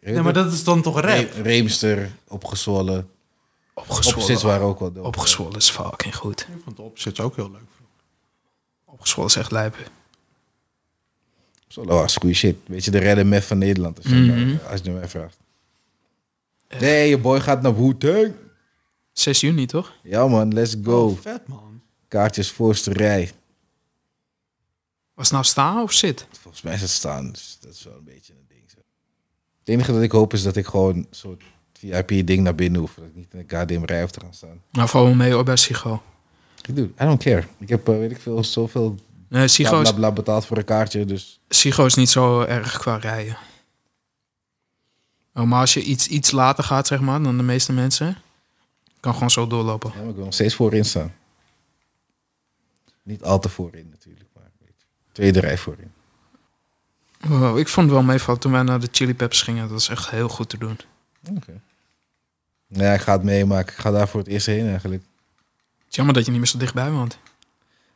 S3: nee, maar dat is dan toch rap?
S2: Re- Reemster, opgezwollen. Opzits
S1: Opgezwollen.
S2: waren ook wel dood.
S1: Opgezwollen is fucking goed.
S3: Ik vond de opzet ook heel leuk.
S1: Opgezwollen is echt lijpen.
S2: Solo was goede shit. Weet je, de redder met van Nederland. Als je,
S1: Mhm.
S2: als je mij vraagt. Nee, je boy gaat naar Wu-Tang.
S1: 6 juni, toch?
S2: Ja man, let's go.
S3: Oh, vet man.
S2: Kaartjes voorste rij.
S1: Was het nou staan of zit?
S2: Volgens mij is het staan, dus dat is wel een beetje een ding. Zo. Het enige dat ik hoop is dat ik gewoon een soort VIP-ding naar binnen hoef. Dat ik niet in een goddamn rij hoef te gaan staan.
S1: Nou, val me mee hoor, bij Sigo.
S2: Ik doe, I don't care. Ik heb, eh, weet ik veel, zoveel
S1: Nee, Sigo
S2: bla,
S1: is,
S2: bla, bla betaald voor een kaartje. Dus
S1: Sigo is niet zo erg qua rijden. Oh, maar als je iets, iets later gaat, zeg maar, dan de meeste mensen... kan gewoon zo doorlopen.
S2: ja, maar ik wil nog steeds voorin staan. Niet al te voorin natuurlijk, maar weet je, tweede rij voorin.
S1: Wow, ik vond het wel meevallen toen wij naar de Chili Peppers gingen. Dat was echt heel goed te doen.
S2: Nou ja, ik ga het meemaken. Ik ga daar voor het eerst heen eigenlijk.
S1: Het is jammer dat je niet meer zo dichtbij woont.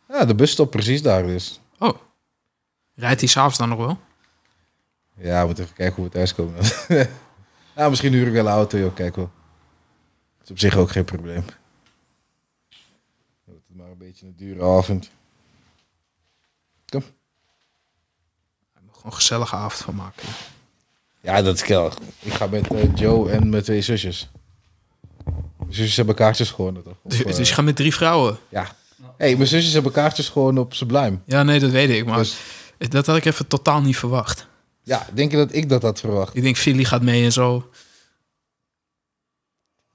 S2: Ja, de bus stopt precies daar dus.
S1: Oh. Rijdt hij s'avonds dan nog wel?
S2: Ja, we moeten even kijken hoe we thuiskomen. dan. nou, misschien huur ik wel een auto, joh. Kijk wel. Dat is op zich ook geen probleem. Dan wordt het maar een beetje een dure avond.
S1: Hij moet gewoon een gezellige avond van maken.
S2: Ja, dat is kellig. Ik ga met eh, Joe en mijn twee zusjes. Mijn zusjes hebben kaartjes gewonnen, toch? Of,
S1: Dus,
S2: eh,
S1: dus je gaat met drie vrouwen.
S2: Ja. hey, mijn zusjes hebben kaartjes gewonnen op Sublime.
S1: Ja, nee, dat weet ik. Maar
S2: Dus
S1: dat had ik even totaal niet verwacht.
S2: ja, denk je dat ik dat had verwacht?
S1: Ik denk, Philly gaat mee en zo.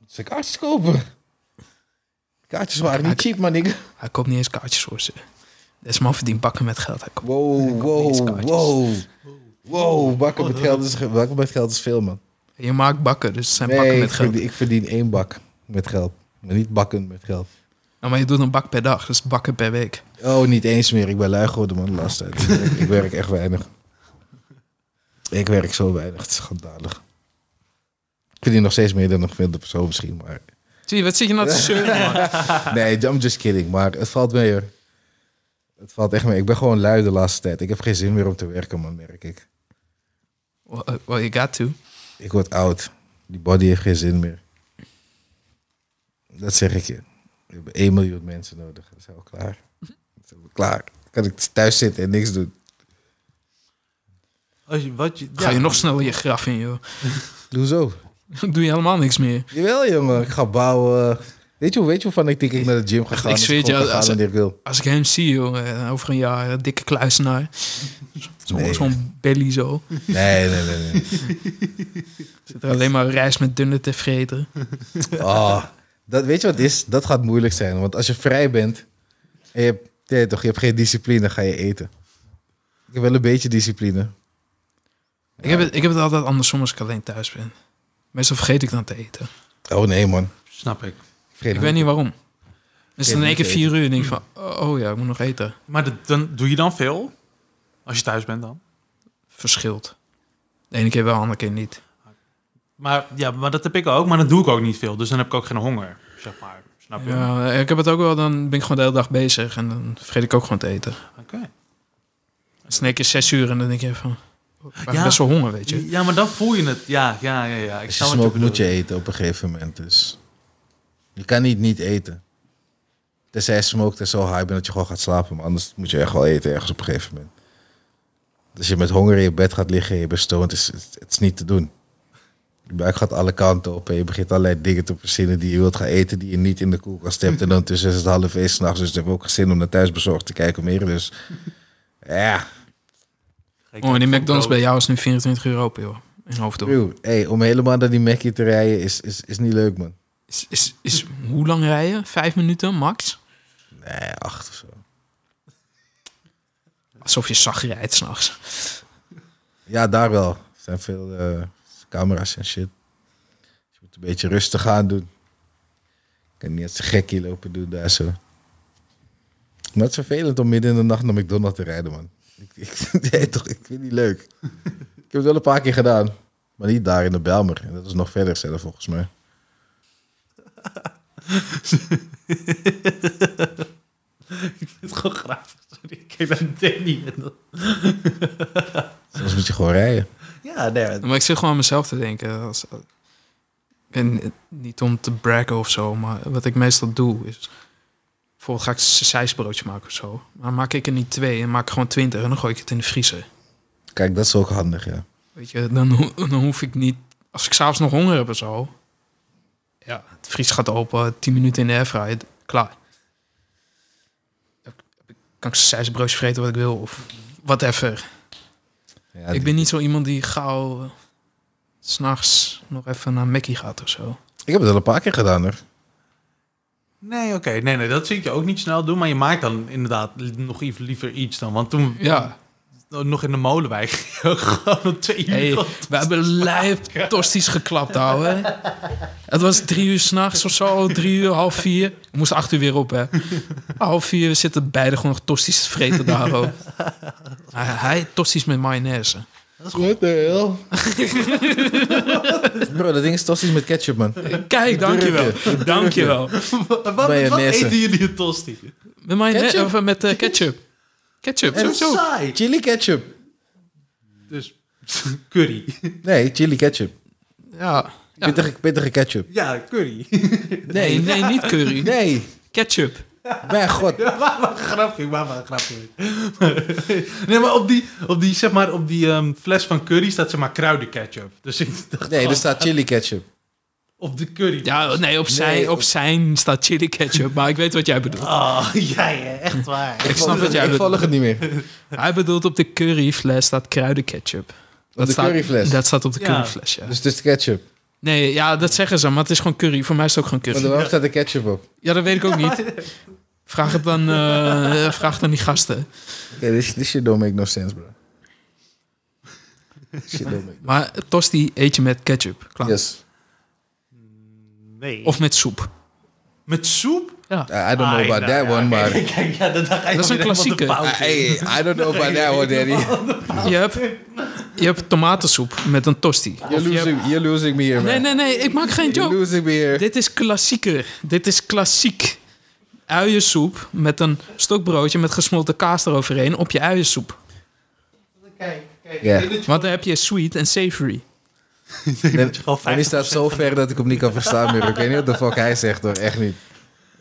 S2: Ze kaartjes kopen. Kaartjes waren niet cheap, man. Ik...
S1: Hij koopt niet eens kaartjes voor ze. Deze man verdient bakken met geld. Hij koopt...
S2: Wow,
S1: eens
S2: wow,
S1: kaartjes.
S2: wow. Wow, bakken met geld is, bakken met geld is veel, man.
S1: Je maakt bakken, dus het zijn
S2: Nee,
S1: bakken
S2: ik
S1: met geld.
S2: verdien, ik verdien één bak met geld. Maar niet bakken met geld.
S1: Nou, maar je doet een bak per dag, dus bakken per week.
S2: Oh, niet eens meer. Ik ben lui geworden, man, de laatste tijd. Ik werk, ik werk echt weinig. Ik werk zo weinig. Het is schandalig. Ik verdien nog steeds meer dan een gemiddelde persoon misschien, maar...
S1: Zie je, wat zit je nou te zeuren, man?
S2: Nee, I'm just kidding. Maar het valt mee, hoor. Het valt echt mee. Ik ben gewoon lui de laatste tijd. Ik heb geen zin meer om te werken, man, merk ik.
S1: Well, uh, well, you got to.
S2: Ik word oud. Die body heeft geen zin meer. Dat zeg ik je. We hebben 1 miljoen mensen nodig. Dat is al klaar. Dat is al klaar. Dan kan ik thuis zitten en niks doen.
S3: Als je, wat je,
S1: Ga je
S3: ja.
S1: nog sneller je graf in, joh.
S2: Hoezo?
S1: Dan doe je helemaal niks meer.
S2: Jawel, jongen. Ik ga bouwen. Weet je, hoe- weet je hoe van ik denk ik naar de gym ga gaan?
S1: ik
S2: en
S1: zweer het je,
S2: gewoon kan
S1: als-
S2: gaan wanneer ik wil.
S1: Als ik hem zie, joh, eh, over een jaar, een dikke kluisenaar. Zo'n
S2: Nee.
S1: zo'n belly zo.
S2: Nee, nee, nee. nee.
S1: Zit er alleen maar rijst met dunne te vreten.
S2: Oh, dat, weet je wat het is? Dat gaat moeilijk zijn. Want als je vrij bent en je hebt, nee, toch, je hebt geen discipline, ga je eten. Ik heb wel een beetje discipline.
S1: Ik, heb het, ik heb het altijd andersom als ik alleen thuis ben. Meestal vergeet ik dan te eten.
S2: Oh nee, man.
S3: Snap ik.
S2: Vergeet
S1: Ik weet niet waarom. Dus dan
S2: Geen
S1: in één
S2: moeite
S1: keer vier uur en denk ik van... Oh ja, ik moet nog eten.
S3: Maar dat, dan, doe je dan veel? Als je thuis bent dan?
S1: Verschilt. De ene keer wel, de andere keer niet.
S3: Maar, ja, maar dat heb ik ook, maar dan doe ik ook niet veel. Dus dan heb ik ook geen honger, zeg maar. Snap je?
S1: Ja, ik heb het ook wel, dan ben ik gewoon de hele dag bezig. En dan vergeet ik ook gewoon te eten.
S3: Oké.
S1: Dus in één keer zes uur en dan denk je van... oh, Ik ben
S3: Ja.
S1: best wel honger, weet je.
S3: Ja, maar dan voel je het. Ja, ja, ja. ja.
S2: Als
S3: Ik
S2: je
S3: snap wat
S2: smoke moet je
S3: bedoelt.
S2: eten op een gegeven moment. Dus je kan niet niet eten. Tenzij je smoked en zo high bent dat je gewoon gaat slapen. Maar anders moet je echt wel eten ergens op een gegeven moment. Als je met honger in je bed gaat liggen en je bent stoned, is het het is niet te doen. Je buik gaat alle kanten op en je begint allerlei dingen te verzinnen die je wilt gaan eten die je niet in de koelkast hebt. En dan tussen is het half één s'nachts, dus ik heb ik ook geen zin om naar thuis bezorgd te kijken meer. Dus ja,
S1: Oh, en die McDonald's bij jou is nu 24 uur open, joh. In Hoofddorp.
S2: Eeuw. hey, om helemaal naar die Mackie te rijden is, is, is niet leuk man.
S1: Is, is, is, hoe lang rijden? Vijf minuten, max?
S2: Nee, acht of zo.
S1: Alsof je zacht rijdt s'nachts.
S2: Ja, daar wel. Er zijn veel eh, camera's en shit. Dus je moet een beetje rustig aan doen. Je kan niet als een gekkie lopen doen daar zo. Maar het is vervelend om midden in de nacht naar McDonald's te rijden, man. Ik, ik, nee, toch, ik vind het niet leuk. Ik heb het wel een paar keer gedaan. Maar niet daar in de Belmer. En dat is nog verder zelf, volgens mij.
S3: Ik vind het gewoon grappig. Sorry, ik keek naar Danny. en dan-
S2: Soms moet je gewoon rijden.
S3: Ja, nee.
S1: Maar ik zit gewoon aan mezelf te denken. Als, en eh, niet om te braggen of zo, maar wat ik meestal doe is... Bijvoorbeeld ga ik een zijsbroodje maken of zo. Maar maak ik er niet twee en maak ik gewoon twintig en dan gooi ik het in de vriezer.
S2: Kijk, dat is ook handig, ja.
S1: Weet je, dan, ho- dan hoef ik niet... Als ik s'avonds nog honger heb of zo... Ja, het vries gaat open, 10 minuten in de airfryer, d- klaar. Dan kan ik zijsbroodjes vreten wat ik wil of whatever.
S2: ja
S1: ik
S2: die-
S1: ben niet zo iemand die gauw eh, 's s'nachts nog even naar Mackie gaat of zo.
S2: ik heb het al een paar keer gedaan, hoor.
S3: Nee, oké. Nee, nee, dat zie ik je ook niet snel doen. Maar je maakt dan inderdaad li- nog ief- liever iets dan. Want toen
S1: Ja,
S3: nog in de molenwijk ging je ook gewoon om twee uur.
S1: Mm. hey,
S3: al-
S1: we hebben lijp tostisch geklapt, ouwe. Het was drie uur s'nachts of zo, drie uur, half vier. We moesten acht uur weer op, hè. Half vier, we zitten beide gewoon nog tostisch te vreten daar ook. Hij, hij tostisch met mayonaise.
S2: What the hell? Bro, dat ding is tostisch met ketchup, man.
S1: Kijk, dankjewel. Dankjewel.
S3: Wat, wat
S2: Mayonaise.
S3: eten jullie een tosti?
S1: Met mayonaise,
S2: Ketchup?
S1: of eh, met eh, ketchup. Ketchup,
S2: En
S1: sowieso.
S3: Saai.
S2: Chili ketchup.
S3: Dus curry.
S2: Nee, chili ketchup.
S1: Ja. Ja.
S2: Pittige, pittige ketchup.
S3: Ja, curry.
S1: Nee, nee, niet curry.
S2: Nee,
S1: Ketchup.
S2: mijn god.
S3: Ja, maar maar een grapje, maar maar een grapje. nee, maar op die, op die, zeg maar, op die ehm, fles van curry staat zeg maar kruidenketchup. Dus ik dacht,
S2: Nee,
S3: oh,
S2: er staat chili ketchup.
S3: op de curry.
S1: Ja, nee, op zijn,
S2: Nee, Ah.
S1: op
S2: op-
S1: zijn staat chili ketchup, maar ik weet wat jij bedoelt.
S3: Oh, jij hè, echt waar.
S1: Ik snap wat jij
S2: Ik
S1: bedoelt.
S2: volg het niet meer.
S1: Hij bedoelt op de curryfles staat kruidenketchup.
S2: Op de
S1: staat,
S2: curryfles.
S1: Dat staat op de
S3: Ja.
S1: curryfles, ja.
S2: Dus het is ketchup.
S1: Nee, ja, dat zeggen ze, maar het is gewoon curry. Voor mij is het ook gewoon
S2: Want
S1: curry.
S2: waarom staat er ketchup op? Oké,
S1: Ja, dat weet ik ook niet. Vraag het dan, eh, eh, vraag het aan die gasten.
S2: this, this shit don't make no sense, bro. Shit don't make
S1: Maar tosti eet je met ketchup, klaar.
S2: Yes.
S3: Nee.
S1: Of met soep.
S3: met soep?
S2: I I don't
S1: Ah,
S2: know about that one, maar... I-
S3: Kijk, ja, dan ga je
S1: Dat is
S3: weer
S1: een
S3: helemaal
S1: klassieke.
S3: de fout in.
S2: Hey, I don't know about that one, daddy.
S1: Je hebt, je hebt tomatensoep met een tosti.
S2: You're losing, you're losing me here, man.
S1: Nee, nee, nee, ik maak geen
S2: You're
S1: joke.
S2: losing me here.
S1: Dit is klassieker. Dit is klassiek. Uiensoep met een stokbroodje met gesmolten kaas eroverheen op je uiensoep.
S3: Kijk, kijk.
S2: Ja.
S3: Ik denk dat je-
S1: Want dan heb je sweet en savory.
S3: ik denk dat je
S2: En,
S3: gewoon
S2: en die
S3: 50%
S2: staat zo ver dat ik hem niet kan verstaan meer. Ik weet niet wat de fuck hij zegt, hoor. Echt niet.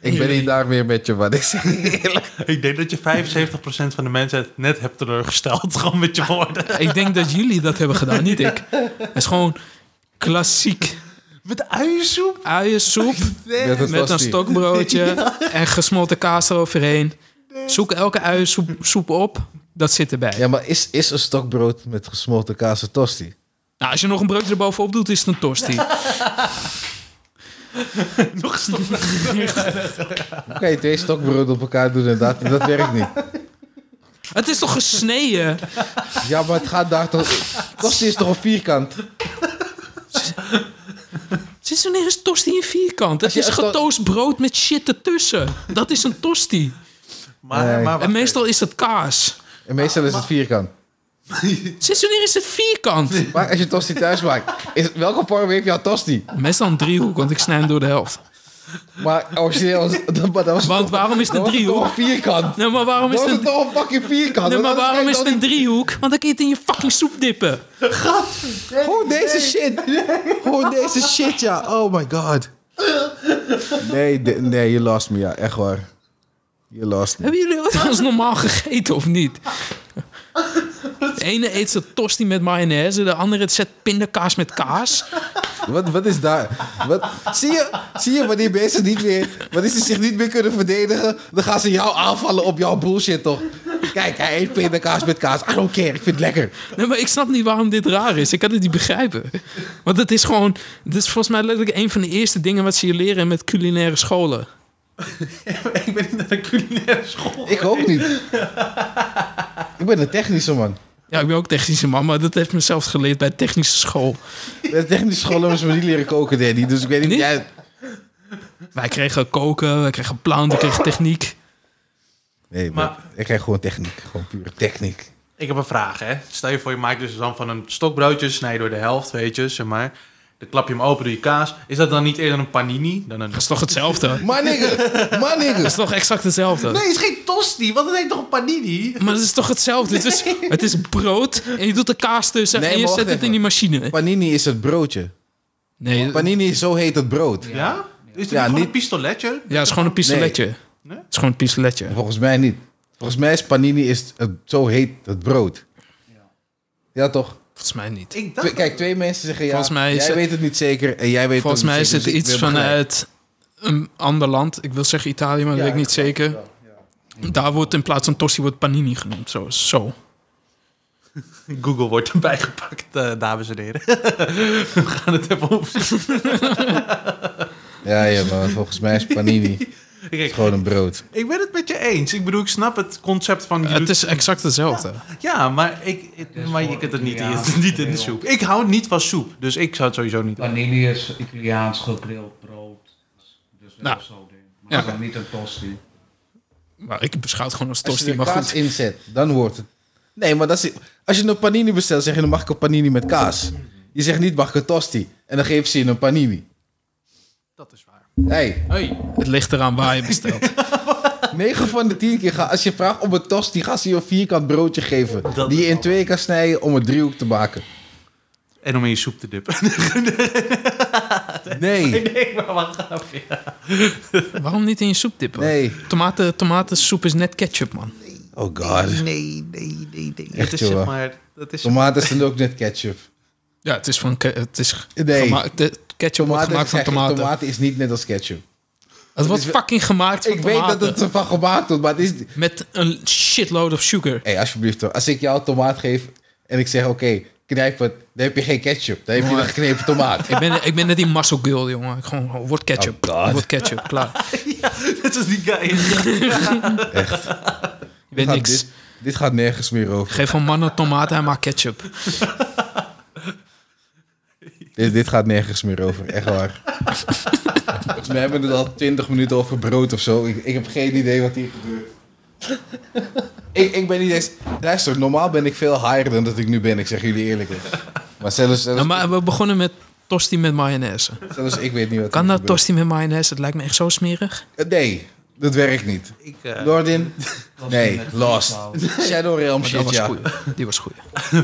S2: Ik ben niet daar meer met je, man. Ik zeg eerlijk.
S3: Ik denk dat je 75% van de mensheid net hebt teleurgesteld. Gewoon met je woorden.
S1: Ik denk dat jullie dat hebben gedaan, niet ik. Het is gewoon klassiek.
S3: Met uiensoep?
S1: Uiensoep
S2: Met een
S1: met een
S2: tosti.
S1: stokbroodje en gesmolten kaas eroverheen. Zoek elke uiensoep soep op. Dat zit erbij.
S2: Ja, maar is, is een stokbrood met gesmolten kaas een tosti?
S1: Nou, als je nog een broodje erbovenop doet, is het een tosti.
S3: Nog stop.
S2: Hoe kan je twee stokbrood op elkaar doen en dat, dat werkt niet?
S1: Het is toch gesneden?
S2: Ja, maar het gaat daar toch... Tosti is toch een vierkant?
S1: Zit er nergens tosti in vierkant? Het
S2: je
S1: is
S2: een to-
S1: getoast brood met shit ertussen. Dat is een tosti.
S3: Maar,
S2: Nee.
S3: maar
S1: En meestal is dat kaas.
S2: En meestal is het vierkant.
S1: Sinds wanneer is het vierkant?
S2: Maar als je tosti thuis maakt, is, welke vorm heeft jouw tosti?
S1: Meestal een driehoek, want ik snij hem door de helft.
S2: Maar origineel was dat, maar dat was
S1: Want waarom is het
S2: dat
S1: een
S2: was toch
S1: driehoek?
S2: een vierkant?
S1: Nee, maar waarom is
S2: Dat was
S1: het een...
S2: het toch een fucking vierkant?
S1: Nee, maar
S2: Dat
S1: waarom
S2: geen
S1: is het een driehoek? Want dan kun je het in je fucking soep dippen.
S2: tosti. Hoe deze shit? Hoe deze shit, ja. Oh my god. Nee, de- nee, je lost me, ja. Echt waar. Je lost me.
S1: Hebben jullie wat anders normaal gegeten of niet? De ene eet zijn tosti met mayonaise, de andere zet pindakaas met kaas.
S2: Wat, wat is daar? Wat, zie, je, zie je wanneer mensen niet meer, wanneer ze zich niet meer kunnen verdedigen, dan gaan ze jou aanvallen op jouw bullshit, toch? Kijk, hij eet pindakaas met kaas. I don't care, ik vind het lekker.
S1: Nee, maar ik snap niet waarom dit raar is. Ik kan het niet begrijpen. Want het is gewoon... Het is volgens mij letterlijk een van de eerste dingen... wat ze je leren met culinaire scholen.
S3: ik ben niet naar de culinaire school.
S2: Ik ook niet. Ik ben een technische man.
S1: Ja, ik ben ook technische man... maar dat heeft mezelf geleerd bij technische school.
S2: De technische school hebben ze me niet leren koken, Danny. Dus ik weet niet...
S1: Niet?
S2: Jij,
S1: Wij kregen koken, wij kregen planten, we kregen techniek.
S2: nee,
S3: Maar-
S2: maar, ik krijg gewoon techniek. Gewoon pure techniek.
S3: Ik heb een vraag, hè. Stel je voor, je maakt dus dan van een stokbroodje, snij je door de helft, weet je, zeg maar. Dan klap je hem open, doe je kaas. Is dat dan niet eerder een panini dan een...
S1: Dat is toch hetzelfde? Dat
S2: Maar nigger, maar nigger.
S1: is toch exact hetzelfde?
S3: Nee, het is geen tosti, want het heet toch een panini?
S1: Maar het is toch hetzelfde? Het is, het is brood en je doet de kaas tussen...
S2: Nee,
S1: en je
S2: maar
S1: zet
S2: wacht
S1: het
S2: even.
S1: in die machine.
S2: Panini is het broodje.
S1: Nee,
S2: Panini is zo heet het brood.
S3: Ja?
S2: Ja,
S3: Is dat niet gewoon
S2: niet-
S3: een pistoletje?
S1: ja, het is gewoon een pistoletje.
S3: Nee?
S1: Het is gewoon een pistoletje.
S2: Volgens mij niet. Volgens mij is panini is het, zo heet het brood. Ja, toch?
S1: Volgens mij niet.
S3: Ik
S2: Twee- kijk, twee mensen zeggen ja.
S1: Volgens mij is
S2: jij
S1: het-
S2: weet het niet zeker en jij weet
S1: Volgens
S2: het
S1: mij
S2: niet
S1: is het
S2: zeker, dus ik
S1: iets
S2: ben gelijk.
S1: vanuit een ander land. Ik wil zeggen Italië, maar dat
S2: Ja,
S1: weet ik niet
S2: ja,
S1: zeker.
S2: ja,
S1: Daar wordt in plaats van Tossi wordt panini genoemd. Zo. zo.
S3: Google wordt erbij gepakt, eh, dames en heren. We gaan het even over.
S2: Ja, ja, maar volgens mij is panini
S3: Kijk,
S2: gewoon een brood.
S3: ik ben het met je eens. Ik bedoel, ik snap het concept van... je
S1: Het
S3: doet-
S1: is exact hetzelfde.
S3: Ja, maar, ik,
S4: is
S3: maar je
S4: voor
S3: kunt het niet,
S4: Italiaans
S3: in, niet in de
S4: geheel.
S3: soep. Ik hou niet van soep, dus ik zou het sowieso niet
S4: Panini is Italiaans gegrild brood. Dus wel
S1: Nou.
S4: zo ding. Maar
S1: Ja.
S4: het is dan niet een tosti.
S1: Maar ik beschouw het gewoon als
S2: Als je
S1: Tosti,
S2: er
S1: maar
S2: kaas
S1: goed.
S2: inzet, dan wordt het... Nee, maar dat is, als je een panini bestelt, zeg je dan mag ik een panini met kaas. Je zegt niet mag ik een tosti. En dan geven ze je een panini.
S3: Dat is waar.
S2: Hey,
S3: Hey.
S1: Het ligt eraan waar je bestelt.
S2: 9 van de 10 keer, ga, als je vraagt om een tosti, gaan ze je een vierkant broodje geven.
S3: Dat
S2: die
S3: is
S2: je in
S3: wel
S2: twee kan snijden om een driehoek te maken.
S3: En om in je soep te dippen.
S2: Nee,
S3: nee, maar wat gaaf. Ja.
S1: Waarom niet in je soep dippen?
S2: nee.
S1: Tomaten, tomatensoep is net ketchup, man.
S2: Oh god.
S3: Nee, nee, nee, nee.
S2: Echt,
S3: Het is
S2: joh.
S3: zeg maar... Dat is,
S2: Tomaten zijn ook net ketchup.
S1: Ja, het is van... ke- Het is
S2: Nee.
S1: gema- de ketchup wordt gemaakt van
S2: is echt-
S1: tomaten.
S2: tomaten is niet net als ketchup.
S1: Het wordt
S2: is-
S1: fucking gemaakt van
S2: Ik weet
S1: tomaten.
S2: dat het ervan gemaakt wordt, maar het is...
S1: Met een shitload of sugar.
S2: Hé, alsjeblieft hoor. Als ik jou tomaat geef en ik zeg, oké, knijp het, dan heb je geen ketchup. Dan heb je
S1: Maar-
S2: een geknepen tomaat.
S1: Ik ben, ik ben net die muscle girl, jongen. Ik gewoon, gewoon, word ketchup.
S2: Oh, God.
S1: word ketchup, klaar.
S3: dat is die guy.
S1: Je weet
S2: Gaat
S1: niks.
S2: Dit, dit gaat nergens meer over.
S1: Geef een man een tomaat, hij maakt ketchup.
S2: Dit, dit gaat nergens meer over, echt waar. We hebben het al twintig minuten over brood of zo. Ik, ik heb geen idee wat hier gebeurt. ik, ik ben niet eens... Luister, normaal ben ik veel higher dan dat ik nu ben. Ik zeg jullie eerlijk. hoor. Maar zelfs, zelfs,
S1: Nou, maar we begonnen met tosti met mayonaise.
S2: zelfs ik weet niet wat
S1: Kan
S2: hier
S1: dat
S2: gebeurt.
S1: tosti met mayonaise? Het lijkt me echt zo smerig.
S2: Nee, dat werkt niet.
S3: Ik, eh,
S2: Nordin,
S4: Tosti
S2: Nee,
S4: met
S2: lost.
S4: vleeswauw.
S2: Shadow Realm
S1: Maar dat
S2: shit,
S1: was
S2: ja.
S1: goed. Die was goed.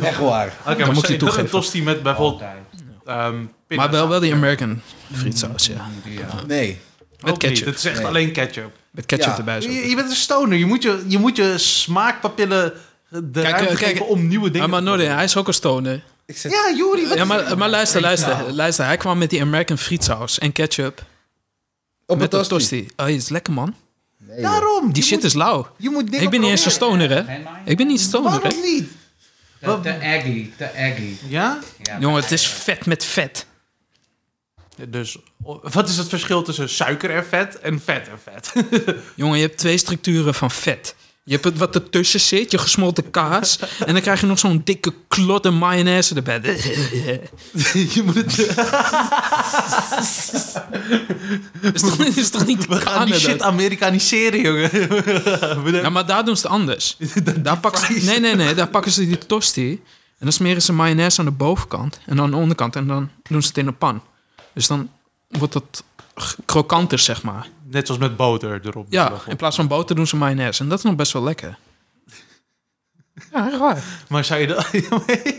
S2: Echt waar.
S1: moet
S3: Oké, maar
S1: je
S3: stel dat
S1: toegeven.
S3: een tosti met bijvoorbeeld
S4: Altijd.
S3: ehm pinda-
S1: Maar wel, wel die American frietsaus, ja.
S4: Ja.
S2: Nee.
S1: Met
S3: Ook niet,
S1: ketchup.
S3: Het is echt
S2: Nee.
S3: alleen ketchup.
S1: Met ketchup
S2: Ja.
S1: erbij zo.
S3: Je, je bent een stoner. Je moet je, je, moet je smaakpapillen de ruimte
S1: eh, kijk,
S3: geven om nieuwe dingen
S1: Maar, maar
S3: te
S1: Norden,
S3: proberen.
S1: hij is ook een stoner.
S2: Ik zet,
S3: Ja, Juri. wat-
S1: Ja, maar, maar luister, luister, luister. Hij kwam met die American frietsaus en ketchup.
S2: op
S1: met
S2: een
S1: een
S2: tosti.
S1: tosti. Oh, is lekker, man.
S2: Nee, joh.
S3: Daarom.
S1: Die
S3: je
S1: shit
S3: moet,
S1: is lauw.
S3: Je moet dingen
S1: Ik ben niet eens een
S3: proberen.
S1: stoner, hè.
S4: Geen mij?
S1: Ik ben niet stoner, hè.
S3: Waarom niet?
S4: Te, te eggy, te eggy.
S3: Ja?
S4: Ja,
S1: Jongen, het is vet met vet.
S3: Dus o-
S1: oh,
S3: wat is het verschil tussen suiker en vet en vet en vet?
S1: Jongen, je hebt twee structuren van vet. Je hebt het wat ertussen zit, je gesmolten kaas. en dan krijg je nog zo'n dikke klot en mayonaise erbij.
S3: je moet het...
S1: is, toch, is toch niet
S3: We gaan die shit Amerikaniseren, jongen.
S1: Ja, maar daar doen ze het anders. daar pakken ze, nee, nee, nee. Daar pakken ze die tosti. En dan smeren ze mayonaise aan de bovenkant. En dan aan de onderkant. En dan doen ze het in een pan. Dus dan wordt het g- krokanter, zeg maar.
S3: Net zoals met boter erop. dus
S1: Ja, in
S3: bijvoorbeeld.
S1: plaats van boter doen ze mayonaise. En dat is nog best wel lekker. Ja, echt waar.
S3: Maar zou je dat...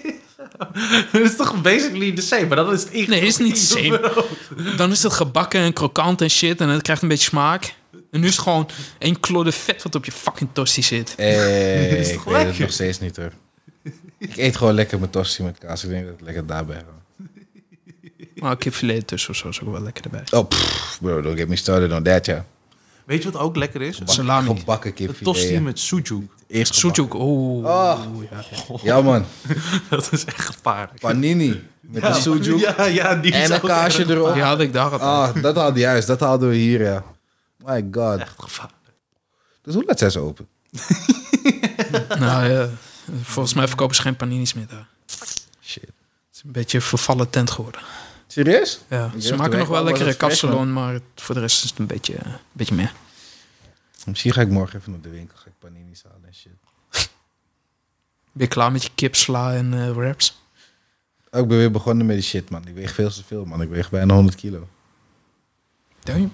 S3: dat is toch basically the same, maar dan is het echt...
S1: Nee, is niet same. Dan is het gebakken en krokant en shit. En het krijgt een beetje smaak. En nu is het gewoon één klodder vet wat op je fucking tosti zit.
S2: Eh,
S3: Dit is
S2: ik
S3: toch
S2: weet het
S3: lekker?
S2: nog steeds niet hoor. Ik eet gewoon lekker mijn tosti met kaas. Ik denk dat ik lekker daarbij ga.
S1: Maar kipfilet ertussen of zo is ook wel lekker erbij.
S2: Oh, pff, bro, don't get me started on that, ja.
S3: Weet je wat ook lekker is?
S2: Bak-
S1: Salami.
S2: Gebakken
S3: Een
S2: kipfilet.
S3: tosti
S2: ja.
S3: met sujuk.
S2: Eerst gebakken.
S1: Soetjoek, oeh.
S2: Oh. Ja man,
S3: Dat is echt gevaarlijk.
S2: panini met een sujuk
S3: Ja, ja, die is
S2: en een
S3: ook
S2: kaasje
S3: erg
S2: erop.
S1: Die had ik daar al.
S2: Ah, dat hadden juist, dat hadden we hier, ja. My god.
S3: Echt gevaarlijk.
S2: Dus hoe laat zijn ze open?
S1: Nou ja, volgens mij verkopen ze geen paninis meer daar.
S2: Shit.
S1: Het is een beetje een vervallen tent geworden.
S2: Serieus?
S1: Ja,
S2: dacht,
S1: ze
S2: de
S1: maken
S2: week
S1: nog wel
S2: was het
S1: lekkere
S2: fresh,
S1: kapsalon, maar het- voor de rest is het een beetje, een beetje meer.
S2: Misschien ga ik morgen even naar de winkel, ga ik panini's halen en shit.
S1: Ben je klaar met je kip, sla en eh, wraps?
S2: Oh, ik ben weer begonnen met die shit, man. Ik weeg veel te veel, man. Ik weeg bijna 100 kilo.
S1: Damn.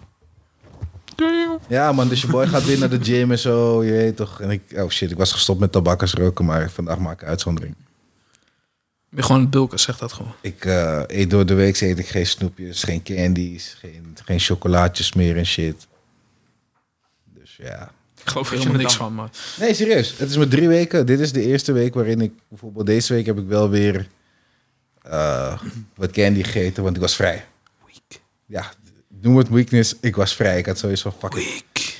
S2: Ja, man, dus je boy gaat weer naar de gym en zo, je weet toch. En ik, oh shit, ik was gestopt met tabakkersroken, maar vandaag maak ik uitzondering.
S1: Ben je gewoon bulken, zeg dat gewoon.
S2: Ik eh, eet door de week eet ik geen snoepjes, geen candies, geen, geen chocolaatjes meer en shit. Dus ja,
S1: Ik geloof er helemaal
S3: Helemaal
S1: niks
S3: dan.
S1: van, maar...
S2: Nee, serieus. Het is maar drie weken. Dit is de eerste week waarin ik... Bijvoorbeeld deze week heb ik wel weer eh, wat candy gegeten, want ik was vrij.
S1: Weak.
S2: Ja, noem het weakness. Ik was vrij. Ik had sowieso van fuck it.
S1: Weak.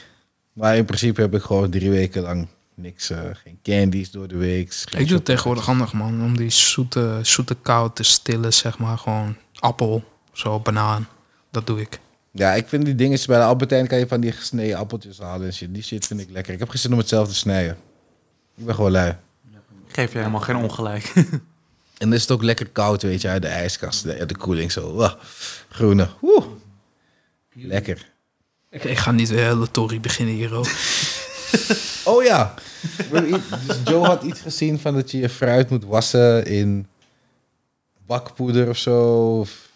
S2: Maar in principe heb ik gewoon drie weken lang niks. eh, geen candies door de week. geen
S1: Ik doe het
S2: chocolade.
S1: tegenwoordig handig, man. Om die zoete, zoete kou te stillen, zeg maar. Gewoon appel, zo, banaan. Dat doe ik.
S2: Ja, ik vind die dingen bij de Albertijn kan je van die gesneden appeltjes halen en shit. Die shit vind ik lekker. Ik heb geen zin om het zelf te snijden. Ik ben gewoon lui.
S3: Geef je helemaal geen ongelijk.
S2: En dan is het ook lekker koud, weet je, uit de ijskast, de, uit de koeling zo. Wah, groene. Woe. Lekker.
S1: Ik, ik ga niet de hele tory beginnen hier, hoor.
S2: Oh ja. We hebben i- dus Joe had iets gezien van dat je je fruit moet wassen in bakpoeder of zo. Of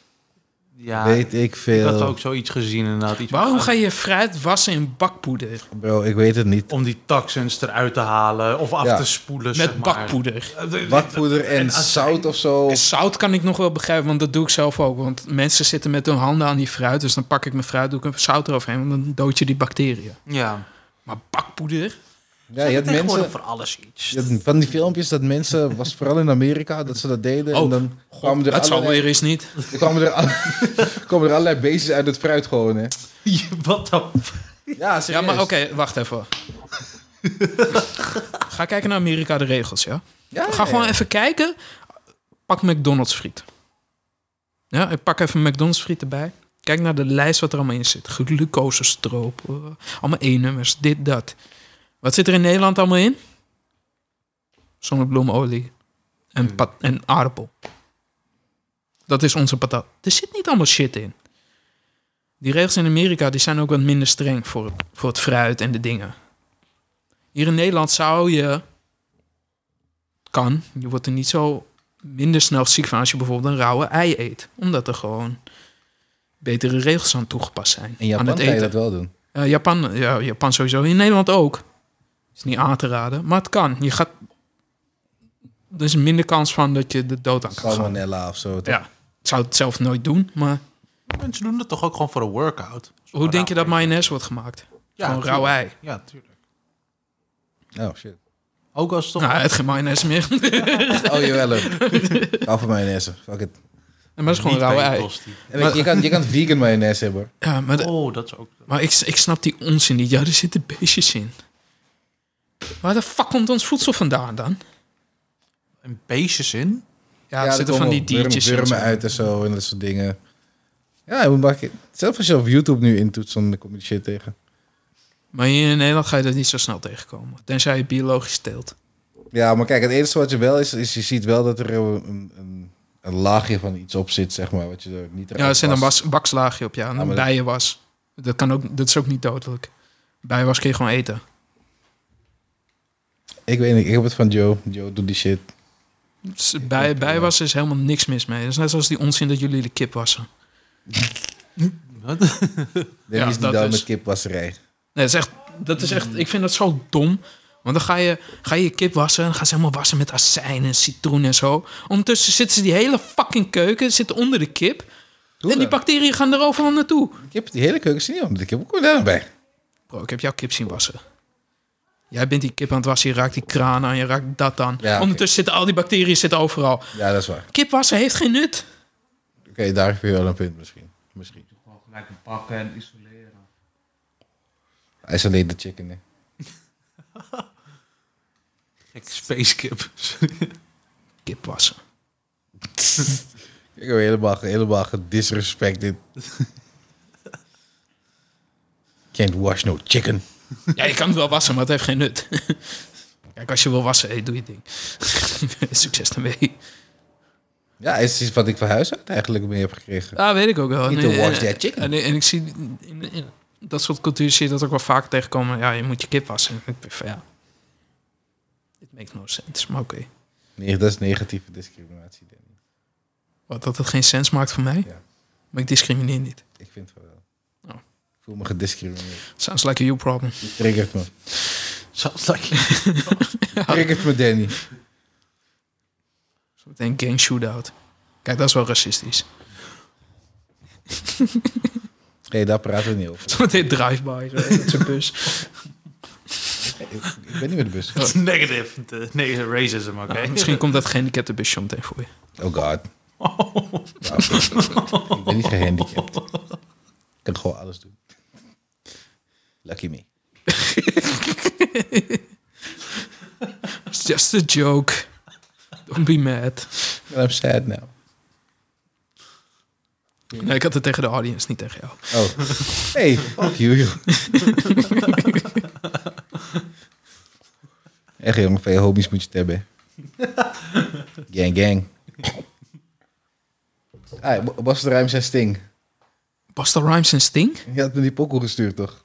S3: Ja,
S2: weet ik
S3: ik
S2: veel.
S3: had ook zoiets gezien inderdaad. Iets
S1: Waarom ga je fruit wassen in bakpoeder?
S2: Bro, ik weet het niet.
S3: Om die taxens eruit te halen of af
S2: Ja.
S3: te spoelen, Dus zeg
S1: Met
S3: maar. Eh,
S1: bakpoeder.
S2: Bakpoeder en,
S3: en azijn.
S2: zout of zo.
S1: En Zout kan ik nog wel begrijpen, want dat doe ik zelf ook. Want mensen zitten met hun handen aan die fruit. Dus dan pak ik mijn fruit, doe ik een zout eroverheen. Want dan dood je die bacteriën.
S3: Ja.
S1: Maar bakpoeder?
S2: Ja, je had mensen...
S3: voor alles iets.
S2: Je had Van die filmpjes dat mensen, was vooral in Amerika, dat ze dat deden. en
S1: Oh,
S2: dan kwamen er,
S1: dat zal
S2: allerlei,
S1: weer eens niet.
S2: er kwamen er, alle- kwamen er allerlei beestjes uit het fruit gewoon, hè.
S3: Wat dan?
S2: Ja,
S1: Ja, maar oké, wacht even. Ga kijken naar Amerika de regels, ja? Ga gewoon even kijken. Pak McDonald's friet. Ja, ik pak even McDonald's friet erbij. Kijk naar de lijst wat er allemaal in zit. Glucosestroop, eh, allemaal E-nummers, dit, dat. Wat zit er in Nederland allemaal in? Zonnebloemolie en,
S2: Mm.
S1: pat- en aardappel. Dat is onze patat. Er zit niet allemaal shit in. Die regels in Amerika die zijn ook wat minder streng voor, voor het fruit en de dingen. Hier in Nederland zou je kan. Je wordt er niet zo minder snel ziek van als je bijvoorbeeld een rauwe ei eet. Omdat er gewoon betere regels aan toegepast zijn.
S2: In Japan
S1: aan het
S2: kan je
S1: eten.
S2: dat wel doen.
S1: Eh, Japan, ja, Japan sowieso. In Nederland ook. Is niet aan te raden, maar het kan. Je gaat... Er is minder kans van dat je de dood aan kan gaan.
S2: Salmonella of zo. toch?
S1: Ja, ik zou het zelf nooit doen, maar...
S3: Mensen doen dat toch ook gewoon voor een workout?
S1: Hoe denk je dat
S3: mij?
S1: mayonaise wordt gemaakt?
S3: Ja,
S1: Gewoon
S3: tuurlijk.
S1: rauw ei.
S3: Ja, tuurlijk.
S2: Oh, shit.
S3: Ook als het toch...
S1: Nou, het geen mayonaise meer. maar
S2: Oh, jawel. Ik hou van mayonaise. Fuck it.
S1: dat is gewoon
S3: niet
S1: rauwe ei.
S3: bijgelost die.
S2: En ik- je, kan, je kan vegan mayonaise hebben, hoor.
S1: Ja, maar, de-
S3: Oh, dat is ook...
S1: maar ik, ik snap die onzin niet. Ja, er zitten beestjes in. Waar de fuck komt ons voedsel vandaan dan?
S3: Een beestjes in?
S1: Ja, er zitten van die
S2: komen
S1: diertjes
S2: wurm-
S1: in.
S2: wurmen uit en zo en dat soort dingen. Ja, je moet maken. Zelfs als je op YouTube nu intoetst, dan kom je die shit tegen.
S1: Maar hier in Nederland ga je dat niet zo snel tegenkomen. Tenzij je biologisch teelt.
S2: Ja, maar kijk, het enige wat je wel is, is je ziet wel dat er eh, een, een, een laagje van iets op zit, zeg maar, wat je er niet
S1: Ja, er zit een
S2: was.
S1: bas- bakslaagje op, ja. En
S2: Ja, maar
S1: een
S2: dat-
S1: bijenwas. Dat, kan ook, dat is ook niet dodelijk. Bijenwas kun je gewoon eten.
S2: Ik weet niet, ik heb het van Joe. Joe doet die shit.
S1: Dus Bij, bijwassen is helemaal niks mis mee. Dat is net zoals die onzin dat jullie de kip wassen.
S3: Wat?
S2: Dit
S1: Ja,
S2: is niet
S1: dat
S2: dan
S1: is-
S2: met kipwasserij.
S1: Nee, dat is echt, dat is
S2: Mm.
S1: echt, ik vind dat zo dom. Want dan ga je, ga je je kip wassen en dan gaan ze helemaal wassen met azijn en citroen en zo. Ondertussen zitten ze die hele fucking keuken, zitten onder de kip.
S2: Hoe
S1: en die
S2: dan?
S1: bacteriën gaan er overal naartoe.
S2: Kip, die hele keuken is niet om. De kip komt daar bij.
S1: Bro, ik heb jouw kip zien wassen. Jij bent die kip aan het wassen, je raakt die kraan aan, je raakt dat aan.
S2: Ja, oké.
S1: Ondertussen zitten al die bacteriën zitten overal.
S2: Ja, dat is waar.
S1: Kip wassen heeft geen nut.
S2: Oké, daar heb je wel een punt misschien. Misschien.
S4: Doe gewoon gelijk bakken en isoleren.
S2: Hij is alleen de chicken, hè.
S3: Gek spacekip.
S1: Kip wassen.
S2: Ik heb helemaal, helemaal gedisrespected. Can't wash no chicken.
S1: Ja, je kan het wel wassen, maar het heeft geen nut. Kijk, als je wil wassen, hey, doe je ding. Succes daarmee.
S2: Ja, is iets wat ik van huis uit eigenlijk mee heb gekregen.
S1: Ja, Ah, weet ik ook wel.
S2: Need
S1: En-
S2: to wash
S1: en-
S2: that chicken.
S1: En, en ik zie, in, in dat soort culturen zie je dat ook wel vaak tegenkomen. Ja, je moet je kip wassen. Ik denk van, ja, it makes no sense, maar oké.
S2: Nee, dat is negatieve discriminatie, Danny.
S1: Wat, dat het geen sens maakt voor mij?
S2: Ja.
S1: Maar ik discrimineer niet.
S2: Ik vind het wel.
S1: Oh.
S2: Ik voel me gediscrimineerd.
S1: Sounds like a you problem.
S2: Je triggert me.
S3: Zo, dat je-
S2: Je triggert me, Danny.
S1: Zo meteen gang shootout. Kijk, dat is wel racistisch.
S2: Hé, daar praten we niet over.
S1: Zo meteen drive-by, zo, met zijn bus.
S2: Ik ben niet met de bus.
S3: Dat is negative. De- Nee, eh, racism, oké.
S1: Nou, misschien komt dat gehandicaptenbusje meteen voor je.
S2: Oh god. Nou, ik ben niet gehandicapt. Ik kan gewoon alles doen. Lucky me.
S1: It's just a joke. Don't be mad.
S2: And I'm sad now.
S1: Nee, ik had het tegen de audience, niet tegen jou.
S2: Oh. Hey, fuck you. joh. Echt jongen, veel homies moet je het hebben. Gang, gang. Ah, B- Bas de Ruim zijn Sting.
S1: Basta Rhymes en Sting?
S2: Je had me die pokoe gestuurd, toch?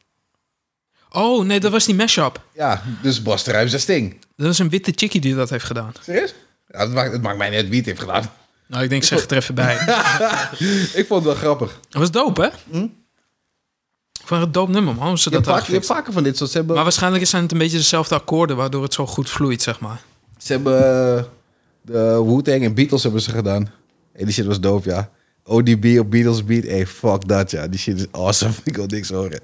S1: Oh, nee, dat was die mashup.
S2: Ja, dus Bas de Ruim zijn Sting.
S1: Dat was een witte chickie die dat heeft gedaan.
S2: Serieus? Ja, het, maakt, het maakt mij niet uit wie het heeft gedaan.
S1: Nou, ik denk, zeg het er even bij.
S2: Ik vond het wel grappig.
S1: Dat was dope, hè? Ik vond het een dope nummer, man. hoe Ze
S2: Hm? Je hebt,
S1: dat
S2: vaak,
S1: hadden
S2: je hebt
S1: gefixt.
S2: vaker van dit soort. Ze hebben,
S1: Maar waarschijnlijk zijn het een beetje dezelfde akkoorden... waardoor het zo goed vloeit, zeg maar.
S2: ze hebben eh, de Wu-Tang en Beatles hebben ze gedaan. En die shit was dope, ja. ODB op Beatles beat. Hey, fuck dat, ja. Die shit is awesome. Ik wil niks horen.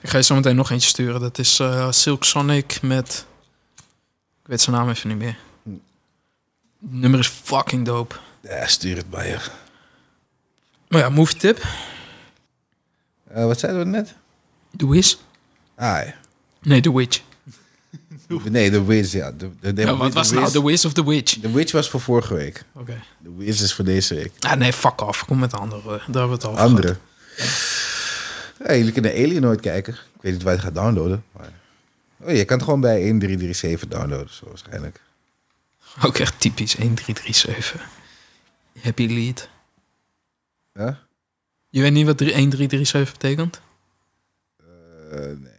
S1: Ik ga je zo meteen nog eentje sturen. Dat is eh, Silk Sonic met... Ik weet zijn naam even niet meer.
S2: Hm.
S1: Het nummer is fucking dope.
S2: Ja, stuur het maar, joh.
S1: Maar ja, movie tip.
S2: Eh, wat zeiden we net?
S1: The Wiz.
S2: Ah, ja.
S1: Nee, The Witch.
S2: Nee, The Wiz, ja. De, de, de-
S1: Ja, wat was
S2: de
S1: nou
S2: Wiz-
S1: The Wiz of The Witch?
S2: The Witch was voor vorige week.
S1: Oké.
S2: The Wiz is voor deze week.
S1: Ah, nee, fuck off. Kom met de andere. eh, Daar hebben we het al over
S2: Andere. Ja, jullie kunnen Alien nooit kijken. Ik weet niet waar je het gaat downloaden. Maar... Oh, je kan het gewoon bij 1337 downloaden, zo waarschijnlijk.
S1: gehad. Ook echt typisch 1337. Happy lead.
S2: Ja?
S1: Je weet niet wat 3- 1337 betekent?
S2: Eh, nee.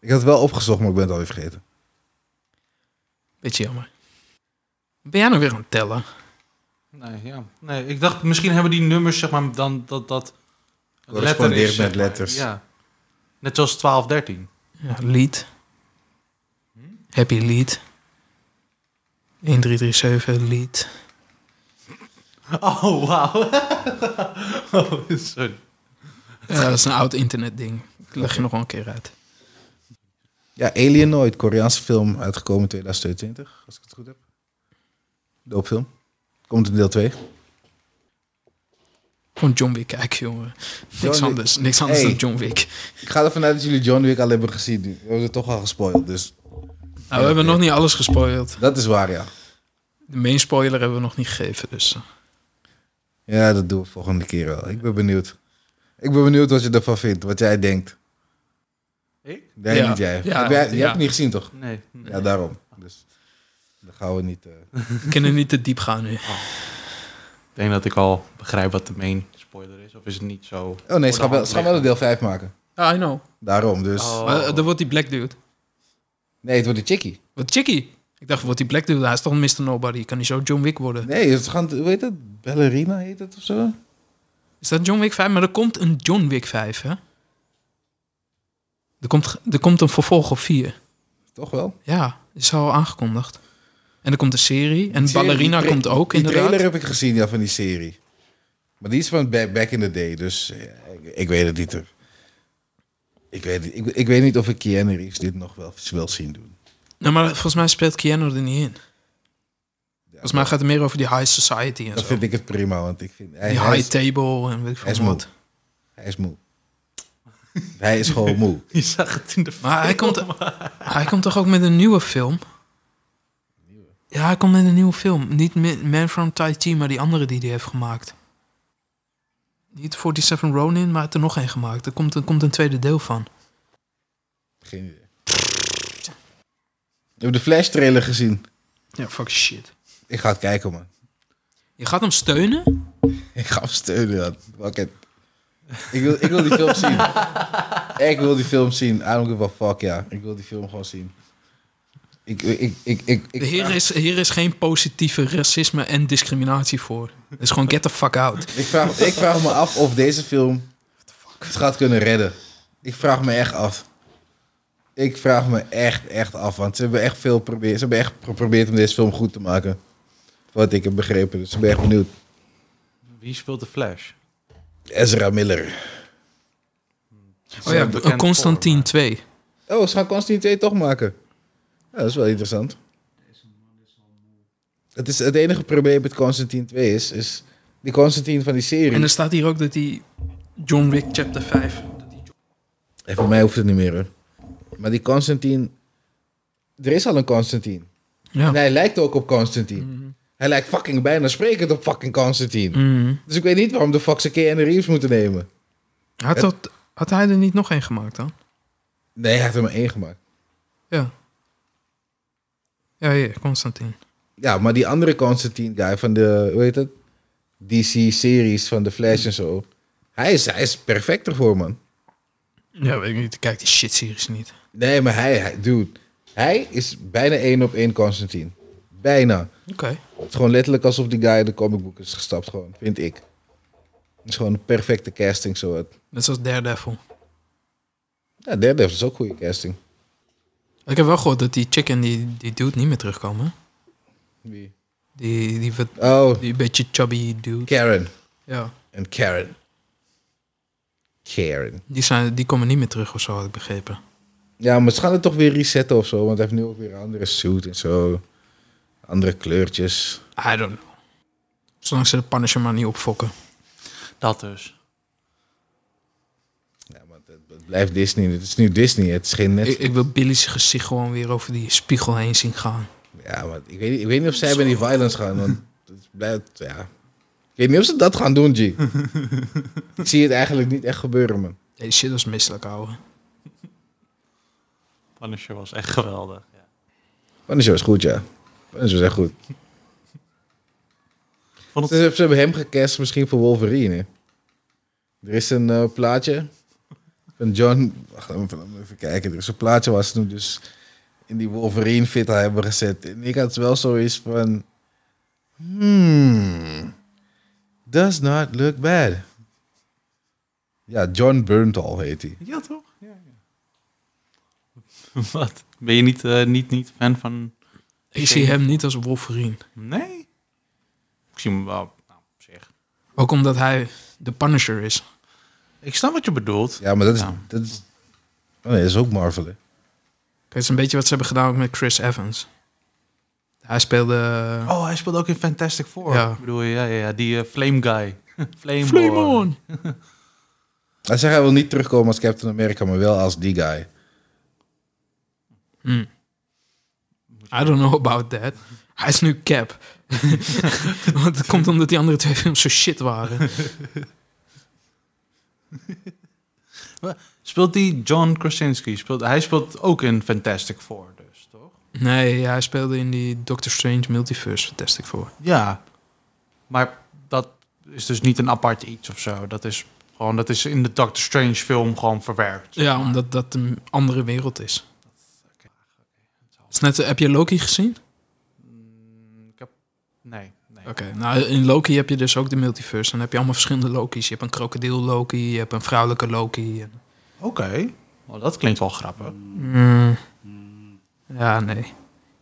S2: Ik had het wel opgezocht, maar ik ben het alweer vergeten.
S1: Beetje jammer. Ben jij nou weer aan het tellen?
S3: Nee, ja. Nee, ik dacht misschien hebben die nummers, zeg maar, dan dat dat
S2: Correspondeert
S3: letter is, zeg
S2: met
S3: maar.
S2: letters.
S3: Ja. Net zoals 12, 13.
S1: Ja, lead. Happy lead. 1337 lead.
S3: Oh, wauw. oh, sorry.
S1: Ja, dat is een oud internetding. Ik leg je nog wel een keer uit.
S2: Ja, Alien nooit. Koreaanse film uitgekomen in 2022, als ik het goed heb. Doopfilm. Komt in deel 2.
S1: Gewoon John Wick kijken, jongen.
S2: John
S1: Niks
S2: Wick.
S1: anders. Niks anders
S2: Hey.
S1: dan John Wick.
S2: Ik ga ervan uit dat jullie John Wick al hebben gezien. nu. We hebben het toch al gespoild, dus
S1: Nou, we hebben nog niet alles gespoild.
S2: dat is waar, ja.
S1: De main spoiler hebben we nog niet gegeven, dus... eh.
S2: Ja, dat doen we volgende keer wel. Ik ben benieuwd. Ik ben benieuwd wat je ervan vindt, wat jij denkt.
S3: Ik?
S2: Nee,
S1: Ja.
S2: niet jij.
S1: Ja,
S2: Heb jij je
S1: ja.
S2: hebt het niet gezien, toch?
S3: Nee.
S2: Ja, daarom. Dus dan gaan we niet... eh,
S1: We kunnen niet te diep gaan nu.
S3: Ik denk dat ik al begrijp wat de main spoiler is. Of is het niet zo?
S2: Oh nee, ze gaan, wel, ze gaan wel een deel 5 maken.
S1: Ah, I know.
S2: Daarom, dus...
S3: Oh.
S1: Maar eh, dan wordt die black dude.
S2: Nee, het wordt een chickie.
S1: Wat chickie. Ik dacht, wordt die black dude? Hij is toch een Mr. Nobody? Kan hij zo John Wick worden?
S2: Nee, het gaan... Hoe heet dat? Ballerina heet het of zo?
S1: Is dat John Wick 5? Maar er komt een John Wick 5, hè? Er komt, er komt een vervolg op 4.
S2: Toch wel?
S1: Ja, is al aangekondigd. En er komt een serie. En
S2: Die serie,
S1: Ballerina
S2: die tra-
S1: komt ook,
S2: Die
S1: inderdaad.
S2: trailer heb ik gezien, ja, van die serie. Maar die is van ba- back in the day, dus eh, ik, ik weet het niet. hoor. Ik weet, het- ik, ik weet niet of ik Keanu Reeves dit nog wel wil zien doen.
S1: Nou, maar volgens mij speelt Keanu er niet in. Volgens mij gaat het meer over die high society en
S2: Dan
S1: zo.
S2: vind ik het prima, want ik vind... Hij,
S1: die
S2: hij,
S1: high
S2: is,
S1: table en weet ik
S2: hij is
S1: veel wat.
S2: hij is moe. hij is gewoon moe.
S3: Je zag het in de
S1: Maar hij komt, hij komt toch ook met een nieuwe film? Ja, hij komt met een nieuwe film. Niet Mi- Man from Tai Chi, maar die andere die hij heeft gemaakt. Niet 47 Ronin, maar hij heeft er nog één gemaakt. Er komt, er komt een tweede deel van.
S2: Geen idee. Ik heb de Flash trailer gezien.
S1: Ja, fuck shit.
S2: Ik ga het kijken, man.
S1: Je gaat hem steunen?
S2: Ik ga hem steunen, man. Fuck it. Ik wil, ik wil die film zien. Ik wil die film zien. I don't give a fuck, ja. Ik wil die film gewoon zien. Ik, ik, ik, ik, ik, ik-
S1: Hier is, hier is geen positieve racisme en discriminatie voor. Het is gewoon get the fuck out.
S2: ik, vraag, ik vraag me af of deze film het gaat kunnen redden. Ik vraag me echt af. Ik vraag me echt, echt af. Want ze hebben echt veel probeer, ze hebben echt geprobeerd om deze film goed te maken. Wat ik heb begrepen. Dus ik ben echt benieuwd.
S3: Wie speelt de Flash?
S2: Ezra Miller.
S1: Oh ja,
S3: Bekend voor,
S1: Oh Constantine
S3: maar-
S1: 2.
S2: Oh, ze gaan Constantine 2 toch maken. Ja, dat is wel interessant. Het, is, het enige probleem met Constantine 2 is, is die Constantine van die serie.
S1: En er staat hier ook dat die John Wick chapter 5... dat die-
S2: En voor mij hoeft het niet meer hoor. Maar die Constantine. Er is al een Constantine.
S1: Ja.
S2: En hij lijkt ook op Constantine.
S1: Mhm.
S2: Hij lijkt fucking bijna sprekend op fucking Constantine.
S1: Mhm.
S2: Dus ik weet niet waarom de fuck ze Keanu Reeves moeten nemen.
S1: Had, dat, had hij er niet nog één gemaakt dan?
S2: Nee, hij heeft er maar één gemaakt.
S1: Ja. Ja, hier, Constantine.
S2: Ja, maar die andere Constantine guy van de, hoe heet het? DC-series van The Flash en zo. Hij is, hij is perfect ervoor, man.
S1: Ja, weet ik niet. Ik Kijk die shit-series niet.
S2: Nee, maar hij, hij dude. Hij is bijna één op één Constantine. Bijna.
S1: Oké.
S2: Het is gewoon letterlijk alsof die guy in de comicboek is gestapt, gewoon, vind ik. Het is gewoon een perfecte casting, zo. uit.
S1: Net zoals Daredevil.
S2: Ja, Daredevil is ook goede casting.
S1: Ik heb wel gehoord dat die chick en die, die dude niet meer terugkomen. hè?
S2: Wie?
S1: Die, die, wat-
S2: Oh,
S1: die beetje chubby dude.
S2: Karen.
S1: Ja.
S2: En Karen. Karen.
S1: Die, zijn, die komen niet meer terug of zo, had ik begrepen.
S2: Ja, maar ze gaan het toch weer resetten of zo, want hij heeft nu ook weer een andere suit en zo. Andere kleurtjes.
S1: I don't know. Zolang ze de Punisher maar niet opfokken.
S3: Dat dus.
S2: Ja, maar het, het blijft Disney. Het is nu Disney. Het is geen net.
S1: Ik, ik wil Billy's gezicht gewoon weer over die spiegel heen zien gaan.
S2: ja, maar ik weet, niet- ik weet niet of zij bij die violence gaan. Want het blijft, ja. Ik weet niet of ze dat gaan doen, G. ik zie het eigenlijk niet echt gebeuren, man.
S1: Ja, die shit was misselijk, ouwe.
S3: Punisher was echt geweldig. Ja.
S2: Punisher was goed, ja. Punisher was echt goed.
S3: Vond het,
S2: Ze, ze hebben hem gecast misschien voor Wolverine. hè. Er is een eh, plaatje van John... Wacht even, laat me even kijken. Er is een plaatje waar ze hem dus in die Wolverine fit hebben gezet. En ik had wel zoiets van... Hmm... Does not look bad. Ja, John Berntal heet hij.
S3: ja, toch? Ja, ja. Wat? Ben je niet, eh, niet, niet fan van...
S1: Ik zie hem niet als Wolverine.
S3: Nee? Ik zie hem wel... Nou, op zich.
S1: Ook omdat hij de Punisher is.
S3: Ik snap wat je bedoelt.
S2: Ja, maar dat is...
S3: Ja.
S2: Dat is oh nee, dat is ook Marvel, hè?
S1: Kijk, het is een beetje wat ze hebben gedaan ook met Chris Evans. Hij speelde...
S3: Oh, hij speelde ook in Fantastic Four.
S1: Ja.
S3: Ik bedoel, ja, ja, ja. Die eh, Flame Guy. Flame,
S1: Flame
S3: Boy.
S1: on!
S2: Hij zegt hij wil niet terugkomen als Captain America, maar wel als die guy.
S1: Hmm. I don't know about that. Hij is nu cap. Want het komt omdat die andere twee films zo shit waren.
S3: Speelt die John Krasinski? Speelt, hij speelt ook in Fantastic Four, dus toch?
S1: Nee, hij speelde in die Doctor Strange Multiverse Fantastic Four.
S3: Ja. Maar dat is dus niet een apart iets of zo. Dat is gewoon, dat is in de Doctor Strange film gewoon verwerkt.
S1: Ja, omdat dat een andere wereld is. Het is net, heb je Loki gezien?
S3: Mm, Ik heb... Nee, nee.
S1: Oké, nou in Loki heb je dus ook de multiverse. Dan heb je allemaal verschillende Loki's. Je hebt een krokodil Loki, je hebt een vrouwelijke Loki. en-
S3: Oké. Oh, dat klinkt wel grappig.
S1: Mm. Ja, nee. Ik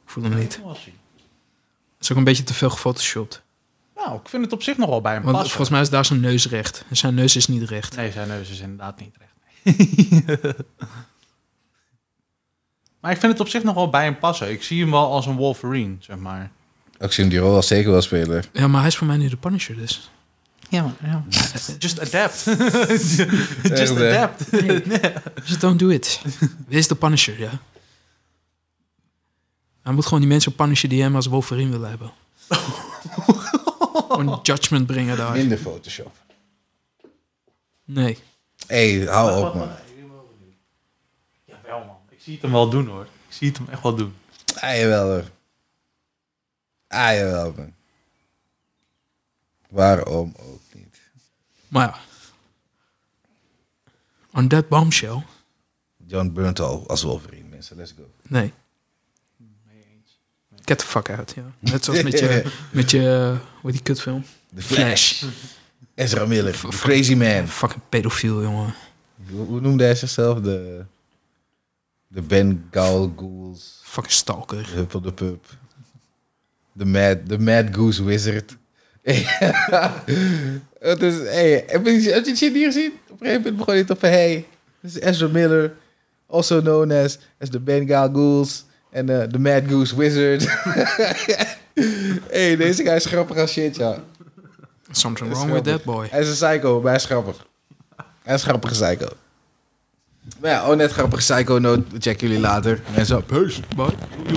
S1: voel hem niet. Het is ook een beetje te veel gefotoshopt.
S3: Nou, ik vind het op zich nog wel bij hem
S1: Want
S3: passen.
S1: volgens mij is daar zijn neus recht. En zijn neus is niet recht.
S3: Nee, zijn neus is inderdaad niet recht. maar ik vind het op zich nog wel bij hem passen. Ik zie hem wel als een Wolverine, zeg maar.
S2: Ik zie hem die rol wel zeker wel spelen.
S1: Ja, maar hij is voor mij nu de Punisher dus.
S3: Ja, maar, ja. Just adapt.
S2: Echt,
S3: Just
S2: hè?
S3: adapt.
S1: Dus don't do it. Wees de Punisher, ja. Hij moet gewoon die mensen punishen die hem als Wolverine willen hebben. Gewoon judgment brengen daar.
S2: Minder Photoshop.
S1: Nee.
S2: Hé, hou op, man.
S3: Jawel, man. Ik zie het hem wel doen, hoor. Ik zie het hem echt wel doen.
S2: Ah, jawel, hoor. Ah, jawel, man. Waarom ook niet?
S1: Maar ja. On that bombshell?
S2: John Berntal als Wolverine, mensen. Let's go.
S1: Nee. Get the fuck out, ja. Net zoals met je... Met je... Hoe heet die kutfilm?
S2: The Flash. Ezra Miller. The Crazy Man.
S1: Fucking pedofiel, jongen.
S2: Hoe, hoe noemde hij zichzelf? De... De Bengal Ghouls.
S1: Fucking stalker.
S2: De Huppel de Pup. De Mad, de Mad Goose Wizard. Het is, hey, heb je, heb je het shit hier gezien? Op een gegeven moment begon hij toch van, hey, dit is Ezra Miller. also known as, as the Bengal Ghouls en eh, de Mad Goose Wizard. hey, deze guy is grappig als shit, ja.
S1: Something
S2: Is
S1: wrong with that
S2: grappig.
S1: boy.
S2: Hij is een psycho, maar hij is grappig. Hij is een grappige psycho. Maar ja, oh net grappig psycho note. Check jullie later. En zo, peace.
S1: Boy.